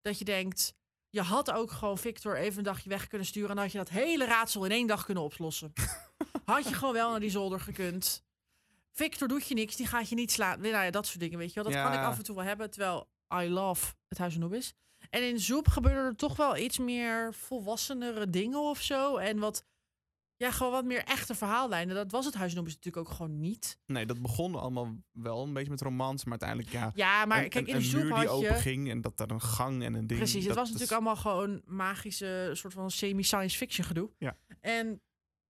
[SPEAKER 2] dat je denkt, je had ook gewoon Victor even een dagje weg kunnen sturen en dan had je dat hele raadsel in één dag kunnen
[SPEAKER 1] (laughs)
[SPEAKER 2] oplossen. had je gewoon wel naar die zolder gekund. Victor doet je niks, die gaat je niet slaan. Nou ja, dat soort dingen, weet je wel. Dat
[SPEAKER 4] Ja.
[SPEAKER 2] kan ik af en toe wel hebben, terwijl I love het Huis van Nobis. En in Zoep gebeurde er toch wel iets meer volwassenere dingen of zo. En wat, ja, gewoon wat meer echte verhaallijnen. Dat was het Huis van Nobis natuurlijk ook gewoon niet.
[SPEAKER 1] Nee, dat begon allemaal wel een beetje met romans, maar uiteindelijk ja.
[SPEAKER 2] Ja, maar
[SPEAKER 1] een,
[SPEAKER 2] kijk,
[SPEAKER 1] een-
[SPEAKER 2] in de
[SPEAKER 1] een
[SPEAKER 2] zoek
[SPEAKER 1] muur die
[SPEAKER 2] had je-
[SPEAKER 1] open ging en dat daar een gang en een ding.
[SPEAKER 2] Precies,
[SPEAKER 1] dat,
[SPEAKER 2] het was
[SPEAKER 1] dat
[SPEAKER 2] natuurlijk allemaal gewoon magische, soort van semi-science fiction gedoe.
[SPEAKER 1] Ja.
[SPEAKER 2] En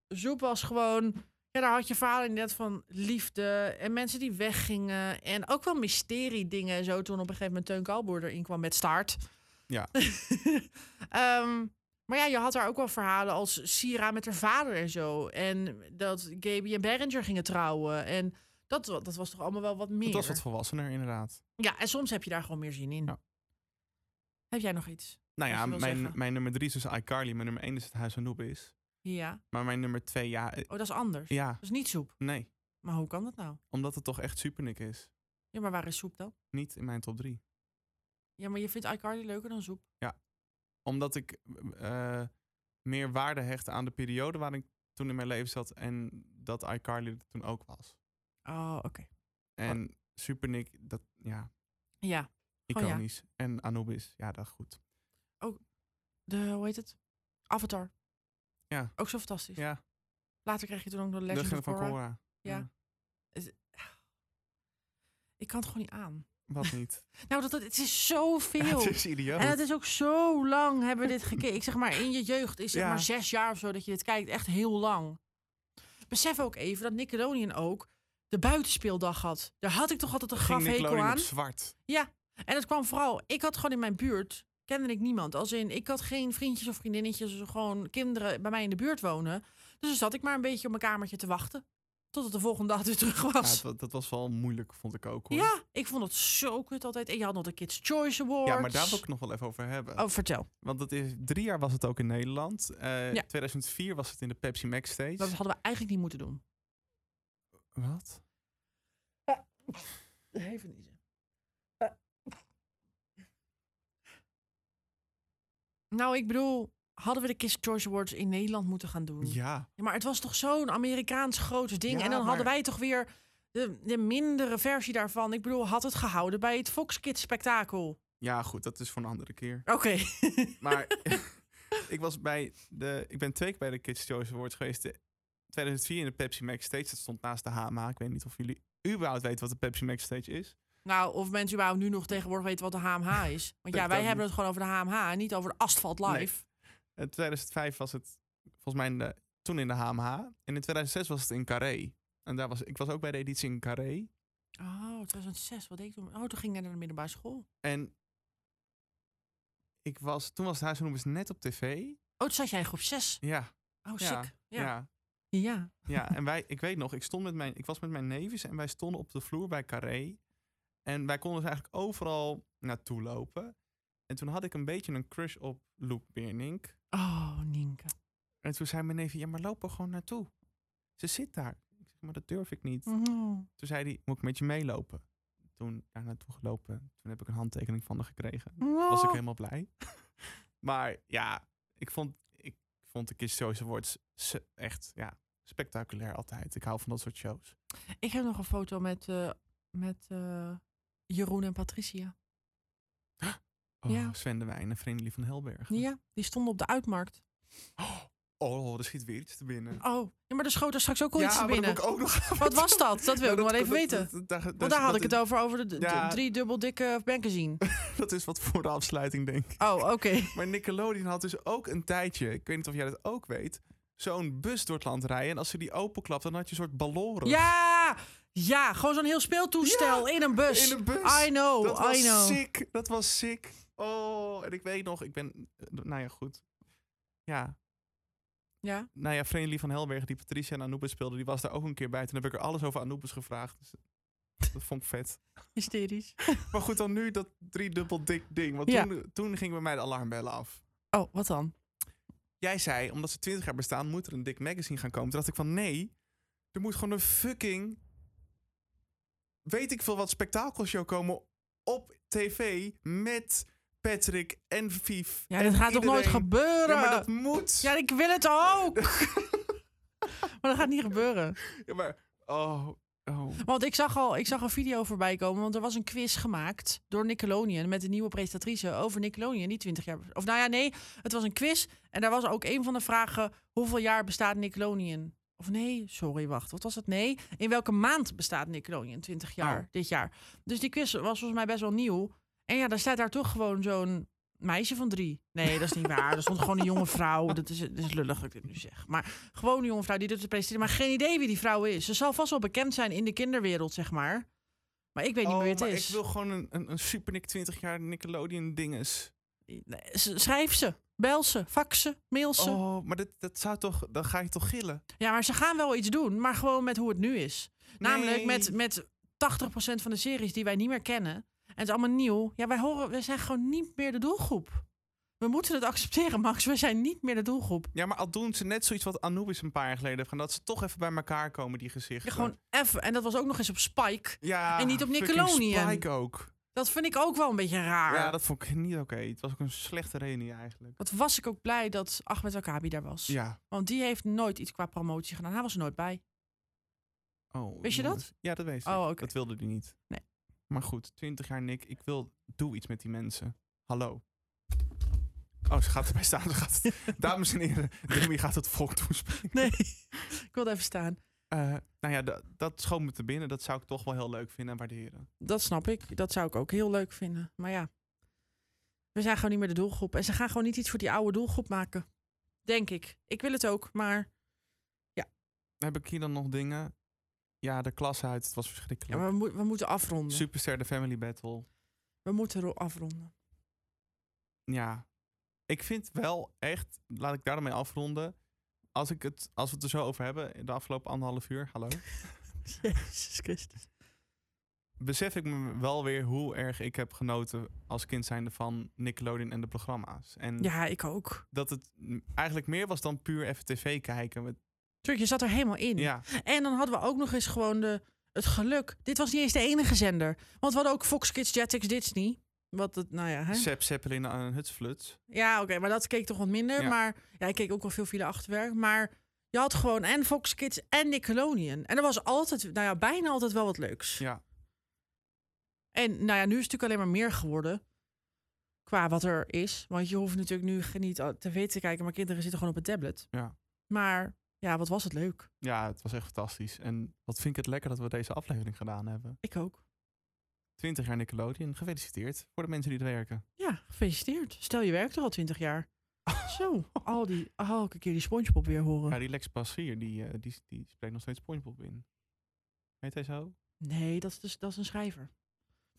[SPEAKER 2] Zoep was gewoon... Ja, daar had je verhalen net van liefde en mensen die weggingen. En ook wel mysterie dingen en zo. Toen op een gegeven moment Teun Kalboer erin kwam met staart.
[SPEAKER 1] Ja.
[SPEAKER 2] (laughs) Ehm, maar ja, je had daar ook wel verhalen als Sira met haar vader en zo. En dat Gaby en Berenger gingen trouwen. En dat, wa- dat was toch allemaal wel wat meer.
[SPEAKER 1] Het was wat volwassener, inderdaad.
[SPEAKER 2] Ja, en soms heb je daar gewoon meer zin in. Heb jij nog iets?
[SPEAKER 1] Nou
[SPEAKER 2] wat
[SPEAKER 1] ja,
[SPEAKER 2] je wil
[SPEAKER 1] mijn,
[SPEAKER 2] zeggen?
[SPEAKER 1] mijn nummer drie is dus iCarly, mijn nummer één is het Huis van Noobis.
[SPEAKER 2] Ja.
[SPEAKER 1] Maar mijn nummer twee, ja. eh,
[SPEAKER 2] Oh, dat is anders.
[SPEAKER 1] Ja.
[SPEAKER 2] Dat is niet soep.
[SPEAKER 1] Nee,
[SPEAKER 2] Maar hoe kan dat nou?
[SPEAKER 1] omdat het toch echt supernik is.
[SPEAKER 2] Ja, maar waar is soep dan?
[SPEAKER 1] Niet in mijn top drie.
[SPEAKER 2] Ja, maar je vindt iCarly leuker dan soep.
[SPEAKER 1] Ja. Omdat ik eh, meer waarde hecht aan de periode waarin ik toen in mijn leven zat en dat iCarly er toen ook was.
[SPEAKER 2] Oh, oké.
[SPEAKER 1] En Supernik, dat ja,
[SPEAKER 2] Ja. Gewoon Oh, ja.
[SPEAKER 1] iconisch. En Anubis, ja, dat goed.
[SPEAKER 2] Ook de, hoe heet het? Avatar.
[SPEAKER 1] Ja.
[SPEAKER 2] Ook zo fantastisch.
[SPEAKER 1] Ja.
[SPEAKER 2] Later kreeg je toen ook nog Legend
[SPEAKER 1] Legend
[SPEAKER 2] of
[SPEAKER 1] van
[SPEAKER 2] Korra. (sighs)
[SPEAKER 1] Korra.
[SPEAKER 2] Ja.
[SPEAKER 1] Ja.
[SPEAKER 2] Het- Ik kan het gewoon niet aan.
[SPEAKER 1] Wat
[SPEAKER 2] (laughs)
[SPEAKER 1] niet?
[SPEAKER 2] Nou, dat, dat- het is zoveel.
[SPEAKER 1] Het is idioot.
[SPEAKER 2] En het is ook zo lang hebben we dit gekeken. Ik zeg maar, in je jeugd is zeg
[SPEAKER 1] Ja.
[SPEAKER 2] maar zes jaar of zo dat je dit kijkt. Echt heel lang. Besef ook even dat Nickelodeon ook de buitenspeeldag had. Daar had ik toch altijd een
[SPEAKER 1] Ging
[SPEAKER 2] grafhekel
[SPEAKER 1] Nickelodeon
[SPEAKER 2] aan.
[SPEAKER 1] op zwart.
[SPEAKER 2] Ja, en het kwam vooral... Ik had gewoon in mijn buurt... kende ik niemand. Als in, ik had geen vriendjes of vriendinnetjes... of gewoon kinderen bij mij in de buurt wonen. Dus dan zat ik maar een beetje op mijn kamertje te wachten. Tot het de volgende dag weer terug
[SPEAKER 1] Ja,
[SPEAKER 2] was.
[SPEAKER 1] het wa- dat was wel moeilijk, vond ik ook. Hoor.
[SPEAKER 2] Ja, ik vond het zo kut altijd. En je had nog de Kids' Choice Awards.
[SPEAKER 1] Ja, maar daar wil ik het nog wel even over hebben.
[SPEAKER 2] Oh, vertel.
[SPEAKER 1] Want dat is, drie jaar was het ook in Nederland. Eh,
[SPEAKER 2] Ja.
[SPEAKER 1] 2004 was het in de Pepsi Max Stage.
[SPEAKER 2] Dat hadden we eigenlijk niet moeten doen.
[SPEAKER 1] Wat?
[SPEAKER 2] Even niet. Eh. Nou, ik bedoel, hadden we de Kids' Choice Awards in Nederland moeten gaan doen?
[SPEAKER 1] Ja.
[SPEAKER 2] Ja, maar het was toch zo'n Amerikaans groot ding.
[SPEAKER 1] Ja,
[SPEAKER 2] en dan
[SPEAKER 1] maar-
[SPEAKER 2] hadden wij toch weer de, de mindere versie daarvan. Ik bedoel, had het gehouden bij het Fox Kids spektakel.
[SPEAKER 1] Ja, goed, dat is voor een andere keer.
[SPEAKER 2] Oké.
[SPEAKER 1] (laughs) Maar (laughs) ik was bij de. Ik ben twee keer bij de Kids Choice Awards geweest. De 2004 in de Pepsi Max Stage. Dat stond naast de HMA. Ik weet niet of jullie überhaupt weten wat de Pepsi Max Stage is.
[SPEAKER 2] Nou, of mensen überhaupt nu nog tegenwoordig weten wat de HMH is. Want ja,
[SPEAKER 1] ook
[SPEAKER 2] wij hebben
[SPEAKER 1] niet.
[SPEAKER 2] het gewoon over de HMH en niet over de Asphalt Live.
[SPEAKER 1] Nee. In 2005 was het volgens mij in de- toen in de HMH. En in 2006 was het in Carré. En daar was, ik was ook bij de editie in Carré.
[SPEAKER 2] Oh, 2006, wat deed ik toen? Oh, toen ging ik naar de middelbare school.
[SPEAKER 1] En ik was, toen was het Huis van Noemers net op tv.
[SPEAKER 2] Oh, toen zat jij in groep 6.
[SPEAKER 1] Ja.
[SPEAKER 2] Oh,
[SPEAKER 1] Ja,
[SPEAKER 2] sick. Ja.
[SPEAKER 1] ja.
[SPEAKER 2] Ja. ja.
[SPEAKER 1] Ja, en wij, ik weet nog, ik, stond met mijn, ik was met mijn neefjes en wij stonden op de vloer bij Carré. En wij konden dus eigenlijk overal naartoe lopen. En toen had ik een beetje een crush op Loek Beernink.
[SPEAKER 2] Oh, Nienke.
[SPEAKER 1] En toen zei mijn neefje, ja, maar loop er gewoon naartoe. Ze zit daar. Ik zeg, maar dat durf ik
[SPEAKER 2] Hm.
[SPEAKER 1] niet.
[SPEAKER 2] Mhm.
[SPEAKER 1] Toen zei hij, moet ik met je meelopen? Toen daar naartoe gelopen. Toen heb ik een handtekening van haar gekregen. Was ik
[SPEAKER 2] Wow.
[SPEAKER 1] helemaal blij. (laughs) maar ja, ik vond, ik vond de Kids Choice Awards ze- echt ja, spectaculair altijd. Ik hou van dat soort shows.
[SPEAKER 2] Ik heb nog een foto met, eh, met eh, Jeroen en Patricia.
[SPEAKER 1] Oh,
[SPEAKER 2] Ja.
[SPEAKER 1] Sven de Wijn en Vriendelijk van Helberg.
[SPEAKER 2] Ja, die stonden op de uitmarkt.
[SPEAKER 1] Oh, er schiet weer iets te binnen.
[SPEAKER 2] Oh, ja, maar er schoot er straks ook al
[SPEAKER 1] Ja,
[SPEAKER 2] iets
[SPEAKER 1] maar dat
[SPEAKER 2] binnen.
[SPEAKER 1] moet ik ook nog-
[SPEAKER 2] Wat
[SPEAKER 1] (laughs)
[SPEAKER 2] was dat? Dat
[SPEAKER 1] Nou,
[SPEAKER 2] wil ik nog
[SPEAKER 1] dat-
[SPEAKER 2] wel even
[SPEAKER 1] dat-
[SPEAKER 2] weten.
[SPEAKER 1] dat- dat- daar- daar
[SPEAKER 2] Want
[SPEAKER 1] is-
[SPEAKER 2] daar had
[SPEAKER 1] dat
[SPEAKER 2] ik het
[SPEAKER 1] is-
[SPEAKER 2] over, over de, de
[SPEAKER 1] Ja.
[SPEAKER 2] drie dubbel dikke
[SPEAKER 1] (laughs)
[SPEAKER 2] bankenzien.
[SPEAKER 1] dat is wat voor de afsluiting, denk ik.
[SPEAKER 2] Oh, oké.
[SPEAKER 1] (laughs) Maar Nickelodeon had dus ook een tijdje, ik weet niet of jij dat ook weet, zo'n bus door het land rijden. En als ze die openklapt, dan had je een soort balloren.
[SPEAKER 2] Ja! Ja, gewoon zo'n heel speeltoestel in een bus.
[SPEAKER 1] In een bus.
[SPEAKER 2] I know,
[SPEAKER 1] dat was
[SPEAKER 2] I know.
[SPEAKER 1] sick. Dat was sick. Oh, en ik weet nog, ik ben... eh, Nou ja, goed. Ja,
[SPEAKER 2] Ja.
[SPEAKER 1] nou ja, Vreemdelie van Helberg, die Patricia en Anubis speelde, die was daar ook een keer bij. Toen heb ik er alles over Anubis gevraagd. Dus dat vond ik vet.
[SPEAKER 2] Hysterisch.
[SPEAKER 1] Maar goed, dan nu dat driedubbel dik ding. Want
[SPEAKER 2] Ja.
[SPEAKER 1] toen, eh, toen ging bij mij de alarmbellen af.
[SPEAKER 2] Oh, wat dan?
[SPEAKER 1] Jij zei, omdat ze 20 jaar bestaan, moet er een dik magazine gaan komen. Toen dacht ik van, nee, er moet gewoon een fucking... Weet ik veel wat spektakelshow komen op tv met Patrick en Vief.
[SPEAKER 2] Ja,
[SPEAKER 1] en
[SPEAKER 2] dit gaat toch nooit
[SPEAKER 1] iedereen.
[SPEAKER 2] gebeuren?
[SPEAKER 1] Ja, maar dat moet.
[SPEAKER 2] Ja, ik wil het ook! (laughs) maar dat gaat niet gebeuren.
[SPEAKER 1] Ja, maar... Oh, oh.
[SPEAKER 2] Want ik zag, al, ik zag een video voorbij komen, want er was een quiz gemaakt door Nickelodeon met de nieuwe presentatrice over Nickelodeon, die 20 jaar. Of nou ja, nee, het was een quiz en daar was ook een van de vragen: hoeveel jaar bestaat Nickelodeon? Of nee, sorry, wacht, wat was het? Nee, in welke maand bestaat Nickelodeon 20 jaar
[SPEAKER 1] Oh.
[SPEAKER 2] dit jaar? Dus die quiz was volgens mij best wel nieuw. En ja, daar staat daar toch gewoon zo'n meisje van drie. Nee, dat is niet waar. Er stond gewoon een jonge vrouw. Dat is, dat is lullig dat ik dit nu zeg. Maar gewoon een jonge vrouw die dit te presenteren. Maar geen idee wie die vrouw is. Ze zal vast wel bekend zijn in de kinderwereld, zeg maar. Maar ik weet niet
[SPEAKER 1] Oh,
[SPEAKER 2] meer wie het
[SPEAKER 1] maar
[SPEAKER 2] is.
[SPEAKER 1] Ik wil gewoon een, een, een super Nick 20 jaar Nickelodeon dinges.
[SPEAKER 2] S- Schrijf ze, bel ze, fax ze, mail ze.
[SPEAKER 1] Oh, maar dat, dat zou toch, dan ga je toch gillen?
[SPEAKER 2] Ja, maar ze gaan wel iets doen, maar gewoon met hoe het nu is. Namelijk
[SPEAKER 1] Nee.
[SPEAKER 2] met, met 80% van de series die wij niet meer kennen. En het is allemaal nieuw. Ja, wij horen, we zijn gewoon niet meer de doelgroep. We moeten het accepteren, Max. We zijn niet meer de doelgroep.
[SPEAKER 1] Ja, maar al doen ze net zoiets wat Anubis een paar jaar geleden heeft gedaan, dat ze toch even bij elkaar komen, die gezichten.
[SPEAKER 2] Ja, gewoon even. En dat was ook nog eens op Spike.
[SPEAKER 1] Ja,
[SPEAKER 2] en niet op
[SPEAKER 1] fucking
[SPEAKER 2] Nickelodeon.
[SPEAKER 1] Spike ook.
[SPEAKER 2] Dat vind ik ook wel een beetje raar.
[SPEAKER 1] Ja, dat vond ik niet oké. Het was ook een slechte reunie eigenlijk.
[SPEAKER 2] Wat was ik ook blij dat Ahmed Wakabi daar was.
[SPEAKER 1] Ja.
[SPEAKER 2] Want die heeft nooit iets qua promotie gedaan. Hij was er nooit bij.
[SPEAKER 1] Oh,
[SPEAKER 2] Wist je
[SPEAKER 1] jongens.
[SPEAKER 2] dat?
[SPEAKER 1] Ja, dat weet ik.
[SPEAKER 2] Oh, oké.
[SPEAKER 1] Dat wilde hij niet.
[SPEAKER 2] Nee.
[SPEAKER 1] Maar goed, 20 jaar Nick, ik wil, doe iets met die mensen. Hallo. Oh, ze gaat erbij
[SPEAKER 2] (laughs)
[SPEAKER 1] staan. Ze gaat het- Dames en heren, Remy gaat het volk toespreken.
[SPEAKER 2] Nee, ik wilde even staan.
[SPEAKER 1] Eh, nou ja, da- dat schoot me te binnen. Dat zou ik toch wel heel leuk vinden en waarderen.
[SPEAKER 2] Dat snap ik. Dat zou ik ook heel leuk vinden. Maar ja, we zijn gewoon niet meer de doelgroep. En ze gaan gewoon niet iets voor die oude doelgroep maken. Denk ik. Ik wil het ook, maar,
[SPEAKER 1] Heb ik hier dan nog dingen? Ja, de klas uit. Het was
[SPEAKER 2] ja,
[SPEAKER 1] verschrikkelijk.
[SPEAKER 2] maar we, moet- we moeten afronden.
[SPEAKER 1] Superster, de Family Battle.
[SPEAKER 2] We moeten ro- afronden.
[SPEAKER 1] Ja. Ik vind wel echt, laat ik daarmee afronden. Als, ik het, als we het er zo over hebben, de afgelopen anderhalf uur, hallo.
[SPEAKER 2] (laughs) Jezus Christus.
[SPEAKER 1] Besef ik me wel weer hoe erg ik heb genoten als kind zijnde van Nickelodeon en de programma's. En
[SPEAKER 2] Ja, ik ook.
[SPEAKER 1] dat het mm, eigenlijk meer was dan puur even tv kijken. Met,
[SPEAKER 2] Tuurlijk, je zat er helemaal in.
[SPEAKER 1] Ja.
[SPEAKER 2] En dan hadden we ook nog eens gewoon de, het geluk. Dit was niet eens de enige zender. Want we hadden ook Fox Kids, Jetix, Disney. Wat het, nou ja, hè?
[SPEAKER 1] Sepp Zeppelin en Hutsfluts.
[SPEAKER 2] Ja, oké, maar dat keek toch wat minder.
[SPEAKER 1] Ja.
[SPEAKER 2] Maar ja, ik keek ook wel veel file achterwerk. Maar je had gewoon en Fox Kids en Nickelodeon. En er was altijd, nou ja, bijna altijd wel wat leuks.
[SPEAKER 1] Ja.
[SPEAKER 2] En nou ja, nu is het natuurlijk alleen maar meer geworden. Qua wat er is. Want je hoeft natuurlijk nu ge- niet al- tv te kijken, maar kinderen zitten gewoon op een tablet.
[SPEAKER 1] Ja.
[SPEAKER 2] Maar ja, wat was het leuk?
[SPEAKER 1] ja, het was echt fantastisch. En wat vind ik het lekker dat we deze aflevering gedaan hebben.
[SPEAKER 2] Ik ook.
[SPEAKER 1] 20 jaar Nickelodeon. Gefeliciteerd voor de mensen die het werken.
[SPEAKER 2] Ja, gefeliciteerd. Stel je werkt er al twintig
[SPEAKER 1] (laughs)
[SPEAKER 2] jaar. Zo, al die, elke keer die SpongeBob weer horen.
[SPEAKER 1] Ja, die Lex Passier, die, eh, die, die spreekt nog steeds SpongeBob in. Heet hij zo?
[SPEAKER 2] Nee, dat is, dus, dat is een schrijver.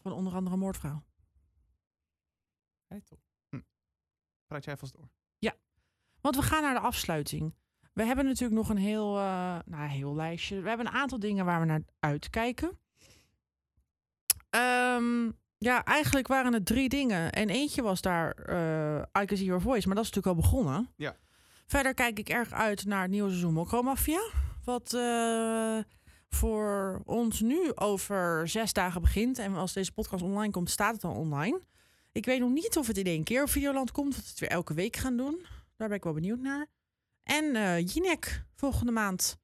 [SPEAKER 2] Van onder andere Moordvrouw.
[SPEAKER 1] Heet toch? Hm. Praat jij vast door.
[SPEAKER 2] Ja, want we gaan naar de afsluiting. We hebben natuurlijk nog een heel, eh, nou, heel lijstje. We hebben een aantal dingen waar we naar uitkijken. Ehm, ja, eigenlijk waren het drie dingen. En eentje was daar eh I Can See Your Voice, maar dat is natuurlijk al begonnen.
[SPEAKER 1] Ja.
[SPEAKER 2] Verder kijk ik erg uit naar het nieuwe seizoen Mokromafia. Wat eh, voor ons nu over zes dagen begint. En als deze podcast online komt, staat het al online. Ik weet nog niet of het in één keer op Videoland komt. Of we het weer elke week gaan doen. Daar ben ik wel benieuwd naar. En eh Jinek volgende maand.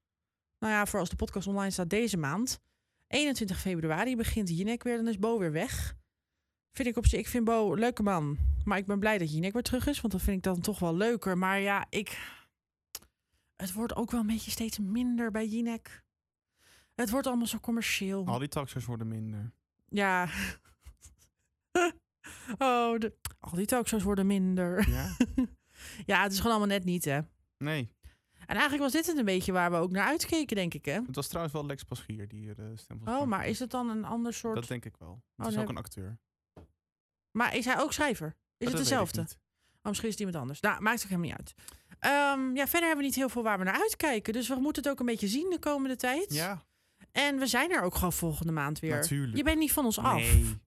[SPEAKER 2] Nou ja, voor als de podcast online staat deze maand. 21 februari begint Jinek weer. Dan is Bo weer weg. Vind ik op zich. Ik vind Bo een leuke man. Maar ik ben blij dat Jinek weer terug is. Want dat vind ik dan toch wel leuker. Maar ja, ik. Het wordt ook wel een beetje steeds minder bij Jinek. Het wordt allemaal zo commercieel.
[SPEAKER 1] Al die taxers worden minder.
[SPEAKER 2] Ja. (laughs) oh, de... al die talkshows worden minder. (laughs)
[SPEAKER 1] Ja.
[SPEAKER 2] ja, het is gewoon allemaal net niet, hè?
[SPEAKER 1] Nee.
[SPEAKER 2] En eigenlijk was dit het een beetje waar we ook naar uitkeken, denk ik, hè?
[SPEAKER 1] Het was trouwens wel Lex Paschier die eh, de stem van
[SPEAKER 2] Oh,
[SPEAKER 1] Spongebob
[SPEAKER 2] maar
[SPEAKER 1] deed.
[SPEAKER 2] is het dan een ander soort... Oh,
[SPEAKER 1] Dat denk ik wel. Het
[SPEAKER 2] dan
[SPEAKER 1] is ook
[SPEAKER 2] heb-
[SPEAKER 1] een acteur.
[SPEAKER 2] Maar is hij ook schrijver? Is
[SPEAKER 1] dat
[SPEAKER 2] het
[SPEAKER 1] weet ik
[SPEAKER 2] dezelfde?
[SPEAKER 1] niet.
[SPEAKER 2] Oh, misschien is het iemand anders. Nou, maakt ook helemaal niet uit. Ehm, ja, verder hebben we niet heel veel waar we naar uitkijken. Dus we moeten het ook een beetje zien de komende tijd.
[SPEAKER 1] Ja.
[SPEAKER 2] En we zijn er ook gewoon volgende maand weer.
[SPEAKER 1] Natuurlijk.
[SPEAKER 2] Je bent niet van ons af.
[SPEAKER 1] Nee.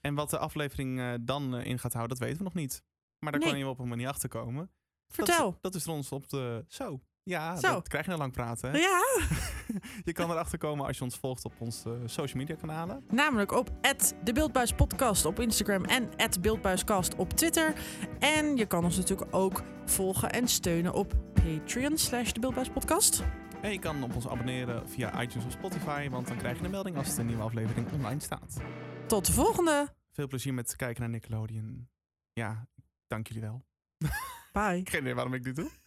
[SPEAKER 1] En wat de aflevering eh, dan eh, in gaat houden, dat weten we nog niet. Maar daar
[SPEAKER 2] Nee.
[SPEAKER 1] kan je wel op een manier achter komen.
[SPEAKER 2] Vertel.
[SPEAKER 1] Dat, dat is er ons op de. Zo. Ja,
[SPEAKER 2] Zo.
[SPEAKER 1] dat krijg je nou lang praten. Hè?
[SPEAKER 2] Ja.
[SPEAKER 1] Je kan erachter komen als je ons volgt op onze eh, social media kanalen.
[SPEAKER 2] Namelijk op de Beeldbuis Podcast op Instagram en Beeldbuiscast op Twitter. En je kan ons natuurlijk ook volgen en steunen op Patreon slash de Beeldbuis Podcast.
[SPEAKER 1] En je kan op ons abonneren via iTunes of Spotify, want dan krijg je een melding als de nieuwe aflevering online staat.
[SPEAKER 2] Tot de volgende.
[SPEAKER 1] Veel plezier met kijken naar Nickelodeon. Ja, dank jullie wel.
[SPEAKER 2] Bye.
[SPEAKER 1] Geen idee waarom ik dit doe.